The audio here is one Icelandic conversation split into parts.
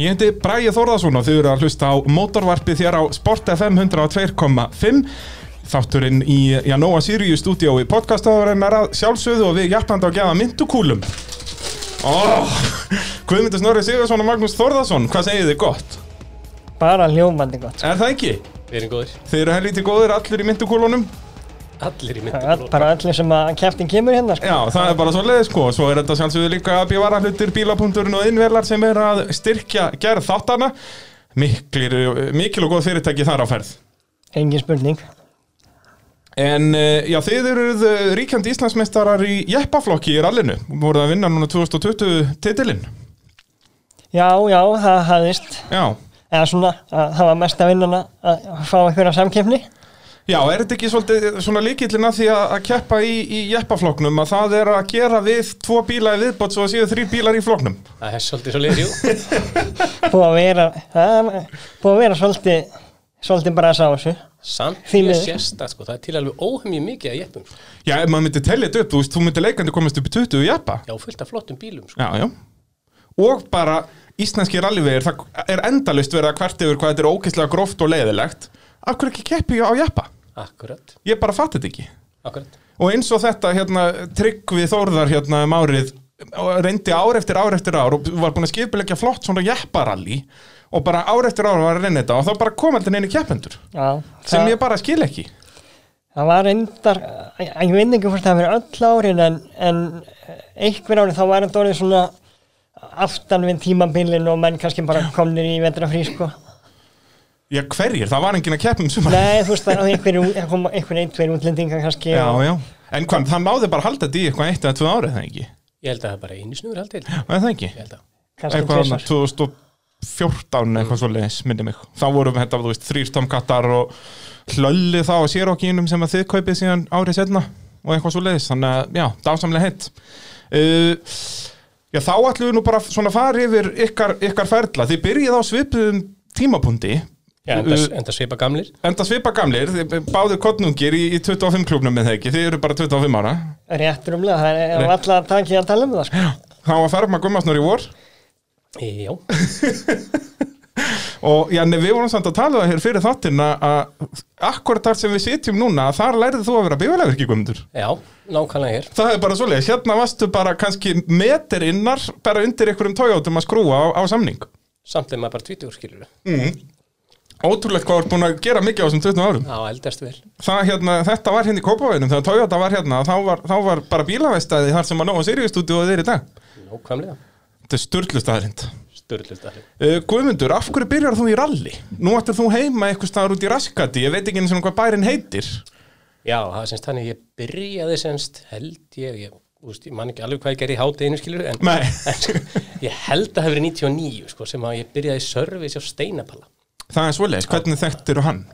Ég heiti Bræði Þórðarsson og þið eru að hlusta á mótorvarpið þér á Sport FM 102.5 Þátturinn í Janóa Sirius stúdíó í podcastaðurinnar að sjálfsögðu og við hjartandi á að gefa myndukúlum oh, Guðmundur Snorri Sigurðarsson og Magnús Þórðarsson, hvað segið þið gott? Bara hljómandi gott. Er það ekki? Við erum góðir. Þið eru helvítið góðir allir í myndukúlunum? Allir í Það er myndum. bara allir sem að kæftin kemur hérna sko. Já, það er bara svo leiðis sko, svo er þetta sjálfsögðu líka að bjóvara hlutir bílapunkturinn og innvelar sem er að styrkja gerð þáttana Miklir, mikil og góð fyrirtæki þar á ferð Engin spurning. En eh, já, þið eruð eh, ríkjandi Íslandsmeistarar í jeppaflokki í rallinu voruð að vinna núna 2020 titilinn Já, já, það hafðist. Já, Eða svona, að, það var mesta vinnan að að fá einhverja samkeppni. já, er þetta ekki svolítið svona líkillin að því að, að keppa í, í jeppaflokknum að það er að gera við tvo bíla í viðbót svo að séu þrý bílar í flokknum Það er svolítið svo leiðir, jú. Búið að vera, það er búið að vera svolítið, svolítið bara að sá þessu. Samt Því ég miður. sést það, sko. Það er til alveg óhemju mikið að jeppum. sko. Já, ef maður myndi tellja þetta upp, þú veist, þú myndi leikandi komast upp í 20 jeppa Já, fullt af flottum bílum, sko. Já, já. Og bara íslenski rallyvegir, það er endalust verið að hvert yfir hvað þetta er ógeðslega gróft og leiðilegt. Af hverju ekki keppi á jeppa? Akkurat, Ég bara fatt þetta ekki. akkurat. Og eins og þetta, hérna, Tryggvi Þórðar hérna um árið, og reyndi ár eftir ár eftir ár og var búin að skipilegja flott svona jepparalli og bara ár eftir ár var að reyna þetta og þá bara kom aldrei neini keppendur Já, sem það, ég bara skil ekki. það var reyndar, ég, ég veit ekki hvort það verið öll árin en, en einhver árin þá var þetta orðið svona aftan við tímabilin og menn kannski bara komnir í vetrafrí sko. Já, hverjir? Það var enginn að um keppum sem að... Nei, þú veist, það einhver, einhver ein, tveir útlendingar kannski. Já, og- já. En hvað, það náði bara að halda þetta í eitthvað eitt eða tvö árið, það ekki? Ég held að það er bara einu snúður haldið. Er Það ekki? Ég held að. kannski eitthvað tvisvar annað, 2014 eitthvað svo leiðis, minni mig þá vorum þetta, þú veist, þrýr tomkattar og hlölli þá á sérokkínum sem að þið kaupið síðan árið setna og eitthvað svo leiðis, þannig að, já, dásamlega heitt uh, Já, þá ætlum við nú bara svona að fara yfir ykkar, ykkar ferla, þið byrjið á svipuðum tímapunkti Já, enda, enda svipa gamlir. enda svipa gamlir, þið báðu kottnungir í, í 25 klubnum með það ekki, þið eru bara 25 ára Rétt rumlega, það er Rétt. alltaf að taki að tala um það sko. þá að ferma gummasnur í vor Já, Og já, nei, við vorum samt að tala um það hér fyrir þáttinn að- að akkurat þar sem við sitjum núna, að þar lærið þú að vera bífælaverki guðmundur. já, nákvæmlega hér. Það er bara svoleiðis, hérna varstu bara kannski meterinnar bara undir einhverjum tójátum að skrúa á, á samning. Samt er maður bara tvítugur, skilur við. Ótrúlegt hvað þú ert búin að gera mikið á þessum 20 árum. Já, eldast vel. Það, hérna, þetta var hérna í Kópavæðinum, þegar tójáta var hérna, þá var, þá var bara bílavestæði þar sem að nóga Sirius-stúdíóið er í dag. Nákvæmlega. Þetta er störtlustæðrind. Sturlust aðeins. Uh, Guðmundur, af hverju byrjar þú í rally? Nú ættir þú heima eitthvað staðar út í raskati, ég veit ekki eins og hvað bærin heitir. Já, það er semst þannig, ég byrjaði semst, held ég, ég, úst, ég man ekki alveg hvað ég gerði í hátteginu skilur, en, Nei. en ég held að það hefur 99, sko, sem að ég byrjaði í service á Steinapalla. Það er svoleiðis, hvernig þekktir þú hann?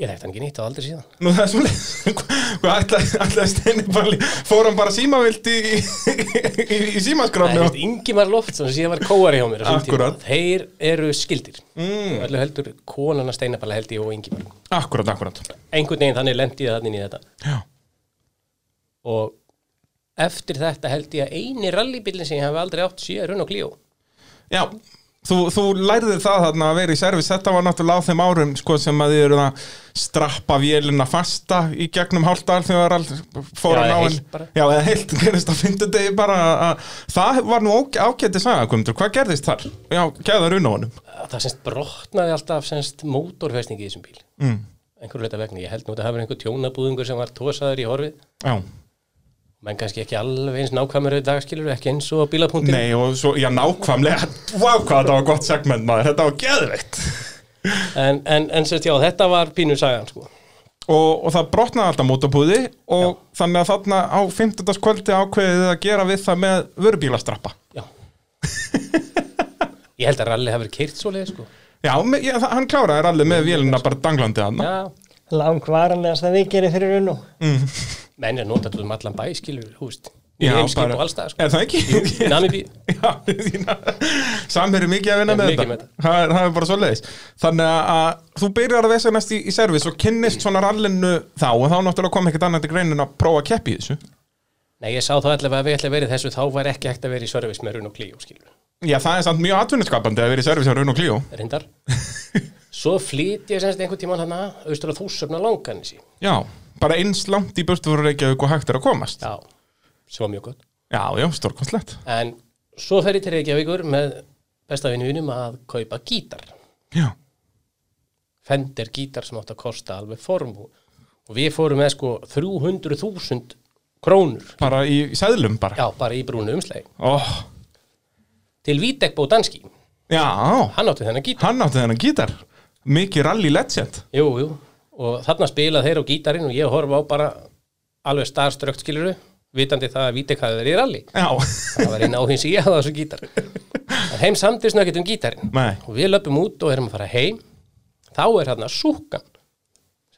Ég þekkti hann ekki nýtt á aldrei síðan. Nú það er svoleiðis, hvað ætlaði ætla Steini bara, fór hann bara símavilt í, í, í, í Það símaskránu? er Ingimar Loftsson sem síðan var kóari hjá mér á sínum tíma. Akkúrat. Þeir eru skildir. Mm. Öllu heldur konana Steinapalla held ég og Ingimar. Akkurat, akkurat. Einhvern veginn þannig lendi ég þannig í þetta. Já. Og eftir þetta held ég að eini rallybillin sem ég hef aldrei átt síðan runn og glíó. Já, þú, þú lærðir það þarna að vera í servis, þetta var náttúrulega á þeim árum sko, sem að þið eru að strappa vélina fasta í gegnum hálftar þegar all fór Já, hann á eða en... heilt bara. Já, eða heilt, gerist á fyndudegi bara að- að það var nú ágæ- ágæti sagakvöndur, hvað gerðist þar? Já, gæðar unóanum. það semst brotnaði alltaf semst mótorfestingi í þessum bíl mm. einhverju hluta vegna, ég held nú að það hafi verið einhver tjónabúðingur sem var tósaður í horfið Já. menn kannski ekki alveg eins nákvæmur í dag skilur ekki eins og á bílapunktin Nei og svo, já nákvæmlega Vá hvað þetta var gott segment maður, þetta var geðveikt en, en, en semst já, þetta var pínu sagan sko. og, og það brotnaði alltaf mótabúði og þannig að þarna á 15. kvöldi ákveðið þið að gera við það með vörubílastrappa já ég held að rally hafi verið keirt svo leið sko. Já, me, ég, það, hann kláraði allir með vélina bara danglandi hann já, Langvaranlegast að við gerir fyrir unnu menn er notað út um allan bæ skilur, húst í Já, heimskip bara- og allstað sko. Er það ekki? Namibí, Já, samherri mikið að vinna Er með mikið þetta með þetta. það er, það er bara svo leiðis Þannig að- að þú byrjar að vesa næst í, í servis og kynnist svona rallinu þá og þá náttúrulega kom ekkert annað til greinin að prófa að keppi í þessu nei ég sá þá allavega að við ætla verið þessu þá var ekki hægt að vera í service með runn og glíó skilur Já, það er samt mjög atvinniskapandi að vera í service á Renault Clio reyndar svo flýt ég semst einhvern tímann hana austur að þúsöfna langanessi Já, bara eins langt í burtu voru Reykjavík og hægt er að komast já, sem var mjög gott Já, já, stórkostlegt en svo fer ég til Reykjavíkur með besta vinninum að kaupa gítar Já, Fender gítar sem átt að kosta alveg formú og við fórum með sko 300.000 krónur bara í seðlum bara já, bara í brúnu umslagi Ó, til Vítek Bódanski, já, hann átti þennan gítar hann átti þennan gítar Mikið rally legend jú, jú, og þarna spila þeir á gítarinn og ég horfa á bara alveg starströkt skiluru vitandi það að Vítek hafi verið í rally Já, það var einn áhins í að þessu gítar en heim samtist nöggit um gítarinn Nei. og við löpum út og erum að fara heim þá er þarna súkan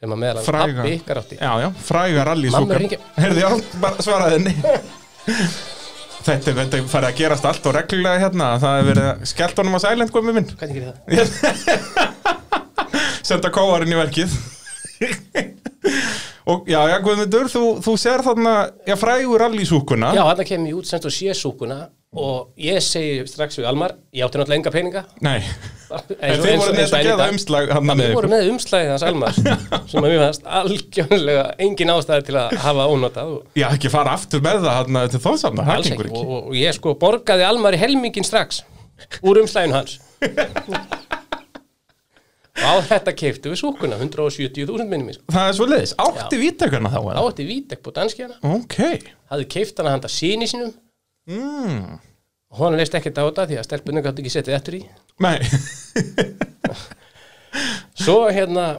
sem að meðal að fræga pappi ykkar átti Já, já, fræga rally Mamma súkan hringir. Herði, já, bara svaraði henni Þetta, þetta farið að gerast allt og reglulega hérna Það hefur verið að skellt honum á silent guðmi minn hvernig gerir það? senda kóarinn í verkið og já, já, Guðmundur þú, þú sér þarna, já, frægur allísúkuna já, þarna kem ég út semst og sé súkuna og ég segi strax við Almar ég átti náttúrulega enga peninga nei, en en þið voru með þetta geða umslag hann með við vorum ykkur með umslæðið hans Almar sem að mér fannst algjörlega engin ástæði til að hafa ónotað og já, ekki fara aftur með það hann til þóðsamna, það alls gengur ekki og, ekki og, og ég sko borgaði Almar í helmingin strax úr umslæðinu hans og á þetta keiftu við súkuna 170.000 minnum í sko það er svo leiðis, átti vítakana þá þá eða? ætti Vítek búið danskjana ok, hafði keift hana handa síni sínum mm. Mm. og honum leist ekkert á þetta því að stelpunum gæti ekki setið eftir í nei svo hérna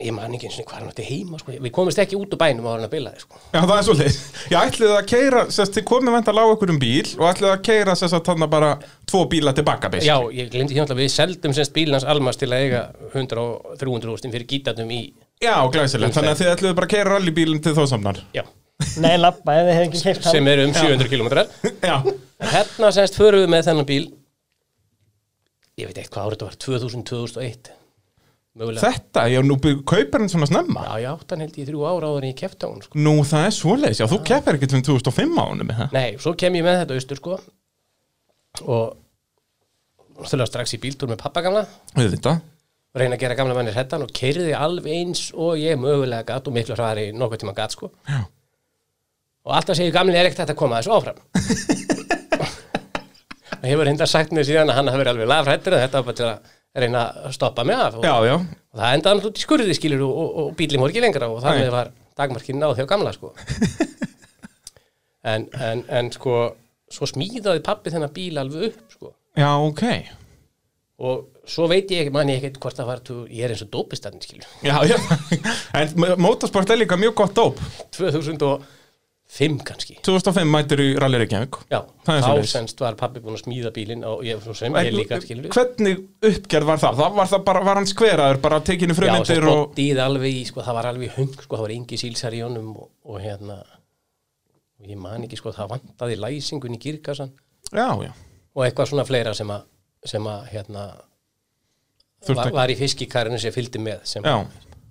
ég man ekki eins og hvað hann átti heima sko. við komumst ekki út úr bænum á hann að bilaði sko. já, það er svo leiðis, já, ætlið að keira sérst, þið komið venda lág ykkur um bíl og ætlið að keira sérst að þarna bara tvo bíla tilbaka, já, basically. ég glemdi hérna að við seldum semst bílans almas til að eiga 100 og 300 úrstin fyrir gítarnum í já, glæsilegt, þannig að þið ætlið bara að keira allíbílinn til þóðsamnar já, Nei, lappa, ef þið hefði ekki keipt hann sem eru um 700 kilometrar já, En hérna semst förum við með þennan bíl ég veit eitt hvað árið þetta var 2000, 2001 mögulega, Þetta, já, nú bygg- kaupir hann svona snemma já, já, þann held ég í þrjú ára áður en ég kefti á hún sko. Nú, það er svoleiðis, já, þú keppir ekkert um 2005 ánum með það Nei, svo kem ég með þetta austur sko og náttúrulega strax í bíltúr með pappa gamla Við þetta reyna að gera gamla mannir hættan og keiriði alveg eins og ég mögulega gatt og miklu hraðar í nokkuð tíma gatt sko Já. og alltaf segir gamli er ekkert hægt að koma þessu áfram og hefur hindar sagt mér síðan að hann hafi verið alveg lafrættur en þetta var bara til að reyna að stoppa mig af og, Já, já, og það endaði náttúrulega út í skurði skilur og, og, og bílum voru ekki lengra og Nei. þannig var dagmarkinn náð hjá gamla sko en, en, en sko svo smíðaði pappi þennan bíl alveg upp sko já, ok og svo veit ég ekki, man ég ekkert hvort það var þú- ég er eins og dópistann skilur Já, já, en m- motorsport er líka mjög gott dóp 2005 kannski 2005 mætir í Rally Reykjavík já, Það er þá svoleiðis. senst var pappi búin að smíða bílinn og ég, svo sem ég En líka skilur Hvernig uppgerð var það? Það var það bara, var hann skveraður, bara tekinu já, og svo frumindir og bóttið alveg í, sko, það var alveg í hung sko, það var engi sílsar í honum og, og hérna og ég man ekki, sko, það vantaði læsingun í girkassan Já, já, og eitthvað svona fleira sem að sem að, hérna, þurfti var, var í fiskikarinu sem fylgdi með sem, Já,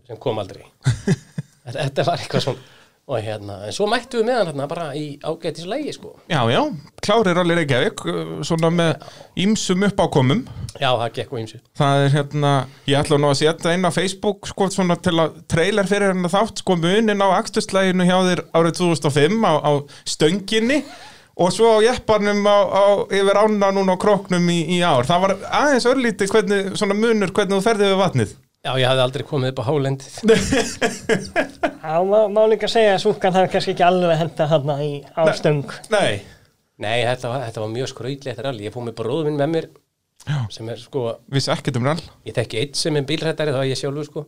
sem kom aldrei þetta, þetta var eitthvað svona og hérna, en svo mættu við með hann hérna, bara í ágætis lægi, sko já, já, klári Rally Reykjavík uh, Svona með ímsum uppákomum já, það gekk og ymsu Það er hérna, ég ætla nú að setja inn á Facebook sko svona til að trailer fyrir hennar þátt sko munin á akstuslæginu hjá þér árið 2005 á, á stönginni og svo á jepparnum á, á, yfir ána núna á kroknum í, í ár. Það var aðeins örlítið hvernig, svona munur hvernig þú ferði við vatnið. Já, ég hafði aldrei komið upp á hálendið Já, má, má líka segja að súkan hafi kannski ekki alveg henda hann í ástöng Nei, Nei, þetta var, þetta var mjög skrautlegt rally Ég fóð með bróðu minn með mér Já. sem er sko, vissi ekkert um rall. ég þekki eitt sem er bílrættari þá er ég sjálfur sko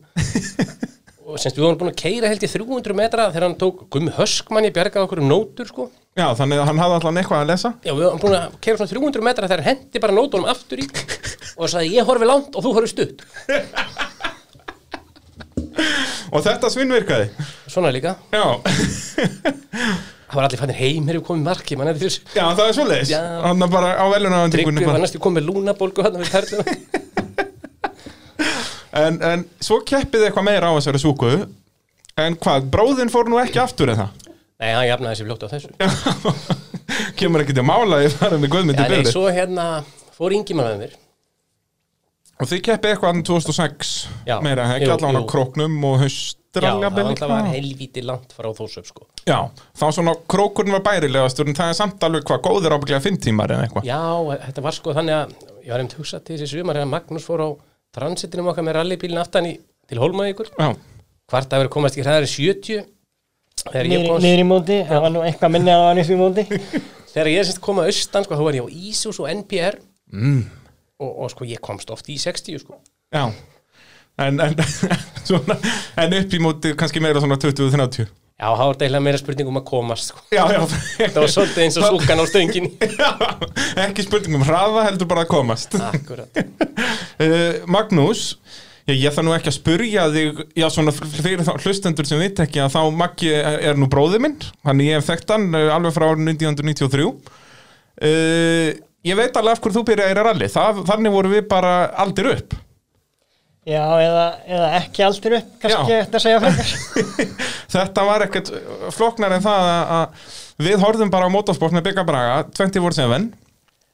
og semst við vorum búin að keira held ég 300 metra þegar hann tók Gummi Höskmann ég bjargaði okkur um nótur sko Já, þannig að hann hafði allan eitthvað að lesa. Já, við vorum búin að keira svona 300 metra þegar hann hendi bara nótunum aftur í og sagði ég horfi langt og þú horfi stutt Og þetta svinnvirkaði. Svona líka, Já, það var allir fannir heim hefur komið marki, mann eftir þessu já, það er svoleiðis. Já. Hann bara á Tryggvi velunaðandingunni var bara. næstu komið lúnabólgu hann við perlum En, en svo keppið þið eitthvað meira á þessari súku En hvað, bróðin fór nú ekki aftur eða? Nei, hann jafnaði sér fljótt á þessu Kemur ekki til mála að ég farið með Guðmund í Já, nei, byrði svo hérna fór yngi með mér Og þið keppið eitthvað andan 2006 Já. meira, það er ekki Jú, allan á jú. króknum og Já, það var haustraljabil alltaf var helvíti langt frá þósöf sko Já, þá svona krókurinn var bærilegastur en það er samt alveg hvað góður ábygglega fimm tímar eða eitthvað Já, þetta var sko þannig að ég var einmitt hugsað til þessi sumar að Magnús fór á transitinum okkar með rallybílinn aftan í, til Holmavíkur Já, hvart að vera komast í hraðari 70 þegar ég niður, komst niður í móti, það var nú eitthvað minni að það var upp í móti þegar ég semst kom að austan sko, þá var ég á Ísus og NPR mm. og, og sko ég komst oft í 60 sko já En, en, svona, en upp í móti kannski meira svona 20-30 Já, það var deila meira spurning um að komast sko. Já, já það var svolítið eins og súkan á stönginni Já, ekki spurning um hraða heldur bara að komast Akkurat uh, Magnús ég, ég þarf nú ekki að spurja þig já, svona, f- fyrir þá hlustendur sem veit ekki að þá Maggi er, er nú bróði minn hann ég hef þekkt hann eh, alveg frá árið 1993 uh, ég veit alveg af hverju þú byrjaði í rally það, þannig voru við bara aldir upp Já, eða, eða ekki aldrei upp, kannski Já. eftir að segja frekar þetta var ekkert eh, flóknar en það að- að við horfðum bara á motorsport með Bigga Braga 24-7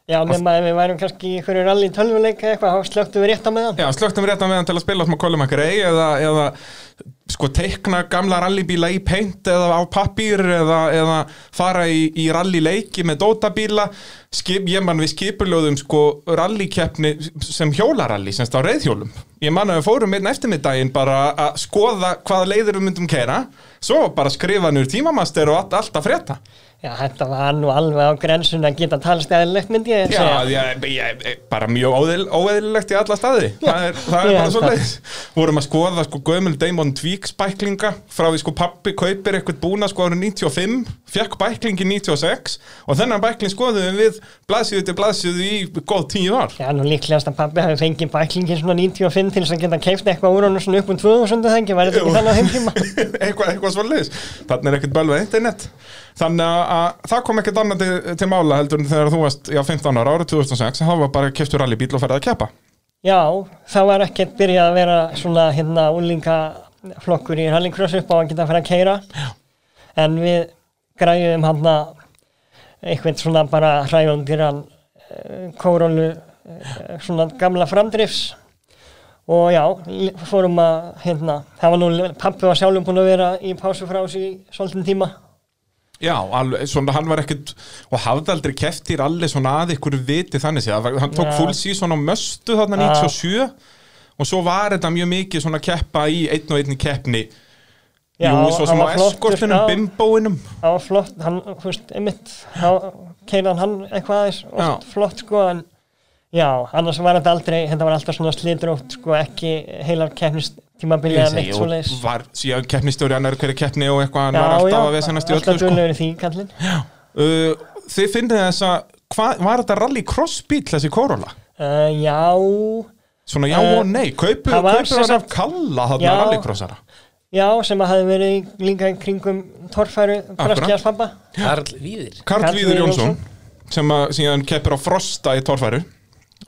Já, nema ef við værum kannski í hverju rally í tölvuleika eða eitthvað, þá slögtum við rétt á meðan Já, slögtum réttan meðan til að spila smá Colin McRae eða, eða sko teikna gamla rallybíla í paint eða á pappír eða, eða fara í, í rallyleiki með dótabíla Skip, ég man við skipuljóðum sko rallykeppni sem hjólaralli semst á reyðhjólum ég man að við fórum einn eftirmiddaginn bara að skoða hvaða leiðir við myndum keira svo bara skrifa nýr tímamaster og allt, allt að frétta Já, þetta var nú alveg á grensun að geta talast eðlilegt myndi ég Já, ég, ég, ég, bara mjög óeðl- óeðlilegt í alla staði Það er, það er ég bara held svo það. leiðis Vorum að skoða sko gömul Damon Tweak spæklinga Frá því sko pappi kaupir eitthvað búna sko árið 95 Fekk bæklingin 96 Og þennan bækling skoðum við blaðsíðu til blaðsíðu í góð tíu ár Já, nú líklegast að pabbi hafi fengið bæklingin svona 95 til þess að geta keift eitthvað úr honum svona upp um 2000 þengi, var þetta Jú. ekki þannig á þeim tíma? eitthvað, eitthvað svo leiðis Þannig er ekkert bölvað internet Þannig að, að það kom ekkert annað til, til mála heldur en þegar þú varst já, 15 ára árið 2006 Það var bara keftur allir bíl og ferði að keppa Já, það var ekkert byrjað að vera svona hérna úlinga flokkur í rallycross upp á að geta að fara að keira Já. en við græðum hann að einhvern svona bara hræjundiran kórónu eh, svona gamla framdrifs og já, li- fórum að hérna, það var nú, pappi var sjálfum búin að vera í pásu frá þessu í svolítinn tíma Já, alveg, svona hann var ekkert og hafði aldrei keftir allir svona að ykkur viti þannig séð, Það var- hann tók Já. full season á möstu þarna Já. 97 og svo var þetta mjög mikið svona keppa í einn og einni keppni Já, Jú, svo sem hann á var flottur, eskortinum, já. bimbóinum það var flott, hann, þú veist, einmitt þá keirðan hann eitthvað aðeins oft flott, sko, en já, annars var þetta aldrei, þetta var alltaf svona slitrótt, sko, ekki heilar kemnist tímabilið Ég eða segi, neitt og svoleiðis var síðan keppnistjóri annar hverju keppni og eitthvað, hann Já, var alltaf já, að vesenast í öllu alltaf sko. duglegur í því, kallinn uh, Þið finnið þess að hvað, var þetta rally crossbíl þessi Corolla? uh, Já, Svona já Eh, og nei, kaupu, það var kaupu sem hann af sagt- kalla þarna Já. rallycrossara já, sem að hafi verið í- líka í kringum torfæru Akkurat. braskjars pappa Karl Víðir Karl Karl Víður Viður Jónsson Jónsson. sem að síðan keppir á Frosta í torfæru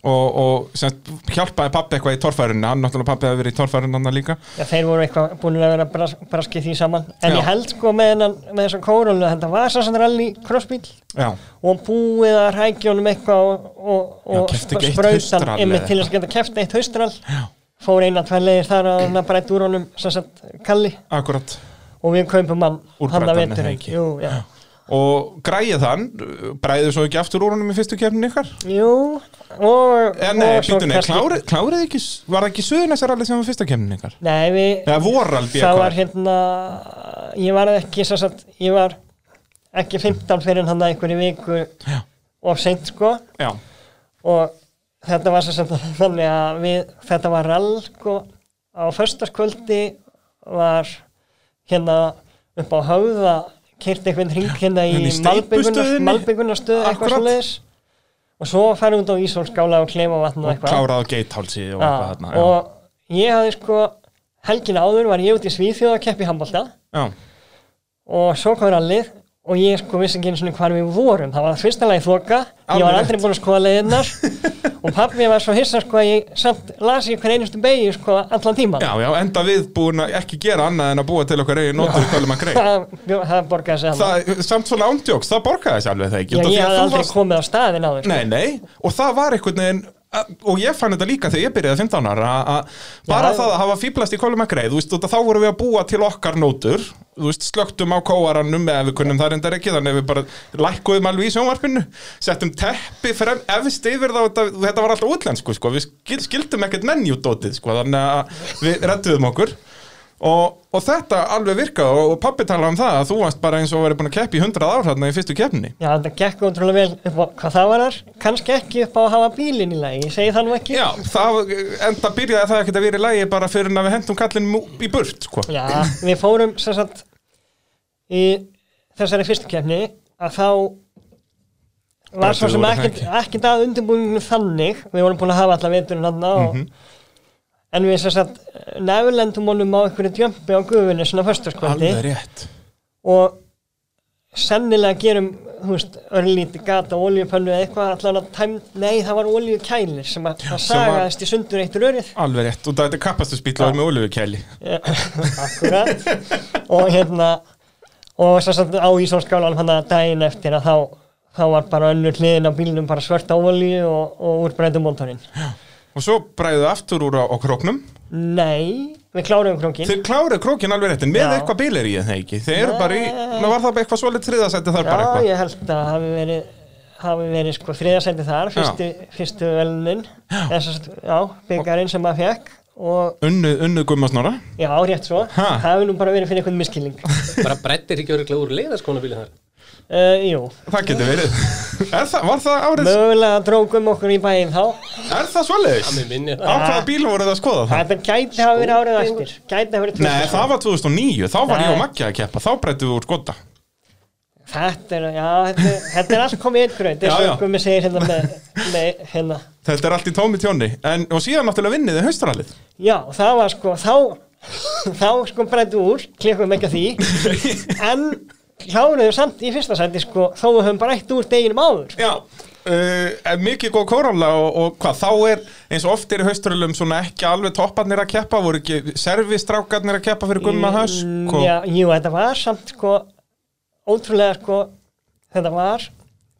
og, og sem sagt hjálpaði pappi eitthvað í torfærunni hann náttúrulega pappi hefði verið í torfærunni hann líka Já, þeir voru eitthvað búin að vera bras, braskið því saman En Já. ég held sko með, hennan, með þessan kórónu þetta var sá sem rally crossbíl já, og búið að rækja honum eitthvað og, og, og Já, keypti ekki eitt sprautan haustrall einmitt eða til þess að geta keft eitt haustral fór eina tvær leiðir þar að hann brætt úr honum sem sagt Kalli akkurat og við kaupum hann Úr hann að bræddanum, er vetur það ekki? jú, já. og græðið hann, bræðið svo ekki aftur úr honum í fyrstu keppnin ykkar jú, og, eða nei, og svo býtu nei, kannski- klárið, klárið ekki var það ekki suðunessar alveg sem var fyrsta keppnin ykkar nei, við, eða vorald ég það var hérna ég var ekki sem sagt, ég var ekki 15 fyrir hann að einhverju viku Já. og seint sko já, og þetta var sem sagt þannig að við, þetta var ralg og á föstaskvöldi var hérna upp á höfða kyrt einhvern hring hérna Hérna í í steypustöðinni? malbyggunarstöð eitthvað Akkurat. svoleiðis og svo færum út á Ísólskála og klefa vatn og og eitthvað klárað á geithálsi og Já, eitthvað þarna já. og ég hafði sko helgin áður var ég út í Svíþjóð að keppi handbólta já, og svo kom rallið og ég sko vissi ekki einu sinni hvar við vorum það var fyrsta lagi þoka, ég Alveg var aldrei búin að skoða leiðinnar og pappi var svo hissa sko að ég samt las ég hver einustu beigju sko allan tíman Já, já, enda við búin að ekki gera annað en að búa til okkar eigin notur kvælum að greið það, það borgaði sig alveg það, Samt svona ándjóks, það borgaði sér alveg það ekki Já, út af því ég að hafði þú aldrei varst- komið á staðin á þér sko. Nei, nei, og það var einhvern veginn að- og ég fann þetta líka þegar ég byrjaði 15 ára að- að bara Já. það að hafa fýblast í kolum að greið, þú veist, og þá vorum við að búa til okkar nótur, þú veist, slögtum á kóarannum eða við kunnum það reyndar ekki, þannig að við bara lækkuðum alveg í sjónvarpinu settum teppi frem, efst yfir þá þetta, þetta var alltaf útlensku, sko við skil, skildum ekkert mennjúdótið, sko þannig að við rettuðum okkur og, og þetta alveg virkaði og, og pappi talaði um það að þú varst bara eins og verið búin að keppi 100 ár þarna í fyrstu keppni Já, þetta gekk ótrúlega vel upp á hvað það var kannski ekki upp á að hafa bílinn í lagi ég segi það nú ekki Já, það, enda byrjaði það ekkert að vera í lægi bara fyrir en að við hentum kallinum ú- í burt, sko. Já, við fórum sem sagt í þessari fyrstu kefni að þá Bara var svo þau sem voru ekkert það ekki að undirbúinu þannig við vorum búin að hafa alla veturinn hann á Mhm. en við sem sagt nefnlendum honum á einhverju djömpi á gufunni svona fösturskvöldi rétt. og sennilega gerum þú veist, örlíti gata og oljupönnu eða eitthvað allan að tæm, nei það var oljukælir sem að það sem var- sagaðist í sundur eitt rörið Alveg rétt, og þetta er kapastusbíla með olufukæli. akkurat og hérna og svo satt á Ísóskálan hann að daginn eftir að þá þá var bara önnur hliðin á bílnum bara svört á olíu og, og úrbreyndu mótorinn Og svo bræðið aftur úr á, á króknum. nei, við kláruðum krókin Þeir klárið krókin alveg réttin með Já. eitthvað bíl er í það ekki. Þeir eru bara í, Nei. ná var það bara eitthvað svolítið þriðasætti þar bara já, eitthvað. ég held að það hafi verið hafi verið sko þriðasændi þar fyrstu, fyrstu velunin Þessast, já, byggarinn sem maður fekk og Unnuð, unnuð gummasnóra. já, rétt svo Ha. það hefur nú bara verið fyrir einhvern miskilling uh, bara brettir ekki öruglega úr leiðarskónabílinn þar jú, Það getur verið. er það, var það árið, mögulega drókum okkur í bæinn þá er það svolítið? að mér minni Á það hvaða bíl voruð það að skoða það? Þetta gæti hafa verið árið eftir Gæti hafa verið Nei, 2000. það var 2009, þá var ég og Nei. Maggi að keppa, þá brættið við úr skotta. Þetta er, já, þetta, er- þetta er allt komið einn gröð Já, Þetta já. er sko mér segir hérna með, með hérna. Þetta er allt í tómi tjóni, en, og síðan náttúrulega vinniði haustralið. Já, það var sko Þá, þá sko brendu úr Klikkum ekki að því En kláruðu samt í fyrsta sæti sko Þó við höfum bara eitt úr deginum áður Já, uh, en mikið góð kórala og, og hvað, þá er eins og oft er í haustralum svona ekki alveg topparnir að keppa, voru ekki servistrákarnir að keppa fyrir gumma sko- hausk og... Mm, Já, Jú, þetta var samt sko Ótrúlega sko Þetta var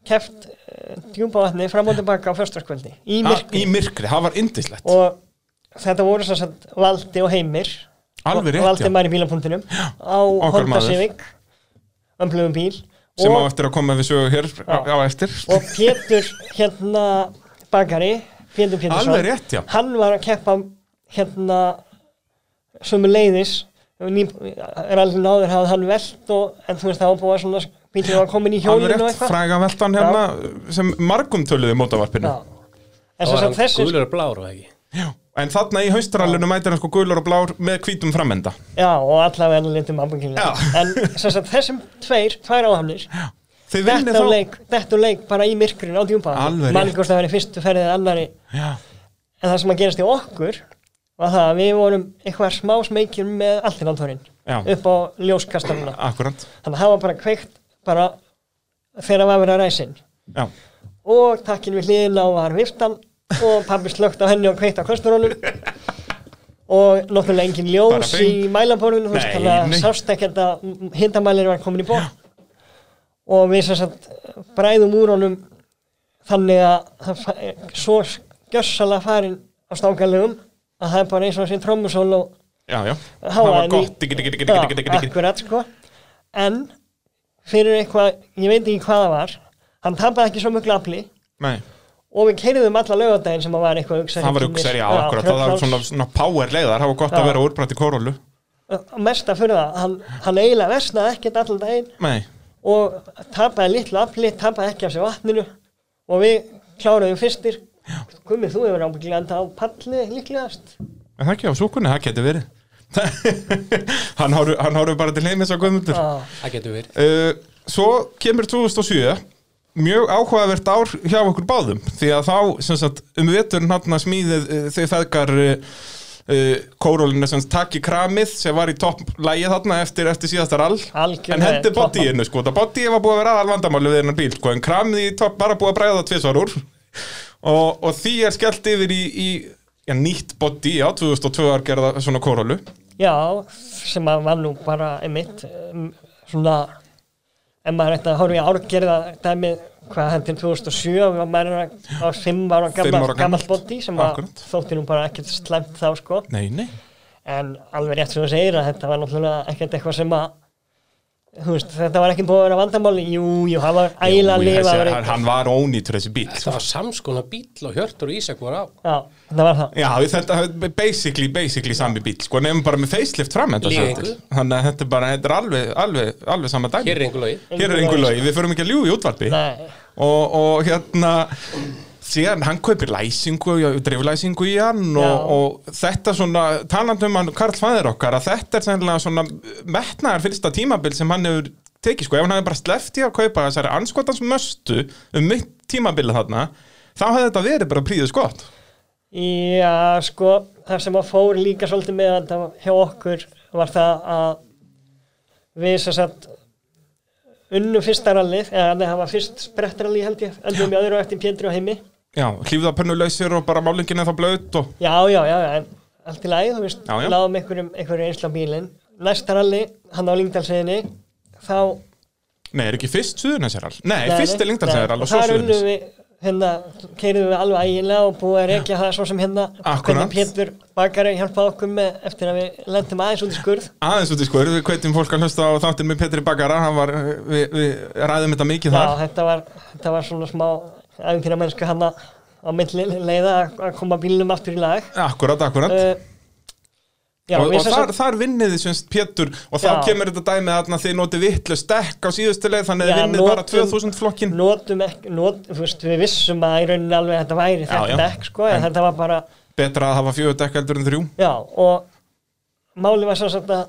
keft uh, djúpavatni fram og tilbaka á föstaskvöldi Í Ha, í myrkri myrkri, það var indislegt og þetta voru svo sagt Valdi og Heimir Alveg rétt, Valdi já. maður í bílapunktinum á okkar Honda maður. Civic ömblöfum bíl sem á og, eftir að koma við sögu hér á, á eftir og Pétur hérna bakari Pétur Pétursson Alveg rétt, já. hann var að keppa hérna sömu leiðis ný, er alveg náður hafði hann velt og, en þú veist það var búið að svona bílum var komin í Alveg hjólinu og rétt, eitthvað frægaveltan hérna sem margum töluði mótavarpinu Já. en þá sem var hann sagt þessi gulur og blár og ekki En þarna í haustralinu mætir hann sko gulur og blár með hvítum framenda já og allavega litum ambangilega Já. um en sem sagt þessum tveir, tvær áhamnir Þið vinnið Þetta þá og leik, þetta og leik bara í myrkurinn á djúpa Alveg rétt. Mannigvort að vera fyrstu ferðið eða annari Já. En það sem að gerast í okkur var það að við vorum eitthvað smá smekir með alltinantorinn Já. upp á ljóskastaruna Akkurant Þannig að það var bara kveikt bara þegar það var að vera ræsin Já. og takkin við hliðina og var viftan og pabbi slögt á henni og kveikt á kosturólum og náttúrulega engin ljós Bara í bing. mælaborðinu þú veist, Nei, þannig að nei. sást ekkert að hindamælinu var komin í bóð og við sem sagt bræðum úr honum þannig að það fa- svo gjössalega farin á stákalegum að það er bara eins og þessi trommusól og Já, já, það hávaðan var í- gott diggi, diggi, diggi, diggi, diggi, diggi, Já, akkurat sko en fyrir eitthvað, ég veit ekki hvað það var hann tapaði ekki svo mjög glabli Nei, og við keiriðum alla lögadaginn sem að var eitthvað uksari það var uksar, já, akkurat Það var svona, svona power leiðar, það var gott Já. að vera úrbrætt í korólu mesta fyrir það, hann, hann eiginlega versnaði ekkert allan daginn Nei, og tapaði litlu afli, tapaði ekki af sér vatninu og við kláruðum fyrstir Guðmi, þú hefur ábyggilega enda á palli líklegast en það ekki á súkunni, það getur verið Hann horfur hann horfur bara til heimis á guðmundur Já. það getur verið uh, Svo kemur 2007 Mjög áhugavert ár hjá okkur báðum Því að þá, sem sagt, um veturinn hann að smíðið uh, þau eh, feðgar uh, uh, kórólinu sem sagt, takk í kramið sem var í topplægi þarna eftir, eftir síðasta rall Algjörlega en hendi topp- bodyinu sko, það bodyið var búið að vera aðal vandamálu við hennar bíl sko, en kramið í topp bara búið að bræða það tvisvar úr og, og því er skellt yfir í, í já, nýtt body, já, 2002 var gerða svona kórólu Já, sem að var nú bara einmitt um, svona ef maður ætti að horfa í árgerða dæmið hvað hendur 2007 og maður er að- á 5 ára Fimm ára gammal, gammal gamalt. bóti sem að Akkurat. þótti nú bara ekkert slæmt þá sko Nei, nei en alveg rétt sem þú segir að þetta var náttúrulega ekkert eitthvað sem að þú veist, þetta var ekki búið að vera vandamáli jú, jú, hann var ægilega að lifa að vera hann, hann var ónýtur þessi sko. bíl Þetta var samskona bíl og Hjörtur og Ísak voru á. já, þetta var það Já, þetta er basically, basically sami bíl sko, nefnum bara með facelift fram þetta Líka samt. engu. Þannig að þetta er bara, þetta er alveg, alveg, alveg sama dæmi Hér er einhver logi. Hér er einhver lög, við förum ekki að ljúga í útvarpi Nei, og, og hérna síðan hann kaupir læsingu já, dreiflæsingu í hann Já. og, og þetta svona, talandi um hann Karl Fæðir okkar, að þetta er sennilega svona metnaðar fyrsta tímabil sem hann hefur tekið sko, ef hann hefði bara sleft í að kaupa þessari anskotans möstu um mitt tímabilið þarna, þá hefði þetta verið bara príðið skott Já, sko, það sem að fór líka svolítið með þetta hjá okkur var það að við sem sagt unnum fyrsta rallið, eða nei, það var fyrst sprettrallið held ég, endum við öðru á eftir Pétri og heimi. Já, hlýfða pönnulausir og bara málingin eða blöðt og Já, já, já, já, en allt í lagi, þú veist, Já, já. lágum einhverjum, einhverjum einsla bílinn. Næsta ralli, hann á Lingdalsveginni, þá... Nei, er ekki fyrst suðunasjæral? Nei, nei, fyrst er nei, lengdansjæral nei, og svo Þar unnum suðunas við, hérna, keirðum við alveg ægilega og búið að rekja það svo sem hérna. Akkúrat. Hvernig Pétur bakari hjálpaði okkur með eftir að við lendum aðeins út í skurð. Aðeins út í skur, við kveitum fólk að hlusta á þáttin með Petri Bakara, hann var, við, við ræðum þetta mikið Já, þar þetta var, þetta var svona smá æfintýra mennsku hann á milli leiða að- að koma bílnum aftur í lag Akkurat, akkurat uh, Já, Og, við og sem þar, sagt- þar vinnið þið semst Pétur Og þá Já. kemur þetta dæmið þarna að þið notið vitlaust dekk á síðustu leið Þannig Já, að þið vinnið bara notum- 2000 flokkin notum ekki, not, þú veist, við vissum að í rauninni alveg að þetta væri já. þetta dekk sko, en, En- þetta var bara, Betra að hafa fjögur dekk heldur en þrjú já, og máli var sem sagt að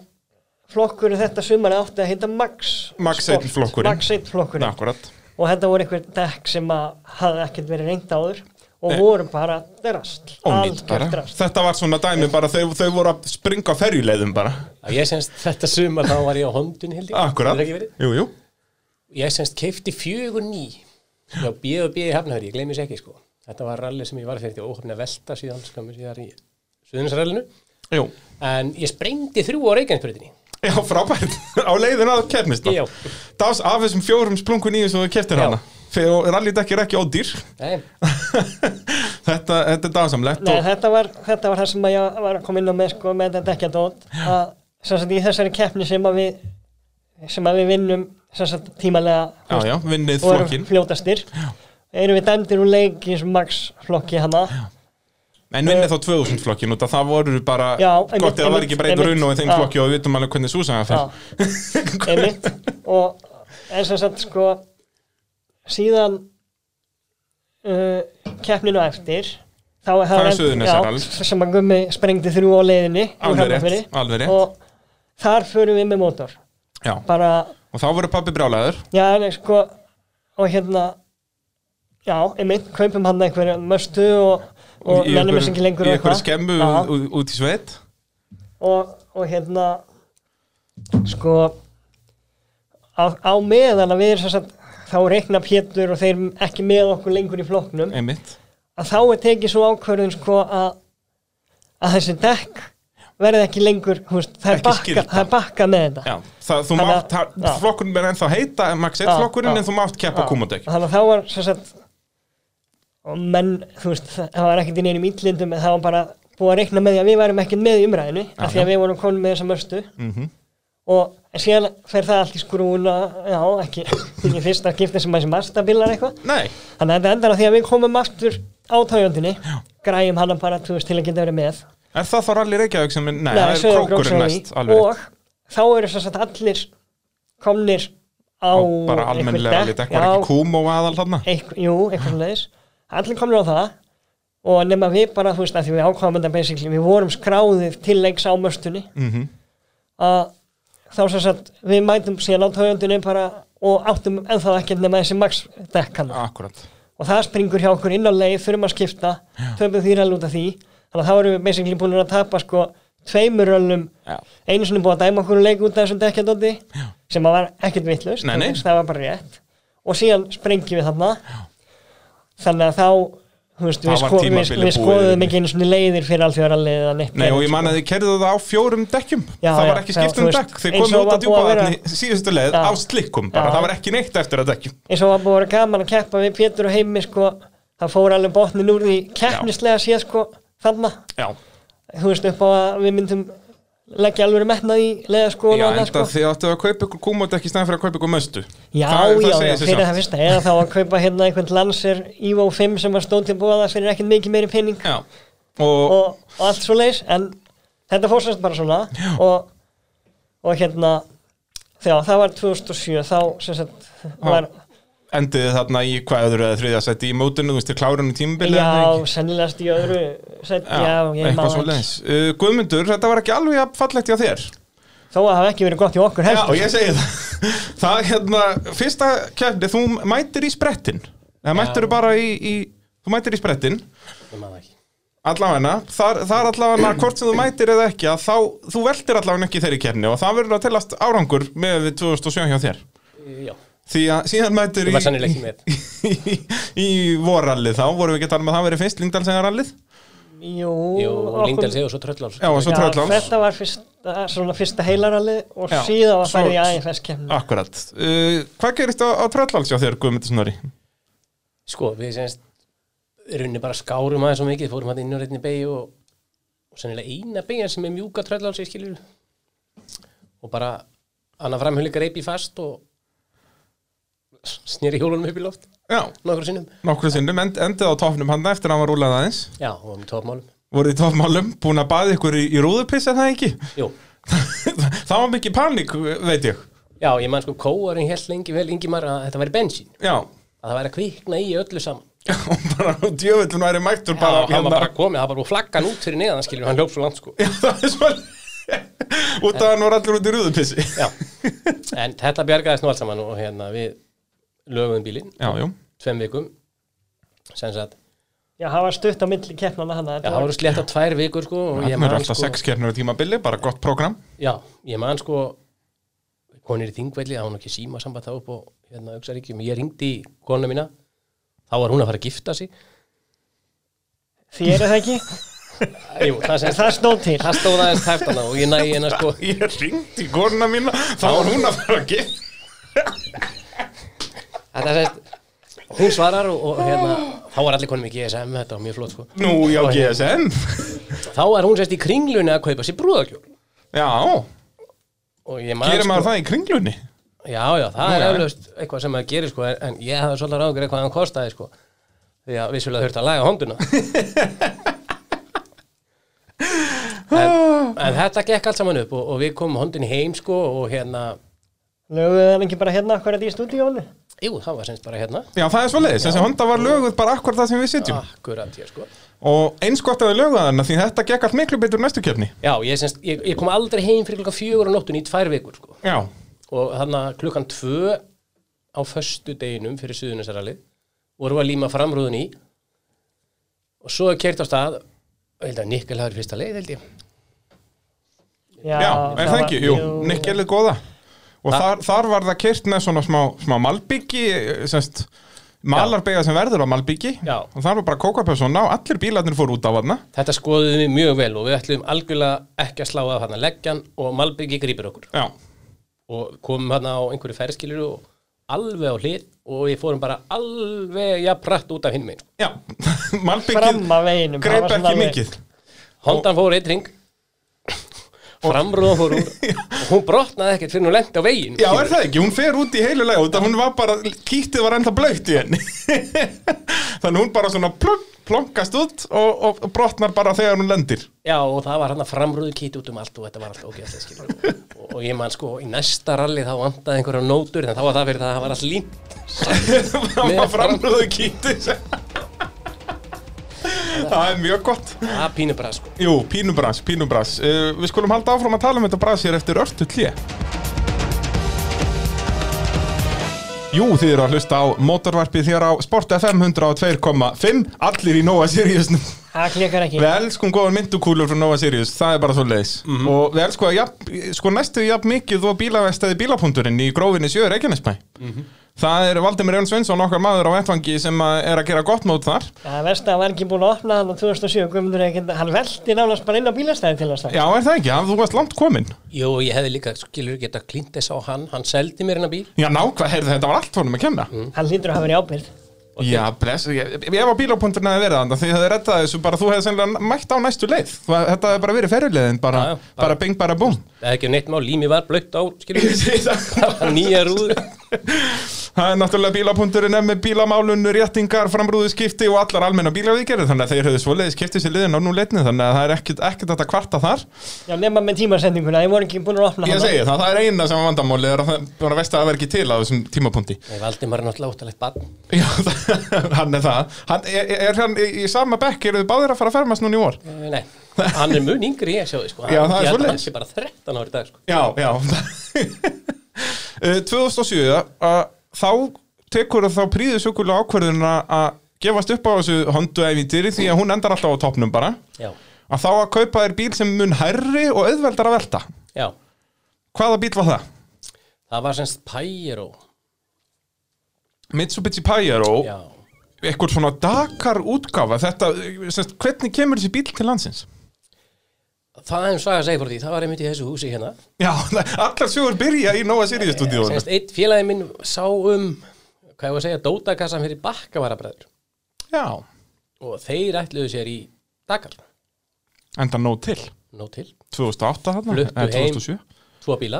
flokkurinn þetta sumar átti að heita Max Max Sport, 1 flokkurinn. Max 1 flokkurinn Akkurat og þetta voru einhver dekk sem að hafði ekkert verið reynd áður og Nei. voru bara drast, Ónýtt bara Þetta var svona dæmi bara, þau, þau voru að springa á ferjuleiðum bara Að Ég semst þetta sumar þá var ég á hondun held ég. Akkurat Hefur það ekki verið? Jú, jú Ég semst keifti fjögur ný. Já, bíð og bíð í Hafnafjörði, ég gleymis ekki sko. Þetta var rallið sem ég var fyrir því óhafni að velta síðan skamur síðar í Suðunisrallinu. Jú En ég sprengdi þrjú á Reykjanesbrytinni. Já, frábært Á leiðin að keppnist Já. Dás af þessum fjórum splunku nýju sem þú keftir Já. hana Fyrir rallydekk er ekki ódýr Nei, Þetta, þetta er dásamlegt Nei, og- þetta var, þetta var það sem að ég var að koma inn á með sko, með þetta dekkjadót að sem sagt í þessari keppni sem að við sem að við vinnum sem sagt tímalega þú Já, já, vinnið og erum flokkin fljótastir erum við dæmdir úr leik í þessum max flokki hana En vinnið þá 2000 flokkin út að það voru bara Já, einmitt, gott eða það var ekki einmitt, breytur einmitt, unn og í þeim já. flokki og við vitum alveg hvernig Súsan já, það fyrir einmitt og en sem sagt sko síðan uh, keppninu á eftir þá er Það er rend- Suðurnesjarall. já, sem að gummi sprengdi þrjú á leiðinni úr Alveg rétt, Hafnarfirði. alveg rétt. og þar förum við með mótor Já, bara, og þá voru pabbi brjálæður já, nei, sko og hérna já, einmitt, kaupum hann einhverja möstu og, og í mennum einhverju- þess ekki lengur Í og einhverju eitthvað. skemmu Já. ú- ú- út í sveit og, og hérna sko á, á meðan að við erum sem sagt, þá reikna Pétur og þeir ekki með okkur lengur í flokknum Einmitt að þá er tekið svo ákvörðun sko að, að þessi dekk verði ekki lengur húst, það, er Ekki bakka, skylda. það er bakka með þetta Já, það, þú Þannig að- mátt, það, já. flokkurinn er ennþá heita Max 1 Já, flokkurinn já. en þú mátt keppa kúmodekk þannig að þá var sem sagt og menn, þú veist, það það var ekkert í neinum ítlindum en það var bara búið að reikna með því að við værum ekkert með í umræðinu af því já. að við vorum komin með þessa mörstu Mhm. og en síðan fer það allt í skrúna já, ekki, ekki fyrst að gifta sem að þessi masta bílar eitthvað Nei, þannig að þetta endar á því að við komum aftur á taujandinni, græjum hana bara þú veist, til að geta verið með er það þá rally Reykjavík sem er, nei, Nei, það er Sauðárkróks krókurinn og næst í. alveg rétt. og þá eru svo sagt allir komnir á Og bara einhver almennilega rally dekk, var já, ekki kúm og aðal þarna einhver, jú, eitthvað svona leðis allir komnir á það og nema við bara, þú veist, að því við ákváðum þetta basically, við vorum skráðið til leiks á möstunni Mhm. að þá sem sagt, við mætum síðan á tójöndunni bara og áttum ennþá ekkert nema þessi max dekkan Akkurat og það springur hjá okkur inn á leið, þurfum að skipta töpum því að lúta því þannig að þá erum við basically búin að tapa sko tveimur röllum Já. einu sinni búið að dæma okkur um leik út af þessum dekkjadóti sem að var ekkert vittlust Nei, nei. það var bara rétt og síðan sprengjum við þarna Já. þannig að þá þú veist, Það við, var sko, við, tímabilið við búið skoðum yfir. ekki einu svona leiðir fyrir alþjóðarallið eða neitt sko. Nei, og neitt, ég man að þið kerðu það á fjórum dekkjum Já, Það var já, ekki já, skipt þú um veist, dekk Þið eins og komum út að var búið að djúpa vera- þarna í síðustu leið Já. á slikkum bara, Já. það var ekki neitt eftir að dekkjum eins og var búið að vera gaman að keppa við Pétur og heimi sko, það fór alveg botnin úr því keppnislega séð sko þarna, Já, þú veist upp á að við myndum leggja alveg metnað í leða sko, já og annað, enda þið áttu að kaupa ykkur kúmót ekki stæðan fyrir að kaupa ykkur möstu Já, það, já, segir já, sig fyrir sjálft. það fyrsta eða þá að kaupa hérna einhvern Lancer Evo 5 sem var stóð til búaða fyrir ekkert mikið meiri pening Já, og, og, og allt svo leis en þetta fór semst bara svona og, og hérna þegar það var 2007 þá sem sagt var, endið þið þarna í hvað öðru eða þriðja sætti í mótinu, þú veist, þið klárunum tímabilið já, eða ekki? sennilegast í öðru set, já, ég má eitthvað svo ekki leins uh, Guðmundur, þetta var ekki alveg jafn fallegt hjá þér þó að það hafi ekki verið gott í okkur Já, heldur ég segi það Það, hérna, fyrsta kefni, þú mætir í sprettin Það mættir bara í, í, þú mætir í sprettin ég maður það ekki Allavegna, þar, þar allavegna hvort sem þú mætir eða ekki að þá, þú veltir allavegna ekki í þeirri kefni og það verður að telast árangur með við 2007 hjá þér E, Já, því að síðan mætir það í, var sannilega ekki með í, í, í vorallið þá vorum við ekki að tala um að það verið fyrst Lingdalsengarallið jú, Jú, okkur- Lingdal segja og svo tröll já og svo Já, Trölláns þetta var fyrsta, svona fyrsta heilaralli og Já, síðan var svo- færið í AFS kemni Akkurat, uh, hvað gerist á, á Trölláns hjá þér Guðmundur Snorri? Sko, við semst runni bara skárum aðeins svo mikið, fórum hann inn á reyndin beigju og, og sennilega eina beigjan sem er mjúka trölláls, ég skilur og bara annað framhulli greipi fast og snýri hjólunum upp í loft Já, nokkur sinnum. nokkru sinnum end, endið á toppnum hann eftir að hann var rúlað aðeins Já, og um topmálum. voruð í toppmálum, búin að baða ykkur í, í rúðupissa það ekki Jú, það var mikið panik, veit ég já, ég man sko kóarinn held lengi vel Ingimar að þetta væri bensín, Já, að það væri að kvikna í öllu saman. og bara djöfullin væri mættur Já, bara, hérna. hann var bara komið, það var bara flaggan út fyrir neðan, skilur, hann hljóp svo langt sko. Já, það er svona út af hann var allir út í rúðupissi Já, en þetta bjargaðist nú allt saman og hérna við lögum bílinn já, jú, tveim vikum sem sagt, já, það var stutt á milli keppnana hana já, það voru sletta tvær vikur sko og ég hann man er alltaf sko sex kernur á tímabili, bara gott prógram já, ég man sko konir í þingvelli, það var nú ekki síma samband þá upp og hérna auksaríkjum, ég ringdi í konu mína, þá var hún að fara að gifta sig þið eru það ekki, jú, það sem það stóð til það stóð aðeins tæftana og ég næ hérna sko Ég ringdi í konuna mína, þá var hún að fara að gera þetta sem sagt, hún svarar og, og hérna þá var allir konum í GSM, þetta var mjög flott sko Nú, já, GSM þá er hún sérst í kringlunni að kaupa sér brúðakjól Já, og ég man sko- gerir maður það í kringlunni Já, já, það er Núna. eflaust eitthvað sem að gera sko, en- en ég hafði svolítið ráðgjör eitthvað að hann kostaði sko, því að vissulega þurfti að laga hónduna en, en þetta gekk allt saman upp og, og við komum hóndinni heim sko og hérna, löguðu það ekki bara hérna hvað er þetta í stúdíónu jú, það var semst bara hérna Já, Ah. það er svo leiðis, þessi honda var löguð bara akkur það sem við sitjum akkurat hér sko Og eins gott að við löguð hana, því þetta gekk allt miklu betur næstu kefni Já, ég, semst, ég, ég kom aldrei heim fyrir klukka fjögur á nóttunni í tvær vikur sko Já, og þannig að klukkan tvö á föstu deginum fyrir suðunisaralið vorum við að líma framrúðun í og svo er kert á stað og held að Nikkel hafi verið fyrsta leið held ég já, er það ekki, jú, nikkelið góða Og Þa- þar, þar var það kert með svona smá, smá malbyggi, semst Malarbega sem verður á Malbyggi Já. og það var bara kókapessona og allir bílarnir fóru út af hana þetta skoðum við mjög vel og við ætlum algjörlega ekki að slá að hann leggjan og Malbyggi grýpir okkur Já, og komum hann á einhverju ferðskilur og alveg á hlið og við fórum bara alveg jafnrætt út af hinn minn já, Malbyggið fram að veginum það greip var ekki svona alveg- mikið Hondan fór eitt ring framrúðan fór úr og hún brotnaði ekkert fyrir hún lendi á vegin Já, er það ekki, hún fer út í heilu lega út að hún var bara, kýttið var enda blöytt í henni Þannig hún bara svona plunk, plonkast út og, og brotnar bara þegar hún lendir Já, og það var hann að framrúðu kýti út um allt og þetta var allt ógeðslega skilur. og, og ég man sko, í næsta ralli þá vantaði einhverja nótur, en þá var það fyrir það að það var allt línt. Það Með var framröðu kýttið Það er mjög gott Það pínur bara sko. Jú, pínubrans, pínubrans uh, Við skulum halda áfram að tala um þetta brans hér eftir örtu tlið Jú, þið eru að hlusta á motorvarpið hér á Sport FM 102,5 Allir í Nóa Siriusnum það klikkar ekki Við elskum góðan myndukúlur frá Nova Sirius, það er bara svo leiðis Mhm. Og við elskum að jafn, sko næstu jafn mikið og bílavestæði bílapunkturinn í grófinni sjöður Reykjanesbæ Mhm. Það er Valdimir Jón Sveinsson, okkar maður á vettvangi sem að er að gera gott mót þar Það verst að hann var ekki búin að opna hann á 2007 Guðmundur ekkert, hann veldi nánast bara inn á bílastæði til þess að Já, er það ekki, að þú varst langt kominn Jú, ég hefði líka, skilur, geta klínt þess á hann Hann seldi mér hennar bíl Já, nákvæm, heyrðu þetta var allt honum að kenna Mhm. hann hlýtur að hafa verið ábyrð Já, bless, ég, ég, ég var bílapunkturinn að verið þannig Því þið hefði rettað þessu, bara þú hefði sennilega mætt á næstu leið Þú- Þetta hefði bara verið ferjuleiðin, bara, Já, já, bara, bara bing, bara búm Það er ekki um neitt mál, lími var blökt á, skilur Það var nýja rúður Það er náttúrulega bílapunkturinn er með bílamálun, réttingar, framrúðuskipti og allar almenna bílavíkjari þannig að þeir höfðu svoleiðis skiptið sér liðin á nú leitni þannig að það er ekkert, ekkert þetta kvarta þar Já, nema með tímasendinguna, ég voru ekki búin að opna Ég hana. segi það, það er eina sem er vandamálið er að það bara veist að það verð ekki til á þessum tímapunkti Nei, Valdimar er náttúrulega óttalegt barn Já, það- hann er það hann, er, er hann í, í sama bekk, eru þið báðir að fara að fermast núna í vor? Eh, Nei, hann er mun yngri en ég sjáði, sko Já, það er Ég held að svoleiðis. Hann sé bara 13 ári í dag, sko Já, já Eh, 2007 að Eh, þá tekur þá príðu sökulega ákverðun að gefast upp á þessu hondu evintýri því að hún endar alltaf á topnum bara Já, að þá að kaupa þér bíl sem mun hærri og auðveldar að velta já, hvaða bíl var það? það var semst Pyro Mitsubishi Pajero, Já, eitthvað svona Dakar útgáfa, þetta semst, hvernig kemur þessi bíl til landsins? það er um saga að segja frá því, það var einmitt í þessu húsi hérna Já, allar sögur byrja í Nova Sirius stúdíóinu Semst, eitt félagi minn sá um, hvað ég var að segja, dótakassan fyrir bakkavarabræður Já, Og þeir ætluðu sér í Dakar, enda nóg til nóg til 2008 þarna, Fluttu eða heim. 2007 Tvo bíla,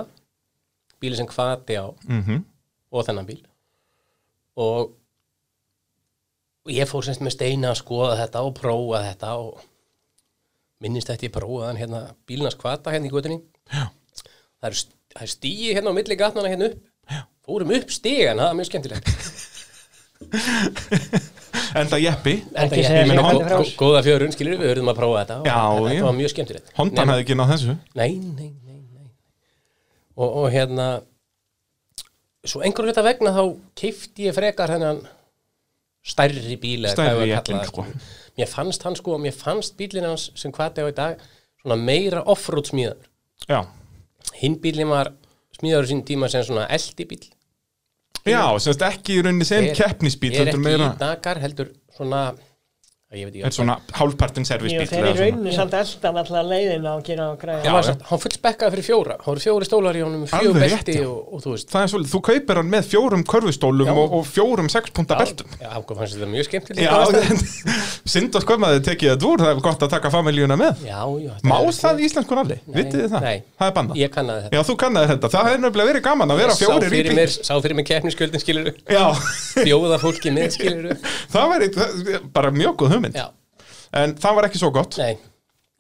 bíli sem hvati á mm og þennan bíl og og ég fór semst með steina að skoða þetta og prófa þetta og minnist þetta ég prófaðan hérna bílnars kvata hérna í gutinni það eru st- það er stíi hérna á milli gatnana hérna upp Já. fórum upp stígan, það er mjög skemmtilegt Enda Jeppi Enda Ekki ég- segja ég meina, sig gó- frá gó- þessu. góða fjörun skilur við verðum að prófa þetta og Já, þetta já. var mjög skemmtilegt Hondan Nema- hefði ekki náð þessu nei, nei, nei, nei, nei. Og, og hérna svo einhverjum þetta vegna þá keifti ég frekar þennan stærri bíl eða hvað Stærri ég var að jeppinn, kalla það, sko. skilur. mér fannst hann sko, mér fannst bílinn hans sem hvað á í dag svona meira offroad smíðar Já, hinn bílinn var smíðar sín tíma sem svona eldi bíl Já semst ekki í rauninni sem keppnisbíl er heldur ekki meira- í dagar heldur svona ég veit er ekki, svona hálfpartin Jú, servisbíl Þeir í rauninni samt eldan alltaf leiðina og gera og Já. græða hann, var samt- hann fullspekkaði fyrir fjóra hann voru fjóri stólar í honum, Alveg fjóri rétt, belti já. og, og þú veist Það er svolítið, þú kaupir hann með fjórum körfustólum Já. og, og fjórum sexpunta beltum Já, hvað fannst þetta mjög skemmtilegt Já, aðstæður? synd og skoðum að þið tekið þetta úr, það er gott að taka familjuna með. já, já þetta Má er- það í íslensku nafni? Vitið þið það? nei. Það er bannað. Ég kannaði þetta Já, þú kannaði þetta. Það hefði nefnilega verið gaman að vera Sá fjórir í fyrir bíl. mér, sá fyrir mér keppniskjöldin skilur Já, Bjóða fólki með skilur það væri það- bara mjög góð hugmynd. Já, En það var ekki svo gott. nei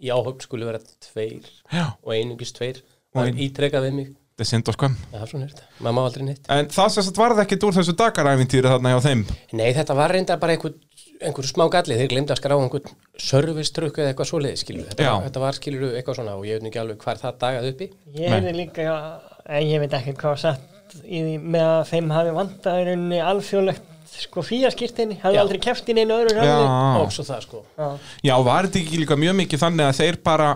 Í áhöfn skulle vera tveir Já, Og einungis tveir Og Það ein- er ítrekað við mig það er synd og skoðum. Já, svona er þetta Maður má aldrei neitt En það sem sagt varð ekkit úr þessu dagaræfintýri þarna hjá þeim. Nei, þetta var reynda bara einhver, einhver smá galli Þeir glemdu að skrá einhver service trukk eða eitthvað svoleiðis skilur þetta, Já. var- þetta var skilur eitthvað svona Og ég veit nú ekki alveg hvar það dagaði uppi Ég hefði líka, en ég veit ekkert hvað var satt í því með að þeim hafi vantað í rauninni alþjóðlegt sko fíaskýrtinni, hefði Já. aldrei keft inn einu öðru Já. Og svo það sko Já, var þetta ekki líka mjög mikið þannig að þeir bara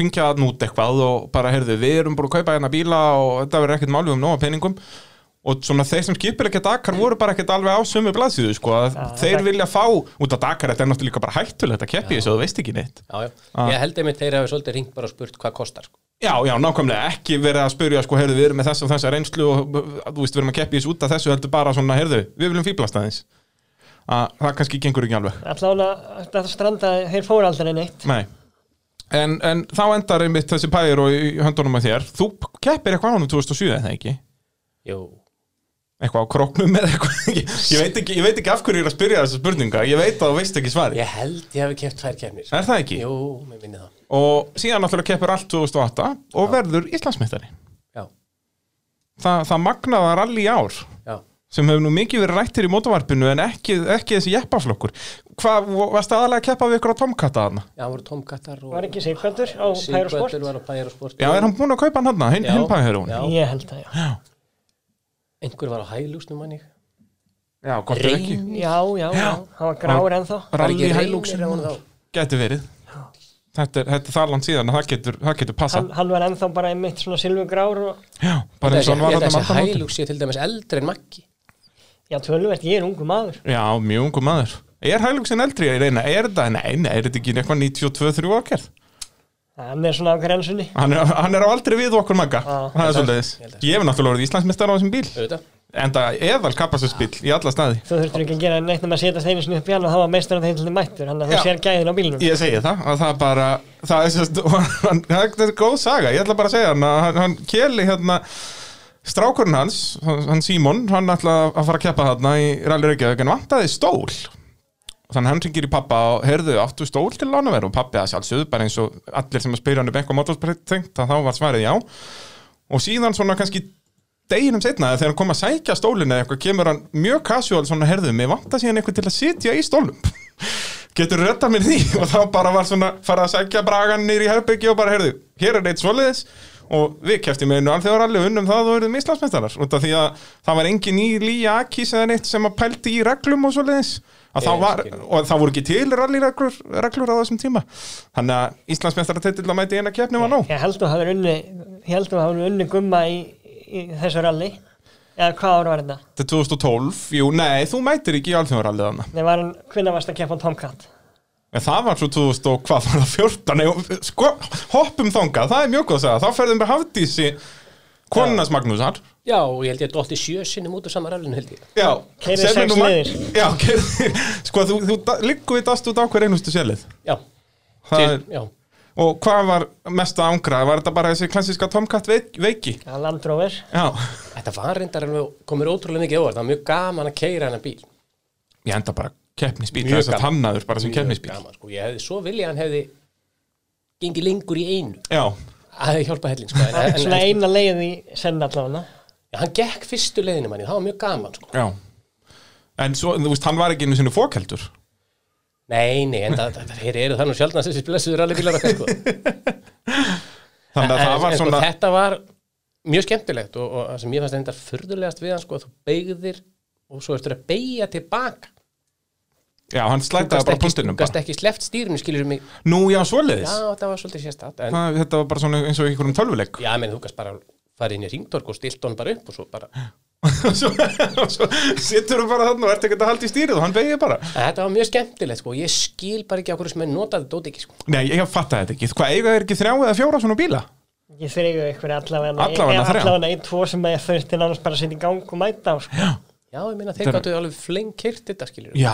ringja þann út eitthvað og bara, heyrðu, við erum búin að kaupa hérna bíla og þetta verður ekkert málið um nóga peningum og svona þeir sem skipir ekkert Dakar voru bara ekkert alveg á sömu blaðsíðu, sko að Já, þeir það- vilja fá, út af Dakar þetta er náttúrulega líka bara hættulegt að keppi þessu, þú veist ekki neitt Já, já Ég held einmitt þeir hafi svolítið ringt bara og spurt hvað kostar sko. Já, já, nákvæmlega, ekki verið að spyrja, sko, heyrðu, við erum með þess og þessa reynslu og þú veist, við erum að keppi þessu út af þessu heldur bara svona, heyrðu, við viljum fíblast aðeins að það kannski gengur ekki alveg Allána, þetta strandaði, þeir fóru aldrei neitt Nei En, en þá endar einmitt þessi pæðir og í í höndunum að þér Þú keppir eitthvað á hann 2007 eða ekki? Jú, Eitthvað á kroknum eða eitthvað ég, ég, veit ekki, ég veit ekki af hverju ég er að spyrja þessa spurninga Ég veit að þú veist ekki svari Ég held ég hafi keft tvær kefnir Er það ekki? Jú, mér minni það Og síðan náttúrulega keppir allt 2008 og verður Íslandsmeistari Já, Þa, Það magnaðar allir í ár já sem hefur nú mikið verið rættir í mótavarpinu en ekki, ekki þessi jeppaflokkur Hvað, varst aðalega að keppa við ykkur á Tomkata þarna? Já, hann voru tomkattar og Var ekki Sigvartur á Pærosport? Sigböldur var á Pyrosport Já, er hann búin að kaupa hann hann? Hinn, Já, hinn pæðir hún? já. Ég held að já Einhver var á hælúsnum manni já, gott ef ekki Já, já, já, hann var gráur ennþá Var Rally ekki hælúksinn reynir á hann þá Gæti verið Þetta er, þetta er þar land síðan að það getur, það getur passa hann, hann var ennþá bara einmitt svona silfugrár og Já, bara eins og hann var Ég held að þarna þessi margamótum. hælug sé til dæmis eldri en Maggi já, tölvert, ég er ungu maður Já, mjög ungu maður Er hælugsin eldri að reyna? Er það? Nei, nei, er þetta ekki eitthvað 92-3 ákjörð? hann er svona á grensunni Hann, er- hann er á aldrei við okkur magga Já, Það er ég held að- svolítið ég held að- Ég hef náttúrulega orðið Íslandsmeistar á þessum bíl auðvitað En það eðal kapastusbíl í alla staði þú þurftur ekki að gera neitt nema að setja þeirnins upp í hann og það var meistar af þeirn til þið mættur þannig að Já. þú sér gæðin á bílnum Ég segi það, að það bara það er, sérst, hann, það er góð saga, ég ætla bara að segja hann að hann, hann keli hérna strákurinn hans, hann hann Símon hann ætla að fara að keppa þarna í Rally Reykjavík en vantaði stól þannig hann ringir í pappa og heyrðu áttu stól til lánaverð og pappi að sjálfsögðu bara eins og allir sem að spyrja hann um eitthvað motorsport tengt að þá var svarið já og síðan svona kannski deginum setna þegar hann kom að sækja stólinu eða eitthvað kemur hann mjög casual svona herðu mig vantar síðan eitthvað til að sitja í stólum getur rötta mér því og þá bara var svona farið að sækja bragan nýri í herbyggju og bara heyrðu, hér er eitt svoleiðis og við keftum með einu alþjóðaralli unnum það og eruðum Íslandsmeistarar út af því að það var engin í líja akís eða neitt sem að pældi í reglum og svoleiðis að Ég það var, skil. og það voru ekki til rallyreglur reglur á þessum tíma þannig að Íslandsmeistarar titill að mæti eina kefni var nóg ég held að hafa unni ég held að hafa unni gumma í, í þessu ralli eða hvað ára var þetta þetta er 2012, jú, nei, þú mætir ekki í alþjóðarallið hana Nei, var hann, hvenær varst að keppa á Tomcat? En það var svo 2000 og hvað var það 14 Nei, sko, hoppum þangað, það er mjög góð að segja Þá ferðum við hafdísi konunans Magnúsar Já, og ég held ég dótti sjö sinnum út úr sama rallinu held ég Já, sem Keyrði er sex nú ma- niður. Já, keyrði, sko, þú, þú da- liggur við dast út á hver einustu selið Já, Það til, er, já Og hvað var mest að angra? Var þetta bara þessi klassíska Tomcat veik, veiki? Ja, Land Rover Já, Þetta var reyndar alveg, komur ótrúlega mikið óvart Það var mjög gaman að keira hennar bíl ég enda bara keppnisbíl Mjög Þess að gaman. hannaður bara sem Mjög keppnisbíl gaman, sko. Ég hefði svo vilja að hann hefði gengið lengur í einu Já, Það hefði hjálpað hellin sko. en, en, en, svona eina leið í senn allavega Já, hann gekk fyrstu leiðinu manni, það var mjög gaman sko. já En svo, þú veist, hann var ekki einu sinni fókeldur Nei, nei, en það, það, þeir eru þannig sjálfna þessi blessuður alveg bílar okkar sko. Þannig að það var svona sko, Þetta var mjög skemmtilegt og, og það sem ég fannst þetta furðulegast við hann sko, að þú beigðir og svo ertur að beigja tilbaka Já, hann Þú slætaði bara ekki, punktinum þú gast ekki sleft stýrinu skilur mig Já, Nú, já, svoleiðis þetta var svolítið sérstætt en, Hvað, þetta var bara svona eins og í einhverjum tölvuleik Já, menn, þú gast bara farið inn í ringtork og stilt honum bara upp og svo bara og svo, og svo situr hún bara þarna og ert ekkert að halda í stýrið og hann beigir bara En Þetta var mjög skemmtilegt sko, ég skil bara ekki á hverju sem er notaði dóti ekki sko Nei, ég fatt þetta ekki, hvað eiga þeir ekki þrjá eða fjóra svona bíla? Ég þreygu ykkur allavega Allavega þrjá. allavega einn, tvo sem ég þurfti annars bara að setja í gang og mæta á sko. Já, ég meina, Þetta þeir er- gáttu alveg fleng kyrt þetta skilur Já,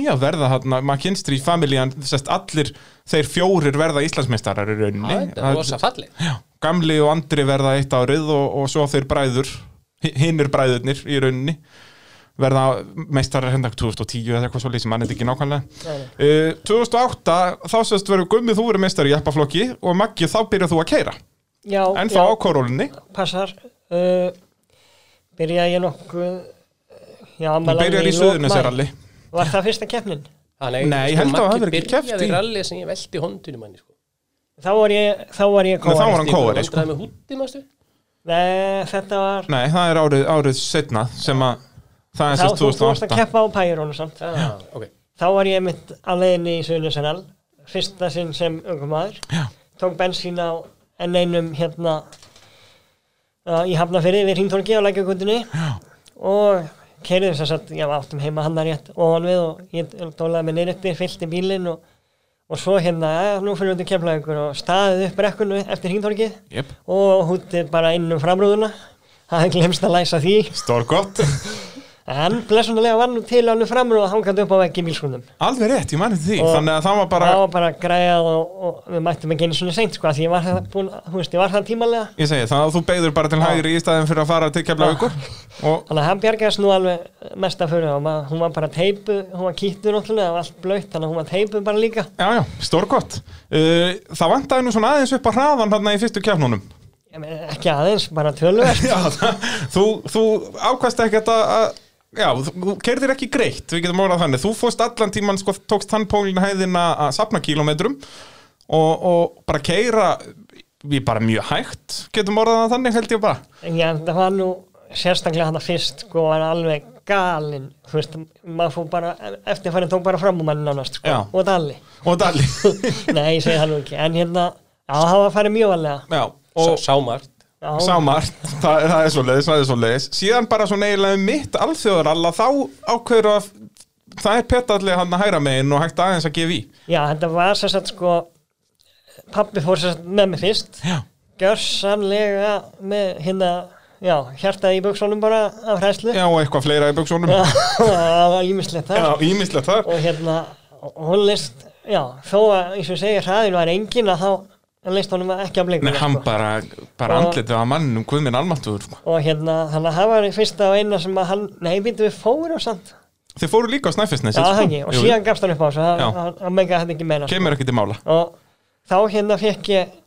já, verða þarna McKinstry familjan, sest allir þeir fjórir verða Íslandsmeistarar í rauninni Þetta var rosa fallið Já, Gamli og Andri verða eitt árið og, og svo þeir bræður hinnir bræðurnir í rauninni verða meistarar hérna 2010 eða eitthvað svolítið sem mann er ekki nákvæmlega Nei, nei. uh, 2008 þá sérst verður gummið þú verður meistari í eppaflokki og Maggi þá byrjar þú að keira Já, en þá já, á korólunni passar uh, Byrjaði ég nokkuð uh, Já, þú maður byrjar í suðunisaralli Var það fyrsta keppnin? Þannig, sko, Nei, ég held að það hafi verið ekki keppt Maggi í- byrjaði rallið sem ég velti hóndunum hann sko. Þá var ég, þá var ég Nei, þá var kóari hann kóari, sko. Vandraði með húttin, mástu Nei, þetta var nei það er árið, árið setna sem að það er Þá sérst þú þú varst að 2008 keppa á Pærónu samt ah, okay. Þá var ég mitt á leiðinni í Suðunisenal fyrsta sinn sem ungumæður tók bensín á enn einum hérna uh, í Hafnafyrði við Hringtorgi á lækjagundinni og keirði þess að satt, já, áttum heima hann að rétt ofan við og ég dólaði mig niður eftir fyllt í bílinn og, og svo hérna, ja, nú fyrir við til kemlaðingur og staðið upp brekkunni eftir Hringtorgið yep. og húttið bara inn um framrúðuna það hefði glemst að læsa því stór gott, en blessunulega var nú til alveg framrúða hangandi upp á veggi í bílskunum alveg rétt ég manni því Og- þannig að það var bara, það var bara græjað og, og við mættum ekki einu svona seint sko, af því ég var það búin, þú veist, ég var það tímalega ég segi það að þú beigður bara til hægri í staðin fyrir að fara til keflaugur og þannig að hann bjargaðist nú alveg mesta fyrir og maður, hún var bara teipu, hún var kýttur náttúrulega, það var allt blöytt, þannig að hún var teipu bara líka Já, já, stórkott. Uh, það vantaði nú svona aðeins upp að hraðan þarna í fyrstu kjafnunum. Ég meina, ekki aðeins, bara tölvöld Já, það, þú, þú ákvæmst ekkert að, að, já, þú- þú kerðir ekki greitt, við getum orðað þannig. Þú fórst allan tíman, sko, tókst tannpólin hæðina að sapna kílómetrum og, og bara keira, við bara mjög hægt, getum orðað það þannig, held ég bara. en ég, það var nú sérstaklega hann fyrst sko, var alveg galinn þú veist, maður fór bara eftirfærin tók bara fram úr manni nánast sko, Já. og dalli, og Dali nei, ég segi það nú ekki en hérna, já, það var að fara mjög varlega Já, og og sámart já, Samart, það, það er svo leiðis, það er svo leiðis Síðan bara svona eiginlega um mitt alþjóðaralla þá ákveður að það er petalli hann að hæra megin og hægt aðeins að gefa í já, þetta var sér satt sko pappi fór sér satt með mig fyrst Já, gjörsamlega með hérna, já, hjartaði í buksunum bara af hræslu og eitthvað fleira í buksunum Já, það var ímislegt þar ímislegt þar og hérna, hún leist já, þó að, eins og ég segi, hraðin var engin að þá leist honum ekki sko. að Nei, blinka hann bara, bara Og- andlitið að mannum guðminn almáttur sko. og hérna, þannig að það var í fyrsta og eina sem að hann, nei, býttu við fórum samt já, Þeir fóru líka á Snæfisnes það ekki, og síðan gafst hann upp á þessu það- Já. það það menga þetta ekki meina sko. Kemur ekki til mála og þá hérna fekk ég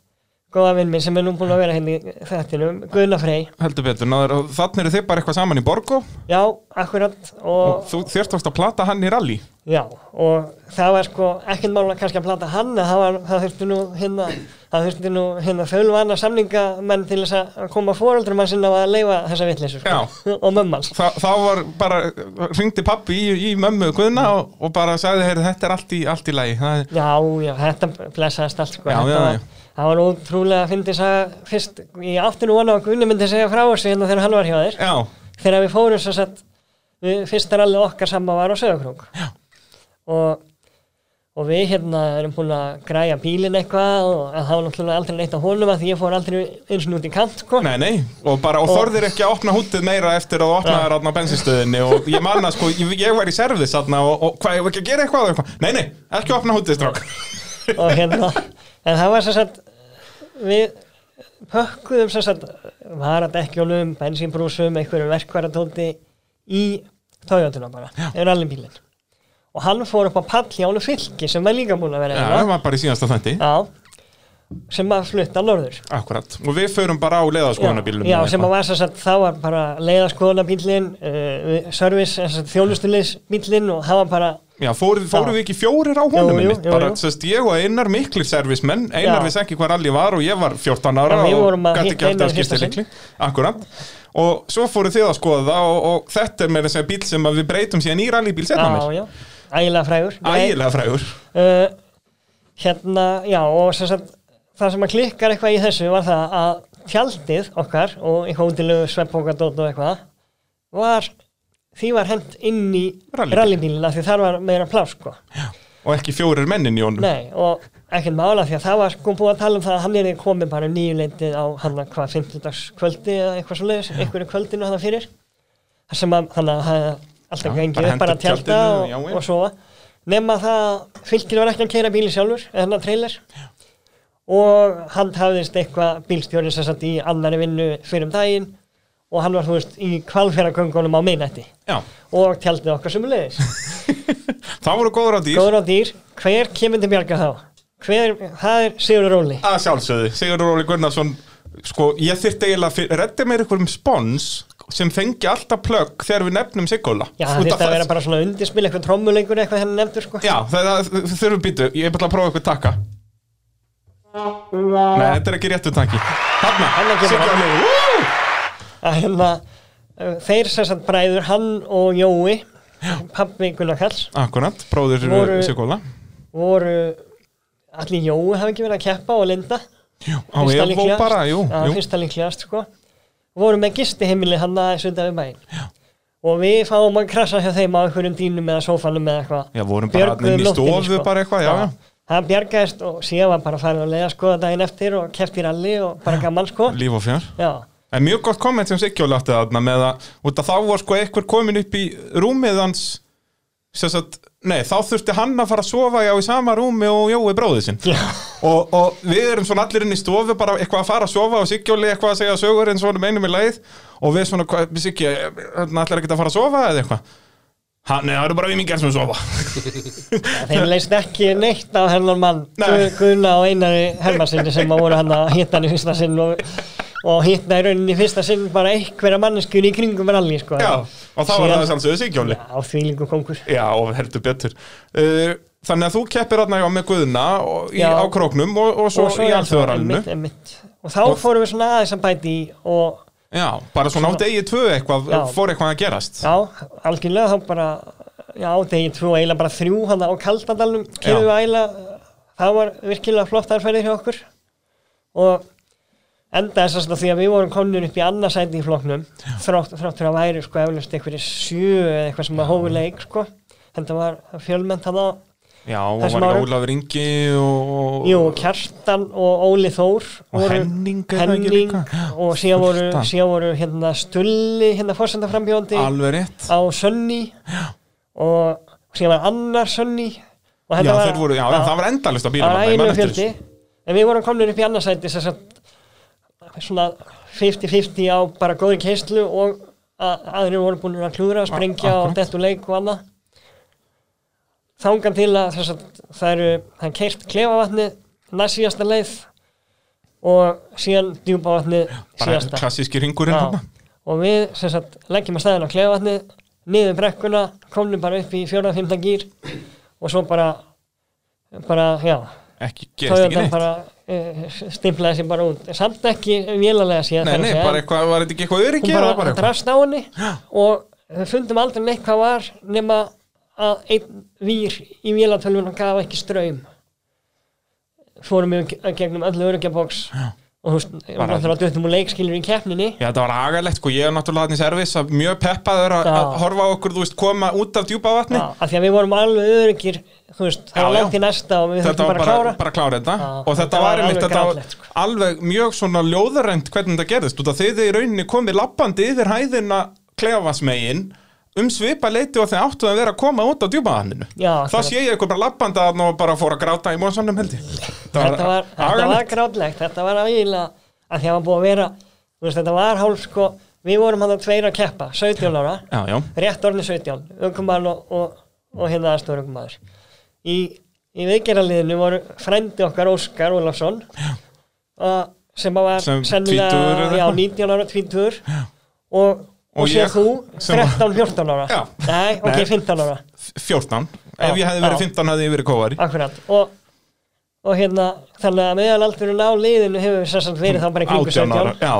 góða vinn minn sem er nú búin að vera hérna í þettinum, Guðna Frey Heldur betur, náður, og þannig eru þið bara eitthvað saman í Borgo já, akkurat og og, þú þér tókst að plata hann í rally já, og það var sko ekkert mála kannski að plata hann en það, var, það þurfti nú hérna það þurfti nú hérna þölvana samningamenn til þess að koma fóreldrum hans inn á að leifa þessa vitleysu sko. og mömmans Þa, Þá var bara, ringdi pappi í, í mömmu guðna og, og bara sagði, heyrðu, þetta er allt í, allt í lagi Það er, Já, já, þetta blessaðist allt sko. Já, þetta já, var, já. Það var ótrúlega að fyndi saga fyrst, ég átti nú vona að Gunni myndi segja frá þessu hérna þegar hann var hjá þér Já, þegar við fórum svo sett við fyrst er alveg okkar sama var á Söðakrók og, og við hérna erum búin að græja bílinn eitthvað og það var náttúrulega aldrei neitt á honum að því ég fór aldrei eins og nút í kant sko. Nei, nei, og bara, og þorðir ekki að opna hútið meira eftir að þú opnaðir hann á bensinstöðinni og ég manna, sko, ég, ég var í servis þarna og, og hvað, ég var ekki að gera eitthvað, og eitthvað Nei, nei, ekki opna hútið, strák og hérna en það var sem sagt við pökkuðum sem sagt varadekkjólum, bensínbrúsum einhverjum verkvaratóti í Toyotuna bara, yfir allir bílinn og hann fór upp á pall hjá honum fylki sem var líka búin að vera Já, það hérna. var bara í síðasta þætti, já, sem að flutta norður akkurat Og við förum bara á leiðaskoðanabílum já, já, sem að var sem sagt, það var bara leiðaskoðanabílinn uh, service, þjónustuleysbílinn og það var bara Já, fóru, fóru Já. við ekki fjórir á honum Jú, jú, mitt jú, bara, jú. sérst, ég og Einar miklir servismenn Einar Já. vissi ekki hvað rally var og ég var 14 ára Já, við og vorum að gæti hitta ekki alltaf Einar að í skipta fyrsta sinn. líkli Akkurat Og svo fóru þið að skoða það og, og þetta er meira að segja bíl sem að við breytum síðan í rallybíl setna já, Hérna mér já, ægilega frægur Nei, Ægilega frægur uh, hérna, já og sem sagt, það sem að klikkar eitthvað í þessu var það að fjaldið okkar og eitthvað útilegu sveppókadótt og eitthvað var, því var hent inn í Rallybíl. rallybílina því þar var meira plás sko. og ekki fjórir mennin í honum Nei, og ekkert mála því að það var sko búið að tala um það að hann er komið bara um nýjuleitið á hann að hvað 50 kvöldi eða eitthvað svo leiðis, einhverju kvöldinu hann fyrir þar sem að þannig að það hafði alltaf Já, gengið bara upp bara henda að upp tjálta tjaldinu, og, já, já. og sofa nema það að fylgir var ekki að keira bíli sjálfur eða hann að trailer og hann hafðist eitthvað bílstjóri sem satt í annari vinnu fyrir um daginn og hann var þú veist í kvalfjöragöngunum á minnætti Já, og tjaldið okkar sumulegis það voru góður á dýr Góður á dýr, hver kemur til bjarga þá? Hver, það er Sigur Róli að sjálfsögðu, Sigurður Óli Gunnarsson sko, ég þyrfti eiginlega að redda mér einhverjum spons sem fengi alltaf plögg þegar við nefnum Sigurla Já, þetta að vera bara svona undirspil, eitthvað trommulengur eitthvað henni nefndur sko Já, það, það þurfum býtu, ég er bara að prófa eitthvað takka Nei, þetta er ekki réttu takki Þarna Hanna, kemur Sigurla hann. Óli wú! að hérna, uh, þeir sem sagt bræður hann og Jói pabbi Gunnar Kalls Akkurat, bróður Voru- Sigurla voru allir Jói hafi ekki verið að keppa og Linda Jú, á Evo líklegast. bara, jú, Já, jú. fyrsta líklegast sko voru með gisti heimili hann að sunda við bæinn og við fáum að krasa hjá þeim á einhverjum dýnum eða sófanum eða eitthvað Já, vorum bara Björguðu þarna inni í nóttinni, stofu bara eitthvað, já, já. Það bjargaðist og síðan var bara farið að leiða skoða daginn eftir og kefti í ralli og bara gaman sko líf og fjör Já, En mjög gott komment sem Siggjóli átti þarna með að, út að þá var sko einhver komin upp í rúmið hans sem sagt, nei, þá þurfti hann að fara að sofa já í sama rúmi og Jói bróðið sinn Já. og, og við erum svona allir inn í stofu bara eitthvað að fara að sofa og Siggjóli eitthvað að segja sögur eins og honum einum í lagið og við svona, hvað, Siggi, hann ætlar ekki að fara að sofa eða eitthvað Ha, nei, það eru bara við mingar sem sofa þeim leist ekki neitt á hennan mann Nei. Gu- Gunna og Einari Hermansinni sem að voru hann að hitta hann í fyrsta sinn og, og hitta í rauninni í fyrsta sinn bara einhverja manneskjur í kringum ralli sko Já, og þá var Síðan- það sjálfsögðu Siggjóli Já, því líku kongur Já, og heldur betur uh, Þannig að þú keppir þarna já með Guðna og, í, Já. á króknum og, og svo, í er það, alþjóðarallinu einmitt, einmitt. og þá fórum við svona aðeins að bæti í og já, bara svona á degi tvö eitthvað, Já. fór eitthvað að gerast Já, algjörlega þá bara já, degi tvö og eiginlega bara þrjú hann á Kaldadalum, kyrðu við eiginlega það var virkilega flott aðferðið hjá okkur og enda þess að svona því að við vorum komnir upp í annarsæti í flokknum, þrátt, þrátt fyrir að væri sko eflust einhverju sjö eða eitthvað sem að hófi leik sko, þetta var fjölmennt hann á, Já, og Þessum var árum? Ólafur Ingi og jú, Kjartan og Óli Þór Og voru- Henning er það ekki Henning, líka? og síðan voru, Fullt af. síðan voru hérna Stulli, hérna fórsendaframbjóndi alveg rétt á Sunny og síðan var annar Sunny og Já, þetta þeir voru, já, það var endalist á bílum það var þarna, ég man ægilegur eftir fjöldi en við vorum komin upp í annarsæti þess að svona 50-50 á bara góðri keislu og að, aðrir voru búin að klúðra að sprengja akkurat. og dettu leik og annað þangan til að þess að það eru það er keirt klefavatni næst síðasta leið og síðan djúpavatni bara síðasta klassíski ringurinn Já, þarna. og við sem sagt, leggjum að staðin á klefavatni niður brekkuna, komnum bara upp í fjóra, fymta gýr og svo bara bara, já ekki, gerist ekki neitt bara uh, stimplaði sér bara út samt ekki vélalega sér Nei, nei, bara eitthvað, var þetta ekki eitthvað öryggi hún eða bara, bara eitthvað? drast á henni og við fundum aldrei neitt hvað var nema að einn vír í vélatölvunum gaf ekki straum fórum við í gegnum öllu öryggjabóks og þú veist, við Bara- náttúrulega döttum úr leikskilur í keppninni Já, þetta var agalegt, sko, ég er náttúrulega hann í servis að mjög peppaður að Já. að horfa á okkur, þú veist, koma út af djúpa vatni Já, af því að við vorum alveg öryggir þú veist, Já, það var já. langt í næsta og við Þetta þurfum var bara að bara, bara klára að klára þetta Já, og þetta var einmitt, alveg þetta var grátlegt, sko. alveg mjög svona ljóðarænt hvernig þetta gerðist, út af þið í rauninni komið lappandi yfir hæðina klefasmegin um svipa leiti og þeir áttu að vera að koma út á djúpaðaninu Já, þá akkurat. sé ég ykkur bara lappandi að og bara fór að gráta í mósanum held ég Þetta þetta var, þetta var agalegt. grátlegt, þetta var eiginlega af því að var búið að vera þú veist, þetta var hálf sko, við vorum hann að tveira að keppa 17 ára, Já, já, rétt orðin 17 ökumæður og, og, og hérna aðstofur ökumæður í, í viðgerðarliðinu voru frændi okkar Óskar Ólafsson og- sem að var Sem tvítugur sennilega eða já, eitthvað? 19 ára, 20 og, Og og sér ég þú sem var- 13-14 ára Já. nei, ok, Nei. 15 ára 14 Já, ef ég hefði verið já. 15 hefði ég verið kóari Akkurat, og, og hérna þannig að meðalaldurinn á liðinu hefur við sessant verið þá bara í kringu 18 ára, 17 já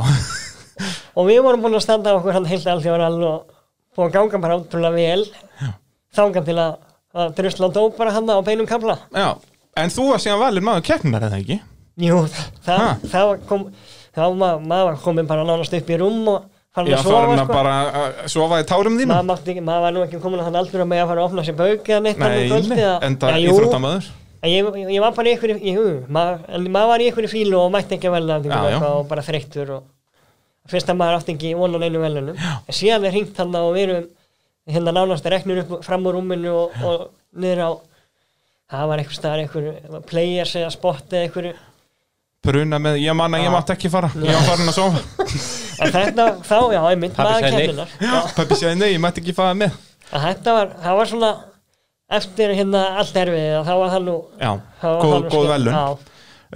og við vorum búin að standa okkur hann heilt alþjóðan og búin að ganga bara ótrúlega vel þangan til að, að drusla og dó bara hann á beinum kamla Já, en þú var síðan valinn maður keppnar eða ekki? Jú, það, Ha? það var kom þá maður, maður var komin bara nánast upp í rúm og farin Já, að farin sofa að sko. bara að sofa í tárum þínum? maður, mátti ekki, maður var nú ekki komin að þann aldur að maður fara að opna sér bauk eða neitt annað Nei, um kvöldið nei, að- enda Já, jú, íþróttamaður En Ég, ég, ég var bara í einhverju, jú, maður, en maður var í einhverju fílu og mætti ekki að velnaðingu Já, já. og bara þreyttur og fyrst að maður átti ekki vonan einu velunum. En síðan er hringt hann og við erum hérna nánast reknur upp fram úr rúminu og, og niður á, það var einhver staðar, einhverju players eða spot eða einhverju. Bruna með, ég man að ég Já. mátt ekki fara Ég var farin að sofa En þetta, þá, já, einmitt, Pabbi maður sagði nei. kemdinar. Pöppi segi nei, ég mátt ekki fara með Að þetta var, það var svona, eftir hérna allt erfið, þá var það nú, Já, þá var góð, það nú góð skemmt. velun Já.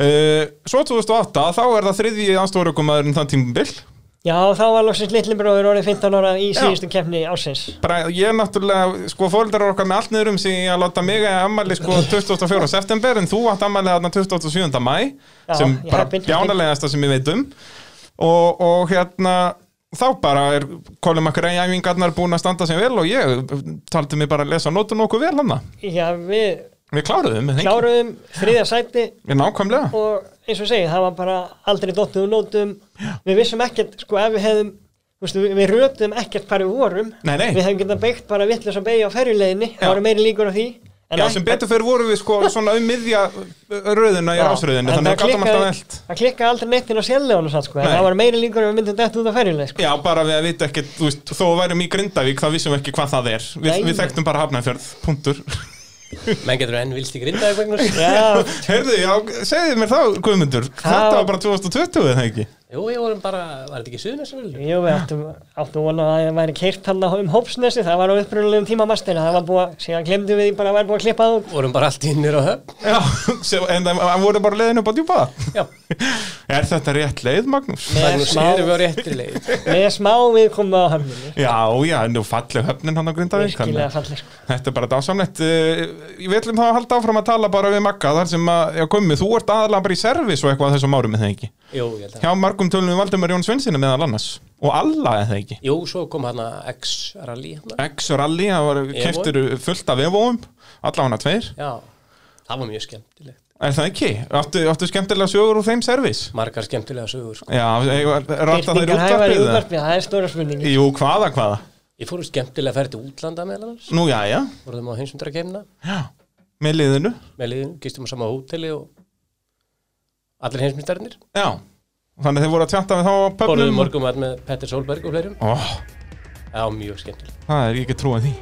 uh, Svo 2008, þá er það þriðji anstórukumaðurinn þann tímabil Já, þá var loksins litli bróður orðið 15 ára í Já. síðustu keppni ásins. Bara, ég er náttúrulega, sko, fóreldrar okkar með allt niður um sig að láta mig að ammali sko 24. september en þú átt ammali þarna 27. mæ Já, sem ég bara hef bindið- bjánalegasta sem ég veit um og, og hérna þá bara er Colin McRae æfingarnar búin að standa sem vel og ég taldi mig bara að lesa nótun okkur vel hann Já, við við kláruðum, við kláruðum þriðja sæti nákvæmlega og eins og ég segi, það var bara aldrei dottið úr nótum. Við vissum ekkert, sko, ef við hefðum, þú veistu, við, við rötum ekkert hvar við vorum. Nei, nei. Við hefðum getað beigt bara vitlega sem beigja á ferjuleginni, Já. það voru meiri líkur á því. Já, sem betur fyrir vorum við sko svona um miðja röðuna í Já, rásröðinu, en þannig að það gátum alltaf klikkaði- velt Það klikkaði aldrei neitt inn á sérlegunum satt, sko, en Nei. það var meiri líkur að við myndum dett út á ferjuleg, sko. Já, bara við að vita ekkert, þú veist, þó að værum í Grindavík þá vissum við ekki hvað það er Við, Nei. við þekktum bara hafnafjörð, punktur menn getur enn vilst í grindaði vegna Já, Herðu, já, segðu mér þá, Guðmundur Þetta var bara 2020, eða ekki? jú, ég vorum bara, var þetta ekki suðunarsamvölu? Jú, við áttum, áttum vona að það væri keirt hann um hópsnesi, það var á upprunalegum tímamastin, það var búið, að- síðan glemdu við því bara að væri búið að klippa það út. vorum bara allt innir á höfn Já, sem, en það voru bara leiðin upp á djúpa já, Er þetta rétt leið, Magnús? Nei. Magnús, smá- erum við á réttri leið Með smá við komum á höfninni, Já, já, en nú falleg höfnin hann á Grindavík virkilega sko. þannig að fallir. Þetta er bara dásamlegt Eh, Við ætlum þá að halda áfram að tala bara við Magga Þar sem að, já, Gummi, þú ert aðalega bara í servis og eitthvað á þessum árum, eða ekki? jú, ég held að Hjá Margu lokum tölum við Valdemar Jón Svensinni meðal annars og alla eða ekki Jú, svo kom hann að X-rally hérna. X-Rally, það var keftur fullt af evóum, alla hana tveir Já, það var mjög skemmtilegt. er það ekki? Áttu, áttu skemmtilega sögur úr þeim servis? Margar skemmtilega sögur, sko. Já, rata þeir Birtingar útvarpið hæfari það? útvarpið, það er stóra spurning Jú, hvaða, hvaða? Ég fór í skemmtilega ferð til útlanda með hans. Nú, já, já, Voruðum á heimsundra já með liðinu, með liðinu, gistum á sama hóteli og allir heimsmyndarnir. já þannig að þeir voru að tjatta við þá á Borðum pöfnum morgum með Petter Solberg og fleirum. Ó, Já, mjög skemmtilegt. það er ég ekki trúið því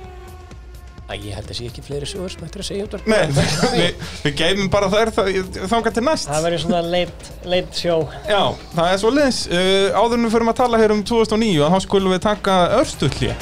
Æ, ég held að sé ekki fleiri sögur sem ættir að segja um út. Nei, við, við geymum bara þær þá- þangað til næst Það verður svona leit, leit sjó Já, það er svo leins uh, Áður en við förum að tala hér um 2009 að þá skulum við taka örstullje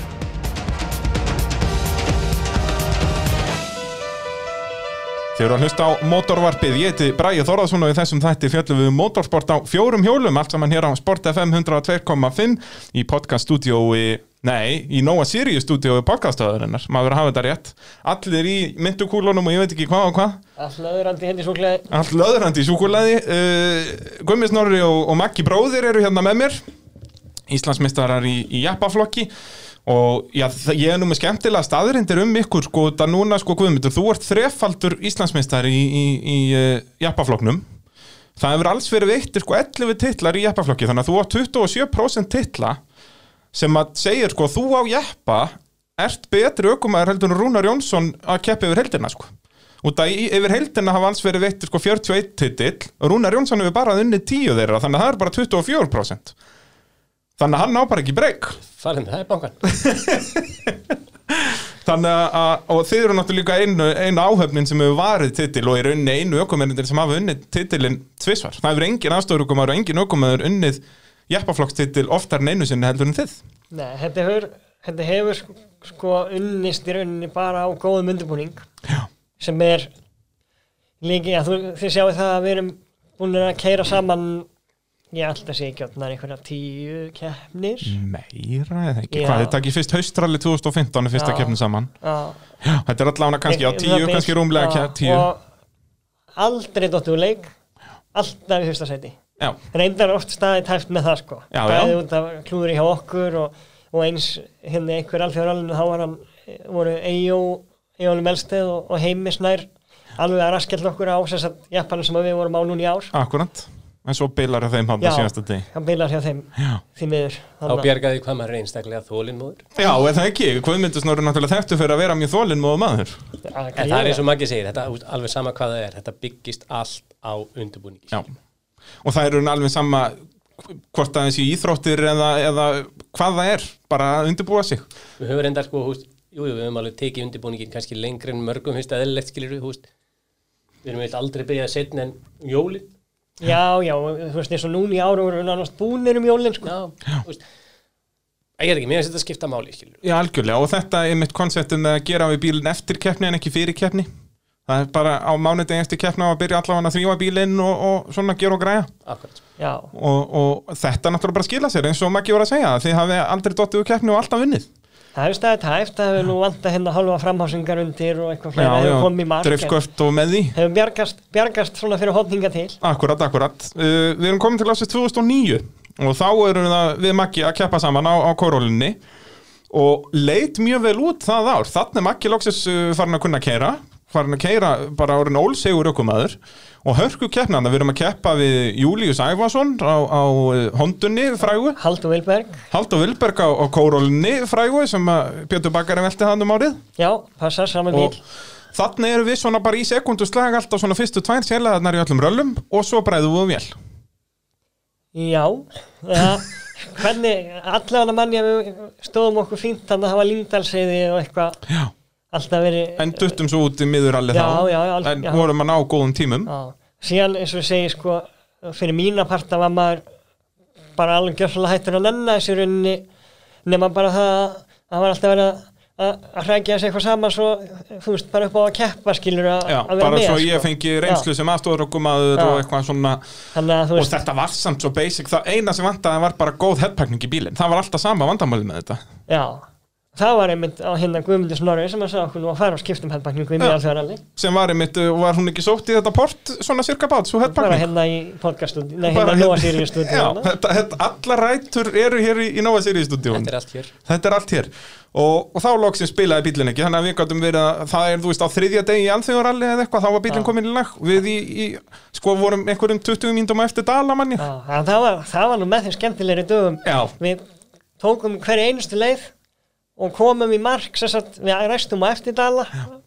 Þið eru að hlusta á motorvarpið, ég heiti Bræði Þorðarsson og í þessum þætti fjöllum við um motorsport á fjórum hjólum, allt saman hér á Sport FM 102.5 í podcaststudiói, nei, í Nóa Sirius studiói podcastöðurinnar, maður verður að hafa þetta rétt, allir í myndukúlunum og ég veit ekki hvað og hvað, Allt hérna löðurandi henni súklaði Allt löðrandi í súkulaði uh, Guðmi Snorri og, og Maggi bróðir eru hérna með mér Íslandsmeistarar í, í jappaflokki og já, þa- ég er nú með skemmtilega staðrindir um ykkur sko, það núna sko Guðmundur, þú ert þrefaldur Íslandsmeistar í, í, í uh, jappaflokknum það hefur alls verið veittir sko 11 titlar í jappaflokki þannig að þú átt 27% titla sem að segir sko þú á jeppa ert betri ökumæður heldur en Rúnar Jónsson að keppa yfir heldina sko út að í- yfir heldina hafa alls verið veittur sko 41 titill og Rúnar Jónsson hefur bara unnið 10 þeirra þannig að það er bara 24% þannig að hann ná bara ekki breyk Farðum, það er bankan. þannig að- að, og þið eru náttúrulega líka einu, einu áhöfnin sem hefur varið titill og eru unni einu ökumennir sem hafa unnið titillin tvisvar, það hefur engin aðstofurökumæður og engin ökumæður unnið jeppaflokkstitil oftar en einu sinni heldur en þið Nei, þetta hefur, þetta hefur sk- sko unnist í rauninni bara á góðum undirbúning Já. sem er líki að þú, þið sjáu það að við erum búin að keira saman ég held að sé ekki öfnar einhverja tíu keppnir Mm. meira eða ekki, Já. hvað þið takir fyrst haustrali 2015 er fyrsta Já. keppnin saman Já. Já, þetta er allavega kannski á Ég- um 10, það bil. kannski rúmlega Já, ekki tíu, og aldrei dottu úr leik alltaf í fyrsta sæti já reyndar oft staði tæft með það sko Já, bæði já. út af klúðri hjá okkur og, og eins hérna einhver alþjóðaralinn þá var hann, eh, voru Eyjó Eyjólu Melsteð og, og heimisnær alveg að raskella okkur á þess að Japanum sem við vorum á núna í ár Akkurat, en svo bilar að þeim hann á Já. síðasta deg hann bilar hjá þeim Já, því miður Þá Þannig að- bjargaði hvað maður er einstaklega þólinmóður. Já er það ekki, Guðmundur Snorri er náttúrulega þekktu fyrir að vera mjög þólinn móðu maður að En það er gríða. eins og Maggi segir, þetta þú veist, alveg sama hvað það er, þetta byggist allt á undirbúningi. Já, og það eru alveg sama hvort það er þessi íþróttir eða, eða hvað það er, bara að undirbúa sig Við höfum reyndar sko, húst, jú, jú, við höfum alveg tekið undirbúningin kannski lengri en mörgum, húst, eðlilegt skilur við, húst, við erum eitthvað aldrei byrjað setna en um jólin, já, já, þú veist eins og núna í ár voru við nánast búnir um jólin sko. já, húst, ég er ekki, mér finnst þetta skipta máli, skilur við. Já, algjörlega, og þetta er mitt konceptum með að gera við bílinn eftir keppni en ekki fyrir keppni Það er bara á mánudegi eftir keppna og að byrja allavega að þrýfa bílinn og, og svona gera og græja Akkurat, já, og, og þetta náttúrulega bara skila sér eins og Maggi voru að segja, þið hafið aldrei dottið úr keppni og alltaf unnið það hefur staðið tæft það hefur nú vantað hérna hálfa framhásingar undir og eitthvað fleira hefur komið í mark en- dreifköft og með því hefur bjargast, bjargast svona fyrir hótninga til Akkurat, akkurat. Uh, við erum komin til ásins 2009 og þá erum það, við Maggi að keppa saman á, á korólinni og leit mjög vel út það ár. Þannig Maggi loksins uh, farin að kunna keira, farin að keira bara orðin ólsegur ökumæður og hörku keppnana. Við erum að keppa við Július Ævason á, á uh, hondunni frægu, Haldur Vilberg, Haldur Vilberg á, á korólinni frægu sem að Björn Bakkari velti hann um árið já, passar saman og bíl þannig erum við svona bara í sekundu slag alltaf svona fyrstu tvær sérlegaðnar í öllum röllum og svo bræðum við um vél. Já, það hvernig, allavega mann ég við stóðum okkur fínt þannig að það var líndalseiði og eitthvað Já. alltaf verið En duttum svo út í miður allir Já, þá já, já, alls- En já. vorum að ná góðum tímum já. síðan eins og ég segi sko fyrir mína parta var maður bara alveg gjössalega hættur að nenna þessu runni nema bara það að það var alltaf verið að- að að hrækja þessu eitthvað saman svo þú veist bara upp á að keppa skilur að já, að vera Bara með svo ég sko. fengi reynslu Já, sem aðstofur og gumaður Já. og eitthvað svona þannig að þú Og veist þetta var samt svo basic Það eina sem vantaði var bara góð headpacking í bílinn Það var alltaf sama vandamálið með þetta Já, það var einmitt á hérna Guðmundur Snorri sem að sagði okkur nú að fara og skipta um headbackingu í Já. alþjóðaralli sem var einmitt, uh, var hún ekki sótt í þetta port svona cirka bát, svo bara headbacking hérna í podcaststúdíu, nei Bara hérna hérna- Nóa Sirius Já, stúdíu þetta, þetta, allar rætur eru hér í, í Nova Series stúdíun Þetta er allt hér Þetta er allt hér og, og þá loksins spilaði bílinn ekki þannig að við gætum verið að það er þú veist á þriðja degi í alþjóðaralli eða eitthvað þá var bílinn Já. komin í lag við í, í sko vorum einhverjum 20 mínutum á eftir dalamanni Já, en það var, það var nú með þeim skemmtilegri dögum Já. Við tókum hverja einustu leið og komum í mark sem sagt, við ræstum á eftirdala á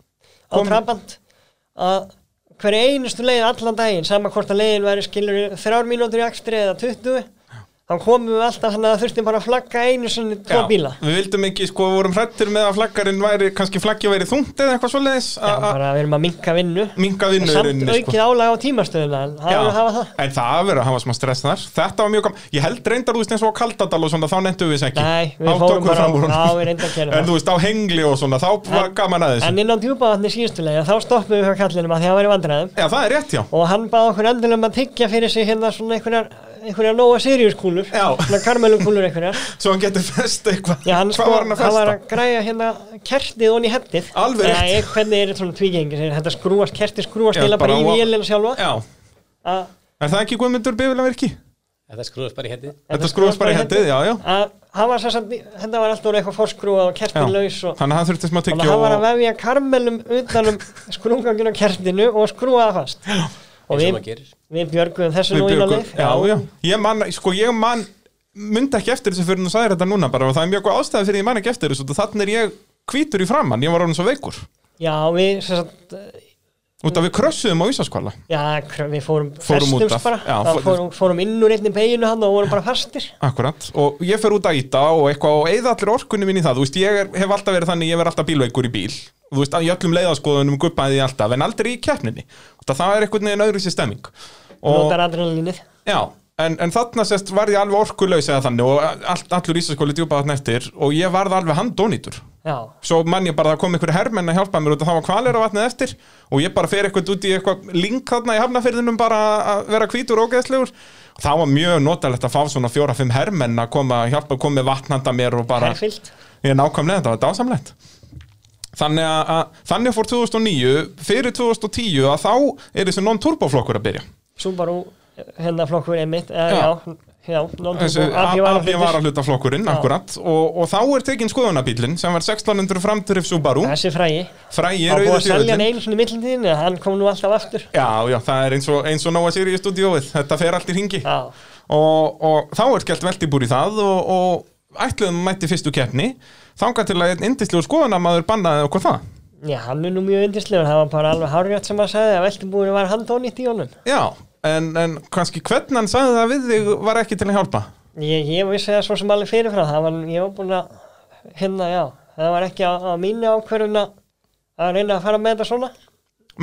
Komum- Trabant að hverja einustu leið allan daginn sama hvort að leiðin væri skilur þrjár mínútur í akstri eða 20 þá komum við alltaf þannig að þurftum bara að flagga einu sinni tvo bíla við vildum ekki sko við vorum hrættir með að flaggarinn væri kannski flaggi væri þungt eða eitthvað svoleiðis Já, að að bara við erum að minka vinnu minga En vinnu í samt rauninni, aukið álag á tímastöðuna en það sko. Já, er að hafa það En það verður að hafa smá stress þar Þetta var mjög gaman Ég held reyndar þú veist eins og á Kaldadal og svona Þá nefndu við þess ekki Nei, við Þá fórum tókum bara á- fram úr honum. já, við reyndum að gera það. En þú veist á hengli og svona Þá var En- gaman aðeins en inn á djúpavatni síðustu leið þá stoppum við hjá kallinum að því að væri vandræðum Já, það er rétt já og hann bað okkur endilega um að tyggja fyrir sig hérna svona einhverjar, einhverjar Nóa Sirius kúlur Já. svona Carmelo kúlur einhverjar Svo hann getur fest eitthvað Já, hann, Hvað sko, var hann að var festa? að græja hérna kertið onni hettið Alveg rétt. Nei, hvernig er þetta svona tvígengi segir, þetta skrúast, kertið skrúast Já, eila bara bara í á- vélina sjálfa Já, að er það ekki Guðmundur Bifilavirki? Þetta skrúðast bara í hendi Þetta skrúast bara í hendið, já, já að hann var sem sagt, hérna var alltaf orðið eitthvað fórskrúað og Já. kertið laus og Þannig að hann þurfti smá Þannig tyggju að hann var að og... vefja karmelum utanum skrungangin á kertinu og skrúa það fast. Og eins og við, maður gerir við björgum þessu Við nú inn á björgum- leið. Já, já Ég man, sko ég man Myndi ekki eftir þessu fyrir þú sagðir þetta núna bara Og það er mjög góð ástæði fyrir ég man ekki eftir þessu Þannig er ég hvítur í framann Ég var orðin svo veikur Já, við, sem sagt, Út af við krössuðum á Ísaskvala já, kr- við fórum, Fórum út festumst af, bara. já, það fór- fórum, fórum inn úr einni beginu hann og vorum bara fastir. Akkurat, og ég fer út að íta og eitthvað og eigða allir orkunni mín í það, þú veist, ég er, hef alltaf verið þannig, ég verð alltaf bílveikur í bíl og þú veist, í öllum leiðaskoðunum guppaði ég alltaf, en aldrei í keppninni það, það er eitthvað neginn öðru sér stemming og, Notar adrenalínið. já, en, en þarna sest var ég alveg orkulaus eða þannig og all, allur ísaskóli djúpað þarna eftir og ég varð alveg handónýtur Já, svo man ég bara að það kom einhver hermenn að hjálpa mér út að það var kvalir á vatnið eftir og ég bara fer eitthvað út í eitthvað link þarna í hafnafyrðinum bara að vera hvítur og ógeðslegur og það var mjög notalegt að fá svona fjóra-fimm hermenn að koma að hjálpa að koma með vatnanda mér og bara herfilt. ég er nákvæmlega þetta var dásamlegt þannig að, að þannig fór 2009 fyrir 2010 að þá er þessi non-turbo flokkur að byrja Subaru, hérna flokkur einmitt. Já. eh, Já, já, non-turbo, þessi API var AB var að hluta flokkurinn akkurat og, og þá er tekin skoðunabílinn sem var 1600 framturif Subaru Þessi frægi. frægi Það var búið að rauði selja hann þjóðin einu svona í millindíðinu, hann kom nú alltaf aftur. Já, já, það er eins og, eins og Nóa Sirius stúdíóið, þetta fer allt í ringi Já, og, og þá er skellt veltibúr í það og, og ætluðum mætti fyrstu keppni þangað til að einn indislegu skoðanamaður bannaði okkur það já, hann er nú mjög yndislegur, það var bara alveg hárjátt sem að sagði að veltibúinu var handónýtt í honum. Já, en, en kannski hvern hann sagði það við þig var ekki til að hjálpa Ég, ég vissi það svo sem alveg fyrirfram það var, ég var búin að hérna já það var ekki á, á mínu ákverðun að að reyna að fara með þetta svona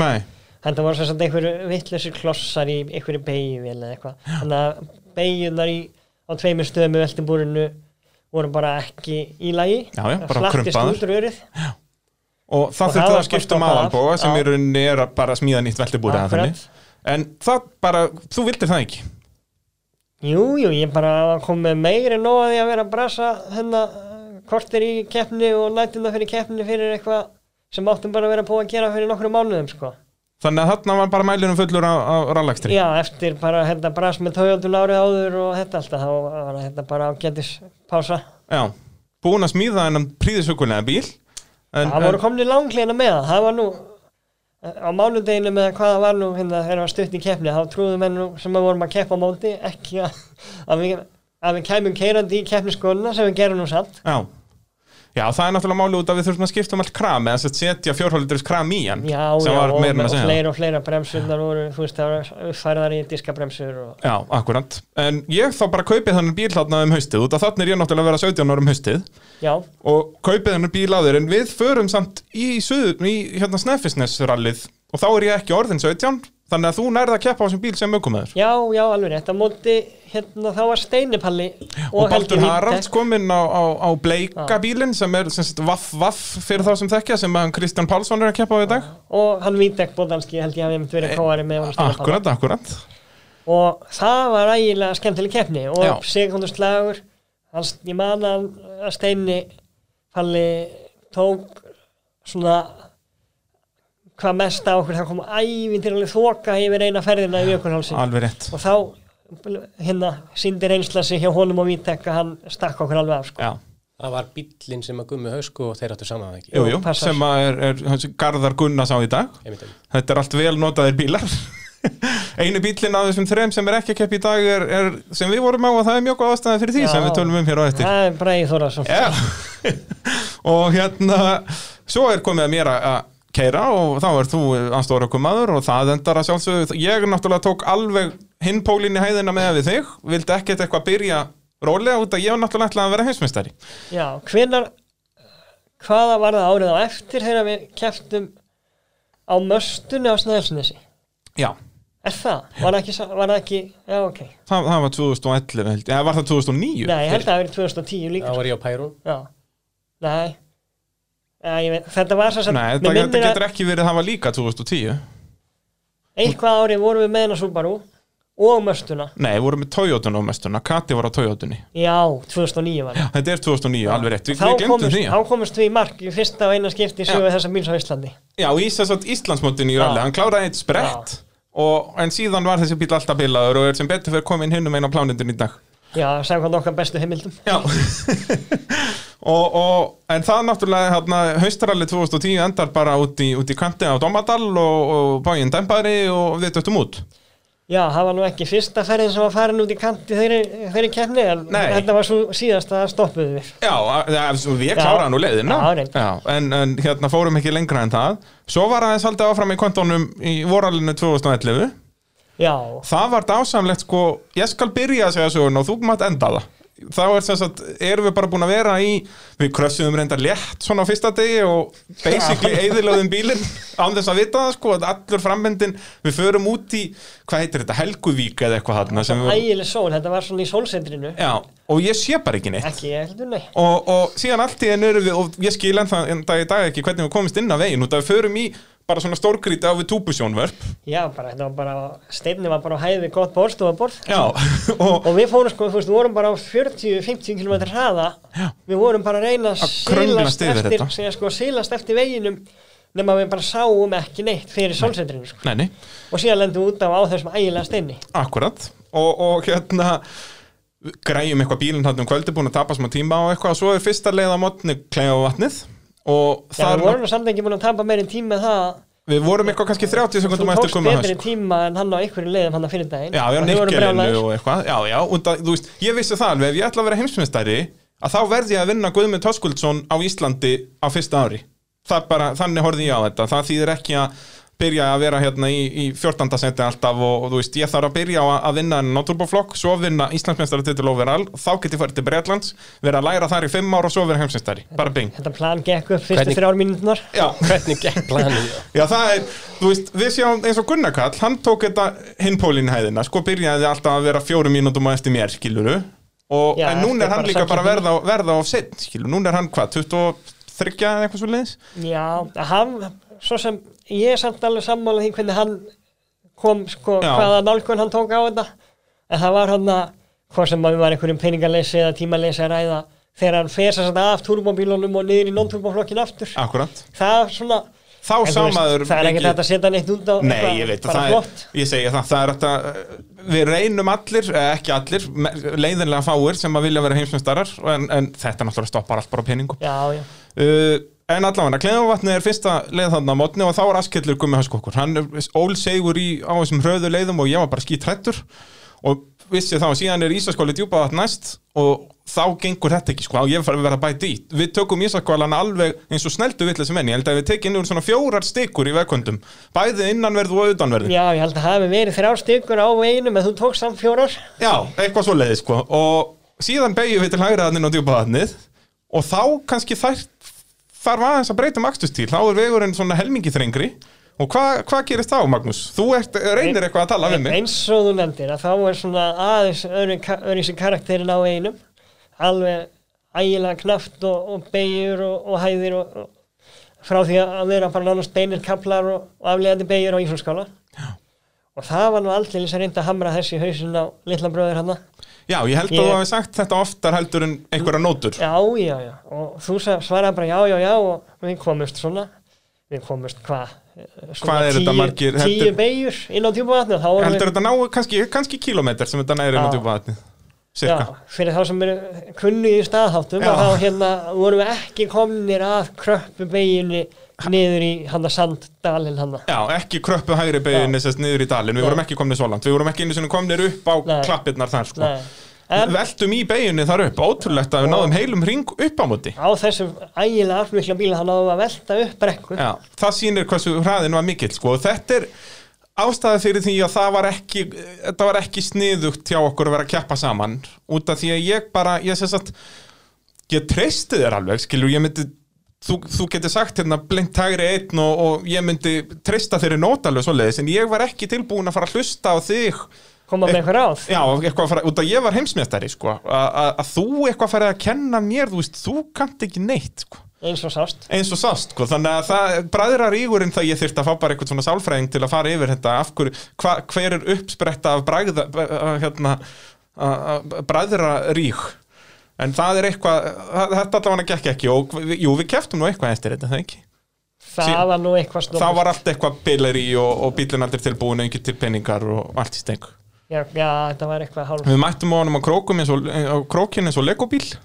Nei, þetta voru sem sagt einhverju vittlusir klossar í einhverju beigju eða eitthvað þannig að beigjunar í á tveimur stöðum í veltibúrinu voru bara ekki í lagi Já, já, Það bara slaktist krumpaðar. út úr örið og það Og það þurfti var að skipta um bara stoppað af. aðanbóa sem Já. í rauninni er að bara smíða nýtt veltibúr eða Akkurat. þannig En það bara, þú vildir það ekki jú, jú, ég bara var komið meiri nóg að því að vera að brasa hérna kortir í keppni og nætina fyrir keppni fyrir eitthvað sem áttum bara að vera búið að gera fyrir nokkru mánuðum sko. Þannig að þarna var bara mælinum fullur á, á rallakstri Já, eftir bara hérna brast með tójóttun árið áður og þetta alltaf, þá var þetta bara ágætis pása. Já, búin að smíða hennan príðisökulega bíl en, það voru komni langleina með það, það var nú á mánudeginu með hvað það var nú hérna þegar það var stutt í keppni, þá trúðum henn nú sem við vorum að keppa á móti, ekki að, að, við, að við kæmum keirandi í keppniskóna sem við gerum nú samt. Já Já, það er náttúrulega máli út að við þurfum að skipta um allt kram eða sem sagt setja fjórhóldurins kram í hann Já, sem já, var og, meira en að og segja fleira og fleira bremsurnar voru, þú veist, það var uppfærðar í diskabremsur og Já, akkurant En ég þá bara kaupið þannig bíl þarna um haustið út að þarna er ég náttúrulega að vera 17 ára um haustið já, og kaupið hennar bíl á þér en við förum samt í, suð, í hérna Snæfisnes-rallið og þá er ég ekki orðin 17 þannig að þú nærða að keppa á þessum bíl sem aukumæður já, já, alveg rétt, á móti, hérna, þá var Steinipalli og, Baldur sko. Helgi Haralds Vítek. kominn á, á, á bleika bílinn sem er sem sagt, vaff vaff fyrir þá sem þekkja sem að hann Kristján Pálsson er að keppa á í dag og hann Vítek Bóðanski held ég hafi einmitt verið kóari með honum Steina Eh, Palla. Akkurat, akkurat og það var ægilega skemmtileg keppni Já. og sekundustlagur hans, ég man að að Steini Palli tók svona hvað mest á okkur, það kom ævintýraleg þoka yfir eina ferðina í jökulhálsin alveg rétt og þá hérna síndi reynsla sig hjá honum og Vítek að hann stakk okkur alveg af sko. já, það var bíllinn sem að gummi hausku og þeir áttu saman eða ekki jú, jú, passar. sem að er, er hans, Garðar Gunnars á í dag Einmitt, einmitt. þetta er allt vel notaðir bílar einu bílinn af þessum þreim sem er ekki að keppa í dag er, er sem við vorum á og það er mjög góð ástæði fyrir því Já. sem við tölum um hér á eftir það er bræði Þóraðsson Já. og hérna svo er komið að mér að að keira og þá er þú anstóra okkur maður og það endar að sjálfsögðu ég náttúrulega tók alveg hinn pólinn í hæðina með við þig vildi ekkert eitthvað byrja rólega út að ég var náttúrulega ætlaði að vera heimsmeistari já, hvenar hvaða var það árið á eftir þegar við keftum á möstunni á Snæðelsnesi já, er það? Var, ekki, sa- var það ekki, já ok það, það var 2011 held ég, eða var það 2009 nei, ég held að það verið 2010 líka sko. þá var ég á Pærún Já, nei Já, ég veit, þetta var svo sem Nei, mig þetta, þetta minnir að getur ekki verið að það var líka 2010 eitthvað ári vorum við með hennar Subaru og möstuna Nei, við vorum með Toyotun á mestuna, Kati var á Toyotunni Já, 2009 var það Þetta er 2009, alveg rétt, við, Þá við glemtum komumst- því Þá komumst við í mark í fyrsta og eina skipti í sögu þessa bíls á Íslandi Já, í þess að Íslandsmótinu í Já. ralli, hann kláraði eitt sprett og, En síðan var þessi bíl alltaf bilaður og er sem betur fyrir komin hinn um eina plánindin í dag Já, samkvæmt okkar bestu heimildum Já og, og, En það náttúrulega, hérna, haustralli 2010 endar bara út í, út í kanti á Domadal og, og báinn dempari og við döttum út Já, það var nú ekki fyrsta ferðin sem var farin út í kanti þeirri, þeirri kefni en Nei. þetta var svo síðast að stoppuðu við Já, að- að- við kláraði nú leiðina Já, reyndar. en, en hérna fórum ekki lengra en það Svo var aðeins haldið áfram í kontónum í voralinu 2011 Já, Það var dásamlegt sko Ég skal byrja að segja sögun og þú mátt enda það Þá er sem sagt, erum við bara búin að vera í Við krössuðum reyndar létt svona á fyrsta degi og basically eðilöðum bílinn án þess að vita það sko að allur framvendin, við förum út í hvað heitir þetta, Helguvík eða eitthvað þarna sem við, ægileg sól, þetta var svona í sólsendrinu já, og ég sé bara ekki neitt Ekki, ég heldur, nei og, og síðan allt í enn eru við og ég skil ennþá enn dag í dag ekki hvernig við komist inn að veginn út að við förum í bara svona stórgrýti á við túbusjónvörp Já, bara, þetta var bara, steinni var bara á hæði við gott borðstofaborð já og Og við fórum sko, þú veist, við vorum bara á 40-50 km hraða Já. Við vorum bara að reyna að Að krönglast silast yfir eftir, þetta. segja, sko, silast eftir veginum nema við bara sáum ekki neitt fyrir sólsetrinu sko. nei, nei, og síðan lendum við út af á þessum ægilega steinni akkurat og, og hérna græjum eitthvað bílinn hann um kvöldi búin að tapa smá tíma og eitthvað og svo er fyrsta leið á mótni kleið á vatnið og Já, þar við vorum nú samt ekki búin að tapa meiri tíma með það við vorum eitthvað kannski 30 Þú sekundum eftir tókst gumma betri hans tíma en hann á einhverju leiðum hann að fyrir sko. daginn já, já, Og við vorum nikkelinu brjálaðir. og eitthvað já, já, und að, þú veist, ég vissi það alveg ef ég ætla að vera heimsmyndstæri að þá verð ég að vinna Guðmund Höskuldsson á Íslandi á fyrsta ári það bara, þannig horfði ég á þetta það þýðir ekki að byrja að vera hérna í, í 14. senti alltaf og, og þú veist, ég þarf að byrja á að, að vinna en náttúrbóflokk, svo vinna Íslandsmyndstæri titil overall, þá get ég farið til Breitlands vera að læra þar í 5 ára og svo vera heimsmyndstæri bara bing, Þetta plan gekk upp fyrstu Hvernig- þrjár mínutunar já hvernig gekk planið já? Já það er, þú veist, við sjáum eins og Gunnar Kall, hann tók þetta hinpólinn hæðina, sko byrjaði alltaf að vera fjórum mínútum á eftir mér, skiluru og, Já, en núna þetta er er hann bara líka bara að samkeppni. verða, verða of sinn, skiluru, núna er hann hvað, 23 eða eitthvað svo leiðis? Já, hann, svo sem ég er samt alveg sammála því hvernig hann kom, sko, Já. hvaða nálgun hann tók á þetta en það var hann að hvað sem maður var einhverjum peningaleysi eða tímaleysi að ræða þegar hann fer þess að af turbóbílunum og niður í non-turbóflokkin aftur Akkurat, það er svona þá en þú sá veist, maður það er mikið- ekkert hægt að setja neitt út á Nei, eitthvað, ég veit að bara það flott er, ég segi það, það er þetta, eh, við reynum allir, eh, ekki allir, me- leiðinlega fáir sem að vilja vera heimsmyndstarar, en, en þetta náttúrulega stoppar allt bara á peningum. Já, já, Uh, en allavega, Kleðavatni er fyrsta leið þarna á mótni og þá er Askellur gummi hanskokkur. Hann er ólsegur í, á þessum hröðu leiðum og ég var bara skítrættur og vissi þá að síðan er Ísaskóli djúpaðat næst og þá gengur þetta ekki sko og ég farið að vera að bæta í. Við tökum Ísaskólan alveg eins og sneldu vitlega sem enn. Ég held að við tekið úr svona fjórar stikur í vegkvöndum. Bæði innanverðu og utanverðu. já, ég held að það hafi verið þrjár styggur á veginum en þú tókst samt fjórar Já, eitthvað svo leiði sko og síðan beigjum við til hægraðaninn og djúpaðanið og þá kannski þær, þarf aðeins að breyta um akstustíl þá er vegurinn svona helmingi þrengri og hvað hva gerist þá Magnús? Þú ert, reynir eitthvað að tala við mig eins og þú nefndir að þá er svona aðeins öðru- öðruvísi karakterin á einum alveg ægilega knaft og, og beigur og, og hæðir og, og frá því að vera bara nánast beinir kaplar og, og aflegandi beigur á ísumskála og það var nú aldrei að reynda að hamra þessi hausin á litla bröður hann Já, ég held Ég- að þú hafi sagt þetta oftar heldur en einhverja nótur já, já, já, og þú sa- svaraði bara já, já, já og við komumst svona við komumst hvað Eh, Hvað er þetta margir? tíu Heldur- beigjur inn á djúpavatni og þá vorum Heldur þetta ná kannski, kannski kílómetr sem þetta næri inn á Já. djúpavatni við já, Cirka fyrir þá sem eru kunni í staðháttum Já. og þá hérna vorum við ekki komnir að kröppu beigjunni niður í hann að sanddalinn hann Já, ekki kröppu hægri beginni sérst niður í dalin Við Nei. vorum ekki komnir svo langt Við vorum ekki einu sinni komnir upp á Nei. klappirnar þar sko. en Veltum í beginni þar upp Ótrúlegt að við náðum heilum ring upp á móti á þessum ægilega afmikla bíla þá náðum við að velta upp brekku Já, það sýnir hversu hraðin var mikill sko. og þetta er ástæða fyrir því að það var ekki þetta var ekki sniðugt hjá okkur að vera að keppa saman út af því að ég bara ég sem sagt, ég treysti þér alveg skilur, ég myndi þú, þú getur sagt hérna blengt hægri einn og, og ég myndi treysta þeirri nót alveg svoleiðis en ég var ekki tilbúin að fara að hlusta á þig koma Eh, með eitthvað ráð Já, eitthvað að fara, út að ég var heimsmeistari sko, að- að að þú eitthvað farið að kenna mér, þú veist, þú kannt ekki neitt sko eins og sást eins og sást, sko, þannig að það bræðrar ígurinn það ég þyrfti að fá bara eitthvað svona sálfræðing til að fara yfir þetta, af hverju hva, hver er uppspretta af bræða hérna, bræðra rík en það er eitthvað það- þetta allavega gekk ekki og við- jú, við keftum nú eitthvað eftir þetta, það ekki það Sí. var nú eitthvað snúð það var allt eitthvað billeri og, og bílinn aldrei tilbúin engin til peningar og allt í steng já, já, þetta var eitthvað hálf við mættum á honum á krókum eins og, á krókin eins og legobíl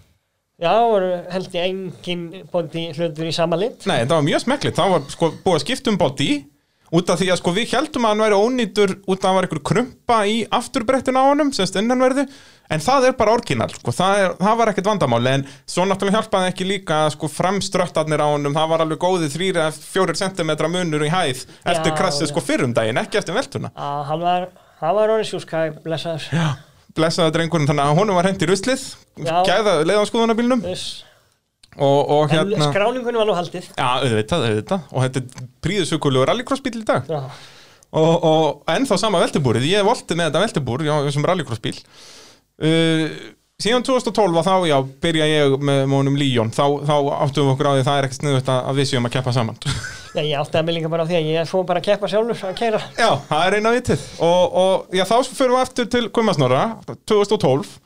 já, voru held ég engin bóndi hlutur í sama lit Nei, það var mjög smekklið, það var sko búið að skipta um bóti út af því að sko við heldum að hann væri ónýtur út af að hann var einhver krumpa í afturbrettun á honum, semst innanverðu en það er bara orginal, sko, það, er, það var ekkert vandamáli, en svo náttúrulega hjálpaði ekki líka að sko framströttarnir á honum það var alveg góðið þrýra, fjórir sentimetra munur í hæð eftir Já, krassið já. sko fyrrum daginn, ekki eftir veltuna að hann var hann var orðið sjúskæði, blessaður Já, blessaða drengurinn, þannig að honum var hent í ruslið Já. gæða leiðanskoðunabílnum og, Þess- og en sko, hérna skráningunni var nú haldið Já, auðvitað, auðvitað og þetta er príðisökulegu rallycrossbíl í dag já, og, og ennþá sama veltibúrið ég volti með þetta veltibúr já, sem rallycrossbíl uh, síðan 2012 var þá, já, byrja ég með mónum Líón, þá, þá áttum við okkur á því það er ekkert sniðut að við séum að keppa saman já, ég átti að mig líka bara á því að ég fór bara að keppa sjálfur að keira já, það er eina vitið og, og já, þá fyrir við aftur til Kummasnorra 2012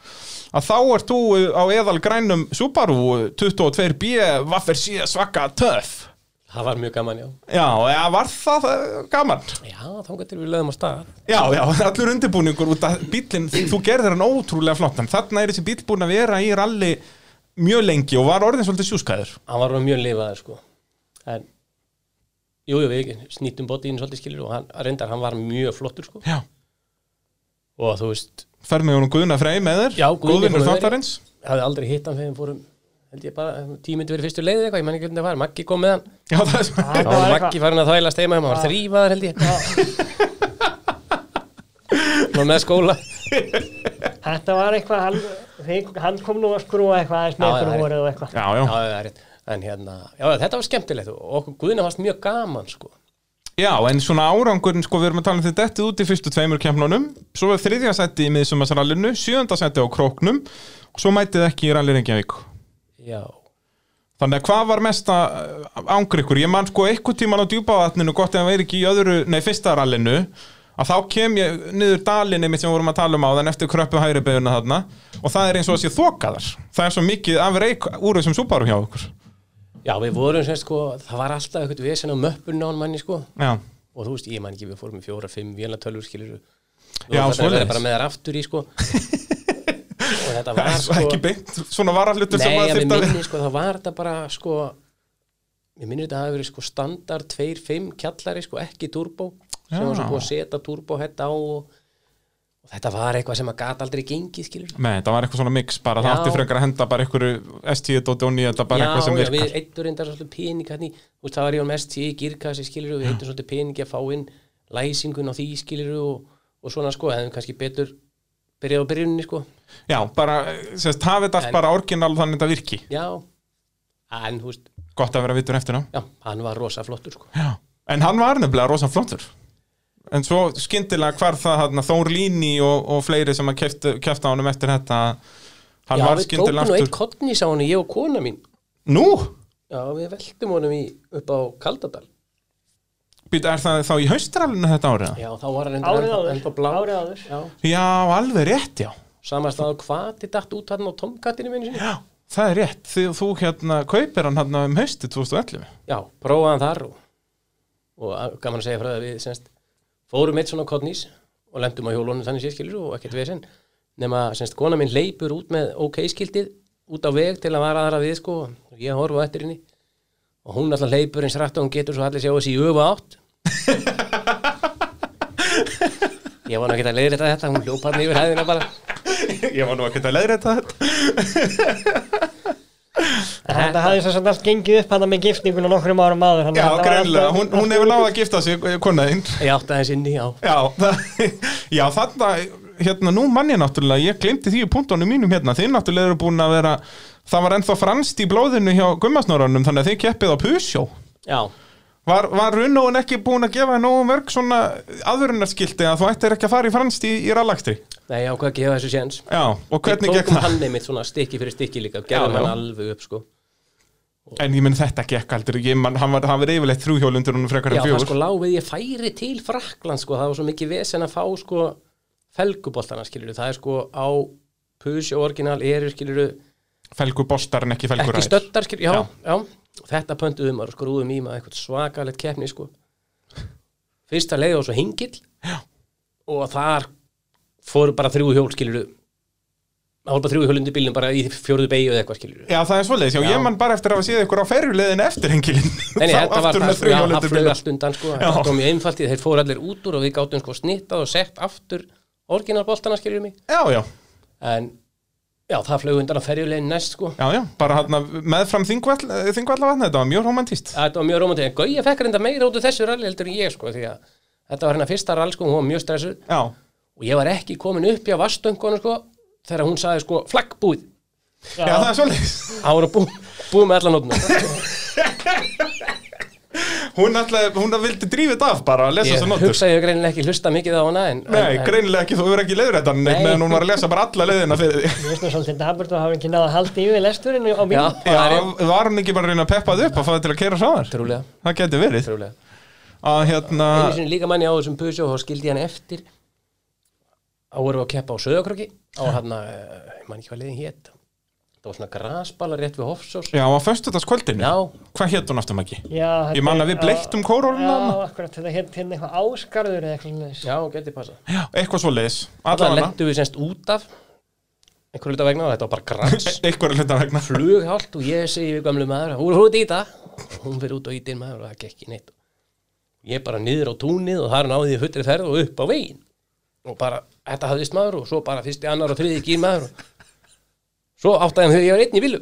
að þá ert þú á eðal grænum Subaru 22B Vaffer sé svaka töff það var mjög gaman, já. já, já, var það eh, gaman Já, þangað til við lögum á stað. Já, já, allur undirbúningur út að bílinn, þú gerðir hann ótrúlega flott en þarna er þessi bíl búin að vera í ralli mjög lengi og var orðin svolítið sjúskaður Hann var orðinn mjög lifaður, sko. En, jú, jú, við ekki, snýttum botiðin svolítið skilur og hann, reyndar, hann var mjög flottur, sko. Já, Og þú veist, fer með honum Guðna Frey með þér Já, Guðni Guðvinur fór með þáttarins ég hafði aldrei hitt hann þegar við fórum, held ég bara, tímyndu verið fyrstu leið eða eitthvað, ég menn ekki hvernig það var, Maggi kom með hann. Já, það er svo Þá var Maggi farin að þvæla steima hann var þrýfaður held ég Nú með skóla þetta var eitthvað hann, þið- hann kom nú að skrúa eitthvað aðeins með Já, ykkur já, vorið og eitthvað Já, Já, já, það er rétt En hérna, já, þetta var skemmtilegt og okkur Guðina varst mjög gaman sko já, en svona árangurinn sko, við erum að tala um þetta dettið út í fyrstu tveimur kemnunum svo er þriðja seti í miðsumarsrallinu sjöönda seti á króknum og svo mætið ekki í ralli Reykjavík Já, Þannig að hvað var mesta ángur ykkur? Ég man sko eitthvað tíman á djúpavatninu gott ef það væri ekki í öðru, nei, fyrsta rallinu að þá kem ég niður dalinni mitt sem við vorum að tala um á þann eftir kröppu hægri beiguna þarna og það er eins og að sé þokaðar það er svo mikið af reik úr þessum súparu hjá okkur já við vorum sem sagt, sko, það var alltaf eitthvað vesen á möppun á hann manni sko Já, og þú veist, ég man ekki, við fórum í fjóra, fimm vélatölur skilur Já, Það svoleiðis. er bara með þær aftur í sko og þetta það var er sko svo ekki beint svona varallutur Nei, sem að að mér þyrfti að minni, sko, það var þetta bara, sko mér minnir þetta hafi verið, sko, standard 2.5 kjallari, sko, ekki turbo sem Já. var svo búið að setja turbo hætt á og, og þetta var eitthvað sem að gat aldrei gengið, skilur Nei, það var eitthvað svona mix bara, það Já. átti frekar að henda bara einhverju ST.9, þetta bara eitthvað sem já, virkar við eittur reyndar svolítið pening hann í, þú veist, það var ég um ST girkassi, skilur, við eittur svolítið peningi að fá inn læsingun á því, skilur og, og svona, sko, hefðum kannski betur byrjað á byrjuninni, sko Já, bara, sérst, hafið þetta allt bara orginal þannig þetta virki, já, en, þú veist, gott að vera vitur eftir á já, hann var rosa flottur, sko Já. En hann var nefnilega rosa flottur En svo skyndilega hvar það hann, Þór Líni og, og fleiri sem að kefta, kefta honum eftir þetta Hann já, var við tókum skyndilega nú eitt aftur kottnís á hann, ég og kona mín Nú? Já, við veltum honum í, upp á Kaldadal Být, er það þá í haustralinu þetta árið? Já, þá var hann Árið ennþá- áður. ennþá blá Árið áður. Já, Já, alveg rétt, já. sama staðu hvað þið datt út hann á tomkattinu minni sinni Já, það er rétt. Því þú hérna kaupir hann hérna um hausti 2011. Já, prófaði hann þar og, og að- gaman að segja frá það að við semst, fórum eitt svona kottnís og lendum á hjólunum þannig sérskilur og ekkert vesinn nema semst, kona minn leipur út með OK-skildið út á veg til að vara aðra við sko og ég horfa á eftir henni og hún alltaf leipur eins rætt og hún getur svo allir sjá þessi í öfa átt Ég var nú ekki að leiðir þetta hún hljópa hann yfir hæðina bara Ég var nú ekkert að leiðra þetta. Þetta hafði svo samt allt gengið upp hann með giftningun og nokkrum árum áður Já, þannig að þetta var greinlega. alltaf- Hún, hún hefur náða að gifta sig, konaðinn. Ég átti aðeins inni, já Já, það, já, þarna, hérna, nú mann ég náttúrulega, ég glemti því í punktunum mínum hérna, þið náttúrulega eru búin að vera, það var ennþá franst í blóðinu hjá gummasnóranum, þannig að þið keppið á pusjó. Já, Var, var Runóin ekki búin að gefa þér nógu mörg svona aðvörunarskildi að þú ættir ekki að fara í franst í, í rallakstri? nei, ég ákvað að gefa þessu séns Já, og hvernig Við gekk tókum það? hann einmitt svona stykki fyrir stykki líka Já, Gerðum já. hann alveg upp sko En ég minn þetta gekk aldrei, ég, man, hann, var, hann var yfirleitt þrjúhjólundur hún frekar en Já, það fjögur. sko lá við ég færi til Frakland sko Það var svo mikið vesen að fá sko Felguboltana skilur Það er sko á Pusjó orginal eru skilur Felgur bostar en ekki felgur sko- Ekki ær. stöttar skilur, já, já, Þetta pöntuðum að skrúðum í maður eitthvað svakalegt keppni sko Fyrsta leið var svo hingill já. Og þar fóru bara þrjú hjól skilur Það fóru bara þrjú hjól undir bílnum bara í fjórðu beigju eða eitthvað skilur Já, það er svoleiðis, já, Já. ég man bara eftir að hafa séð ykkur á ferjuleiðin eftir hengilin. Nei, nei, þetta var það, sko, já, það þrjúhjólundur flög allt undan, sko, Já. þetta var mjög einfalt í því, þeir fóru allir út úr og við gátum, sko, snittað og sett aftur orginalboltana, skiljum mig, Já, já. en já, það flög undan að ferjulegin næst, sko, Já, já, bara hann meðfram þingvall, þingvallavatna, þetta var mjög romantist. þetta var mjög rómantið, en Gauja fekk reynda meira út úr þessu rally heldur en ég, sko, því að þetta var hennar fyrsta rall, sko, hún var mjög stressuð Já, og ég var ekki komin upp hjá vastöngonu, sko, þegar hún sagði, sko, flaggbúið, já, það er svolítið. það voru búið bú með allan nótna, Hún alltaf, hún vildi drífið af bara að lesa ég þessar nótur. hugsaði ég greinilega ekki hlusta mikið á hana, en, Nei, en, en greinilega ekki, þú verður ekki leiður þetta neitt Nei. meðan hún var að lesa bara alla leiðina fyrir því. Mér finnst nú svolítið daburt og hafa ekki náða haldi yfir lesturinn á bíl já, Já, það er var hún ekki bara að reyna að peppa það upp og fá það til að keira sáðar? trúlega, Það geti verið. trúlega. Að hérna, einu sinni líka manni á þessum Peugeot þá skildi ég hann eftir þá vorum við að keppa á Söðakröki á hann að, eh, ég man ekki hvað liðin hét það var svona grasbala rétt við Hofsós já, á föstudagskvöldinu, já, hvað hétt hún aftur Maggi? Já, Ég man að við bleiktum kóróluna Já, þarna. akkurat, þetta hétt hérna eitthvað áskarður eða eitthvað svoleiðis. já, geti passa Já, eitthvað svo leiðis, það allavega, lettu við semst út af einhverju hluta vegna og þetta var bara gras eitthvað E- hluta vegna. flughált og ég segi við gamlu maður hún er út í þetta hún fyrir út og ítir maður og það gekk í neitt ég bara niður á túnið og þar náði ég fullri ferð og upp á veginn og bara, þetta hafðist maður og svo bara fyrst í annar og þriði gýr maður og svo áttaði hann þegar ég var einn í vilu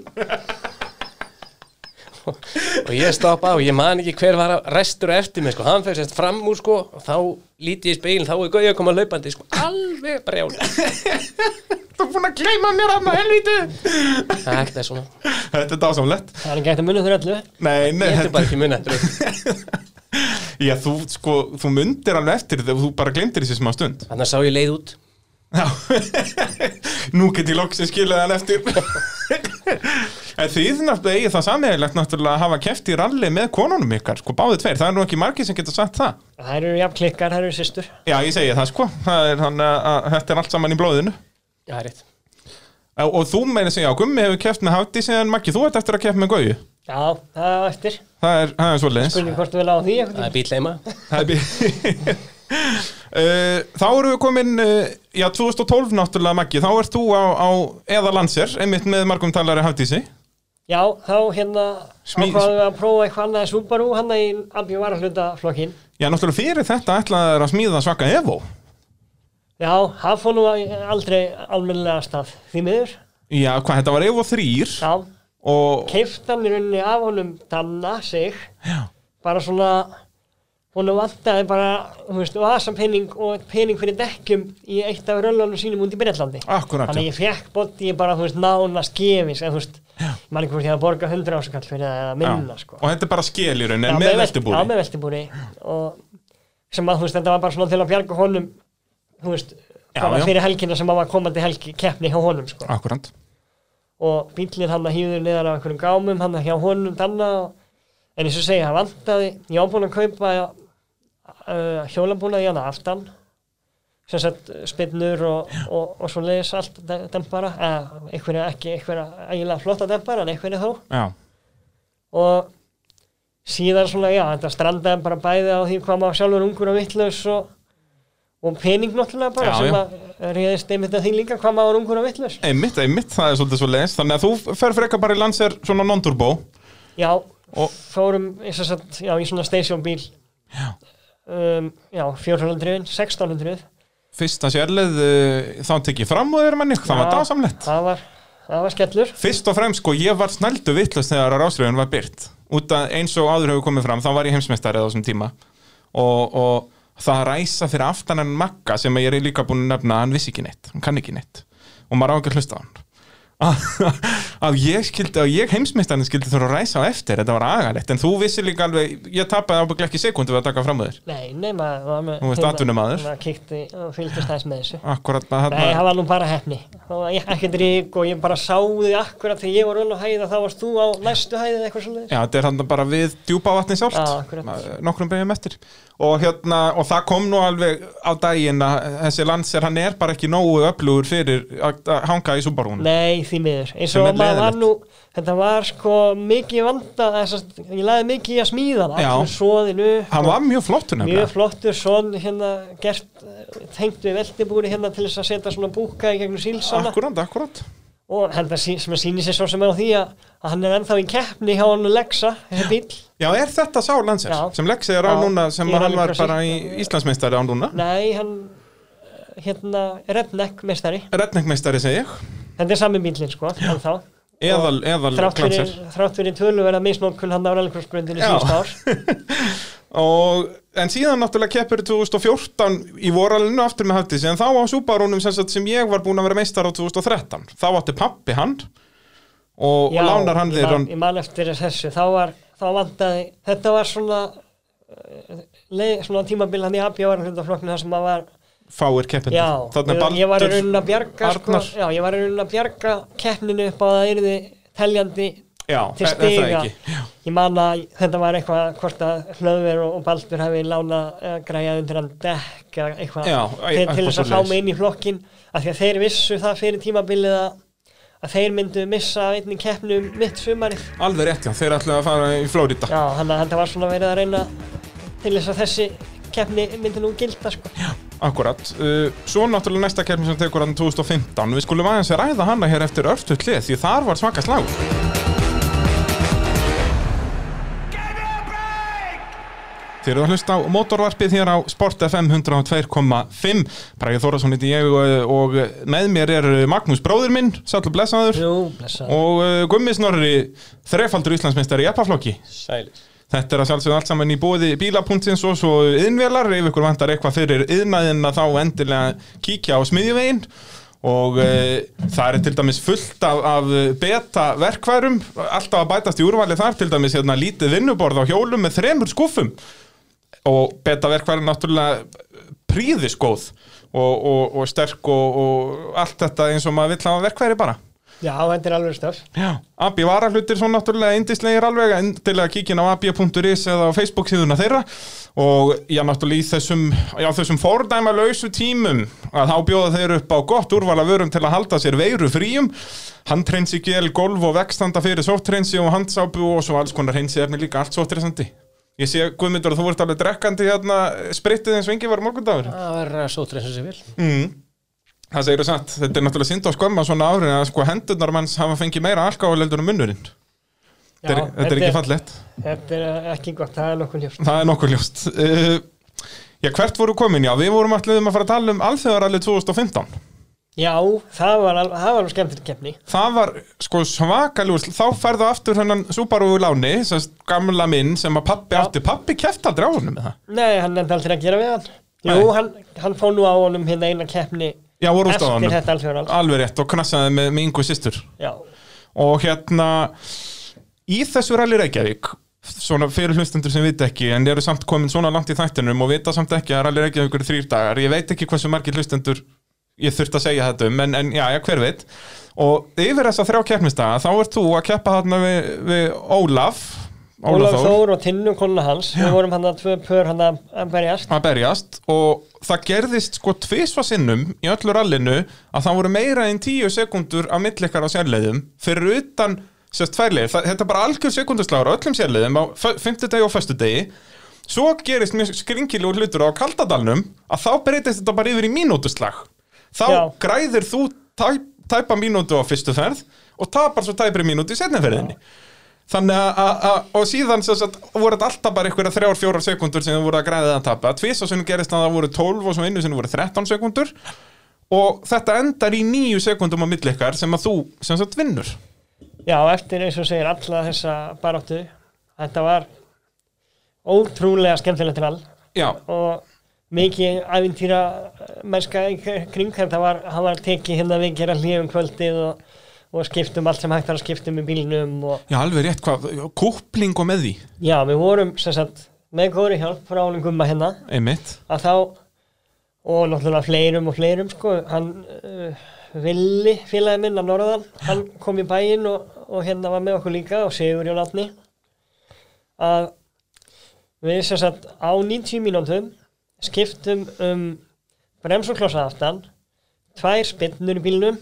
og ég stoppa og ég man ekki hver var að restur og eftir mig sko, hann fyrir sérst fram úr sko og þá líti ég í speilin, þá er gauði að koma laupandi sko, alveg brjál Þú er búin að gleyma mér hann að helvítu! þetta er svona, Þetta er dásamlegt. Það er ekki eftir munið fyrir öllu Nei, nei, ég þetta ætti bara ekki munna eftir þessu. Já, þú, sko, þú myndir alveg eftir þegar þú bara glemdir þessi smá stund. þannig að sá ég leið út Já, nú get ég loksins skilað hann eftir. en þið náttúrulega eigið það sammeðilegt náttúrulega að hafa keft í ralli með konunum ykkar, sko, báði tveir. Það er nú ekki margir sem getur sagt það. Það eru jafn klikkar, það eru systur Já, ég segi það, sko. Það er þannig að- að þetta er allt saman í blóðinu. já, það er rétt Og, og þú meina segja, já, Gummi hefur keft með Hátti en Maggi, þú ert eftir að keft með Gauju. Já, það er á eftir Það er, það er svoleiðis. Spurning hvort þú vil á því einhvern tímann. Það er bíl heima Það er bí- Uh, þá erum við komin uh, já 2012 náttúrulega Maggi þá ert þú á, á eða landsir einmitt með margum talari hafdísi Já, þá hérna Smí- ákvaðum við að prófa eitthvað annað en Subaru hann í Abbi Varahluta flokkin já náttúrulega fyrir þetta ætlaði þær að smíða svaka Evo Já, það fór nú aldrei almennilega af stað því miður já hvað þetta var Evo 3 Já, og keift hann í rauninni af honum danna sig já, bara svona hún vantaði bara, þú veist, vasapenning og pening fyrir dekkjum í eitt af röllunum sínum út í Breitlandi akkurat Þannig að Ah, já. ég fekk bótti ég bara, þú veist, nánast gefins en þú veist, mann ekki hvort ég að borga 100 ásakall fyrir það eða minna, sko og þetta er bara skel í rauninni Já, með velt- Já, veltibúri með veltibúri og sem að þú veist, þetta var bara svona til að bjarga honum þú veist, Já, bara já. fyrir helgina sem að var komandi helgi keppni hjá honum, sko akkurat og bíllinn hann að hýður niðan af einhverjum gámum hann að hjá honum þannig og en eins og segja, hann vantaði ég var búinn að kaupa uh, hjólambúnaði hérna aftan sem sett spinnur og, og, og svo leiðis allt de- dempara eða einhverja ekki, einhverja eiginlega flotta dempara en einhverja þó já, og síðan svona, já, þetta strandaði bara bæði á því hvað maður sjálfur ungur og vittlaus og, og pening náttúrulega bara Já, sem já. að reyðist einmitt að því líka hvað maður var ungur og vittlaus einmitt, einmitt, það er svolítið svo leins þannig að þú fer frekar bara í landsér svona non-turbo Já, Og- fórum eins og satt, já, í svona stationbíl já, um, já 400, 1600 fyrsta sérlið, uh, þá tek ég fram og þeir manni, það var Já, dásamlegt það var, það var skellur fyrst og fremst sko, ég var snældu vittlust þegar rásröðun var byrt út að eins og áður hefur komið fram, þá var ég heimsmeistari á þessum tíma og, og það að ræsa fyrir aftan en makka sem ég er líka búin að nefna, hann vissi ekki neitt hann kann ekki neitt og maður á ekki að hlusta á hann að ég skildi að ég heimsmeistarinn skildi þurfa að ræsa á eftir, þetta var agalegt en þú vissi líka alveg, ég tapaði ábygglega ekki sekundu við að taka fram úr þér Nei, nei, maður var með Þú veist, atvinnumaður. Maður kíkti og fylgdist aðeins með þessu Akkurat að Nei, það þarna var nú bara hefni Það var ekkert rík og ég bara sáði akkurat þegar ég var vel á hæð og þá varst þú á næstu hæð eða eitthvað svoleiðis Já, þetta er hann bara við djúpa vatni sált Já, akkurat. Nokkrum beigum eftir og, hérna, og það kom nú alveg á daginn að þessi landser, hann er bara ekki nógu öflugur fyrir að að hanga í súbarún Nei, því miður eins Sem og er maður var leiðinlegt. nú þetta var sko mikið vanda þessast, ég laði mikið í að smíða Já. það svoðinu Hann var mjög flottur mjög nefnilega flottur svon hérna gert eh, tengt við veltibúri hérna til þess að setja svona búka í gegnum sílsana Akkurat, akkurat og þetta sí- sem að sýni sér svo sem er á því að, að hann er ennþá í keppni hjá hann Lexa, þessi bíl Já, er þetta sá landser Já. sem Lexi er á Já, núna sem ég er hann alveg var frá bara í síðast. Íslandsmeistari á núna nei, hann eh, hérna, Redneck meistari Redneckmeistari segi ég þetta er sami bílinn sko, ennþá Eðal, eðal þrátt fyrir, landser þrátt fyrir töluverða misnótkun hann á rallycrossbröndinu Já. síðust ár og, En síðan náttúrulega keppur 2014 í voralinu aftur með hættis en þá á súbarúnum sem, sagt sem ég var búin að vera meistar á 2013 þá átti pappi hann og, og Já, lánar hann ég þér man- hann ég man eftir þessu, þá var þá vantaði, þetta var svona eh, leið, svona tímabil hann í abjávar hlutaflokknu þar sem maður var fáir keppindur já, þannig ég, að ég var í Baldur raunin að bjarga sko, Arnar. já, ég var í raunin að bjarga keppninu upp á að það yrði teljandi já, til er- er það stiga ekki? ég man að þetta var eitthvað hvort að hlöðver og, og baldur hafi lána uh, græjað undir hann dekk eða eitthvað Já, til, eitthvað til þess að fá svoleiðis. mig inn í flokkin af því að þeir vissu það fyrir tímabilið að, að þeir myndu missa af einni keppnu um mitt sumarið alveg rétt já, þeir ætlaðu að fara í Flórida Já, hann að þetta var svona verið að reyna til þess að þessi keppni myndi nú gilda sko. Akkurat, uh, svo náttúrulega næsta keppni sem tekur hann 2015 Við skulum aðeins að ræða hana hér eftir örstuð hlið Því þar var svaka slagur Þið eru að hlusta á motorvarpið hér á Sport FM 102.5 Bræði Þórasson heiti ég og, og eh, með mér er Magnús bróðir minn, sætlu blessaður Jú, blessa. og uh, Gummi Snorri, þrefaldur Íslandsmeistari í eppaflokki Sælis. Þetta er að sjálfsögðu allt saman í bóði bílapunktins og svo yðnvelar, ef ykkur vantar eitthvað fyrir yðnaðina þá endilega kíkja á smiðjuvegin og e, það er til dæmis fullt af, af beta verkværum, alltaf að bætast í úrvalið þar, til dæmis hérna lítið vinnuborð á hjólum með þremur skúfum og beta verkværi náttúrulega príðisgóð og, og, og sterk og, og allt þetta eins og maður vill hafa verkværi bara. Já, þetta er alveg stöf. Já, AB varahlutir svo náttúrulega indislegir alveg endilega kíkin á ab.is eða á Facebook síðuna þeirra og já, náttúrulega í þessum, já, þessum fordæma lausu tímum að þá bjóða þeir upp á gott úrval af vörum til að halda sér veiru fríum handreinsi gel, golf og vegstanda fyrir sóttreinsi og handsápu og svo alls konar hreinsi efni líka allt sóttreinsandi Ég sé, Guðmundur, að þú vart alveg drekkandi hérna spritið eins og engi var morgundagur Það var að sótra eins og sér vil. Það segir þú satt, þetta er náttúrulega synd og skömma svona árin að sko hendurnar manns hafa fengið meira alkoholeldur um munnurinn Já, Þetta er, þetta er ekki fallegt, Þetta er ekki gott, það er nokkuð ljóst. það er nokkuð ljóst uh, Já, hvert voru komin? Já, við vorum allir um að fara að tala um alþjóðarallið 2015 Já, það var alveg, það var alveg skemmtileg keppni. Það var sko svakaljúst Þá færðu aftur hennan Subaru í láni sem sagt, gamla minn sem að pappi Já. aftur Pappi keft aldrei á honum með það Nei, hann nefndi aldrei að gera við hann. Jú, Nei. hann, hann fór nú á honum hérna eina keppni Já, voru út á eftir honum þetta alþjóðan. Alveg rétt og knassaði með, með yngu systur Já, Og hérna Í þessu rally Reykjavík Svona fyrir hlustendur sem vita ekki En eru samt komin svona langt í þættinum Og vita samt ekki að rally Reykjavík eru þrýr dagar Ég veit ekki hversu margir hlustendur Ég þurft að segja þetta um En, en já, já, hver veit Og yfir þessa þrjá keppnistaga Þá ert þú að keppa þarna við, við Ólaf Ólaf Þór og Tinnu konna hans við vorum hann að tvö pör hann að að berjast að berjast og það gerðist sko tvisva sinnum í öllu rallinu að það voru meira en tíu sekundur á millikar á sérleiðum fyrir utan sérst tværleið, Þa- þetta er bara algjör sekundasláður á öllum sérleiðum á fö- fimmtudegi og föstudegi svo gerist mjög skringilegur hlutur á Kaldadalnum að þá breytist þetta bara yfir í mínútuslag þá Já. græðir þú tæp, tæpa mínútu á fyrstu ferð og tapar svo tæpri mínútu í setnaferðinni Þannig að- að, að- og síðan sem sagt, voru þetta alltaf bara einhverja þrjár, fjórar sekundur sem þau voru að græða eða tapa. Tvís og sinni gerist að það voru 12 og svo einu sinni voru 13 sekundur og þetta endar í nýju sekundum á milli ykkar sem að þú sem sagt vinnur. já, eftir eins og segir alla þessa baráttu þetta var ótrúlega skemmtilegt til all Já, og mikið ævintýra mennska í kring þetta var, hann var tekið hérna við gera hlýjum kvöldið og, og skiptum allt sem hægt var að skiptum í bílnum og já alveg rétt hvað, kúpling og með því, já, við vorum sem sagt með góðri hjálp frá honum gumma hérna einmitt. að þá og náttúrulega fleirum og fleirum sko, hann uh, villi félagi minn að norðan, hann kom í bæinn og, og hérna var með okkur líka og Sigur Jón Atni að við sem sagt á 90 mínútum skiptum um brems og klossa aftan tvær spinnur í bílnum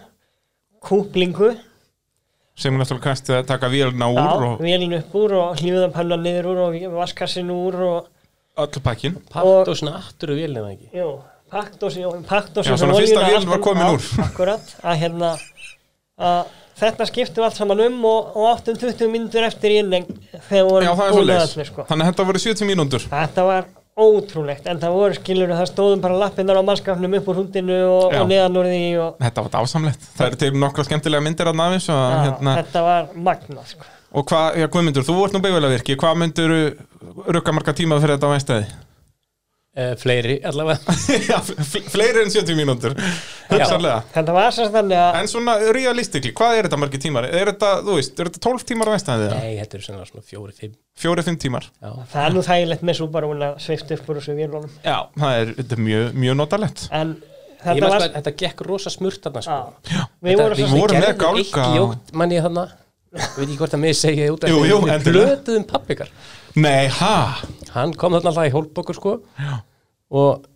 kúplingu Sem er náttúrulega kannski að taka vélina úr já, og vélin upp úr og hlýðan panna niður úr og vaskassin úr og öllu pakkin. Og- Pakt og snattur og vélina ekki Jú, paktósi paktósi Já, svona fyrsta vélin var komin úr. Akkurat, að hérna að þetta skiptum allt saman um og, og áttum 20 mínútur eftir í inneng þegar Já, vorum það er svo búin að leis. allir sko. Þannig að þetta voru 70 mínúndur. Þetta var ótrúlegt en það voru skilur það stóðum bara lappinnar á mannskafnum upp úr hundinu og, Já. og neðan úr því og Þetta var dásamlegt. Það eru til nokkra skemmtilega myndir að nafis og já, hérna... þetta var magnað sko. Og hvað, já Guðmundur, þú ert nú beigvælega virki, hvað myndur rukka marga tíma fyrir þetta á einstæði? uh, Fleiri allavega já, fl- fleiri en 70 mínútur, hugsanlega. Þetta var sérst þannig að En svona realistikli, hvað er þetta margi tímar? Er þetta, þú veist, er þetta 12 tímar á einstæði? eða? Nei, þetta eru sennilega svona fjóri, fimm Fjóri-fimm tímar? Já, það er nú þægilegt með Subaru að svift upp úr þessu vélunum Já. Það er, þetta er mjög, mjög notalett. en Ég þetta man var sko að þetta gekk rosa smurt þarna sko. Já. Við vorum svo við vorum með gerðum gálga eitt ljótt manni þarna Ég veit ekki hvort að mig segja út Jú, jú, Við endilega. plötuðum pappikar Nei, ha? Hann kom þarna alltaf í hólp okkur sko Já. og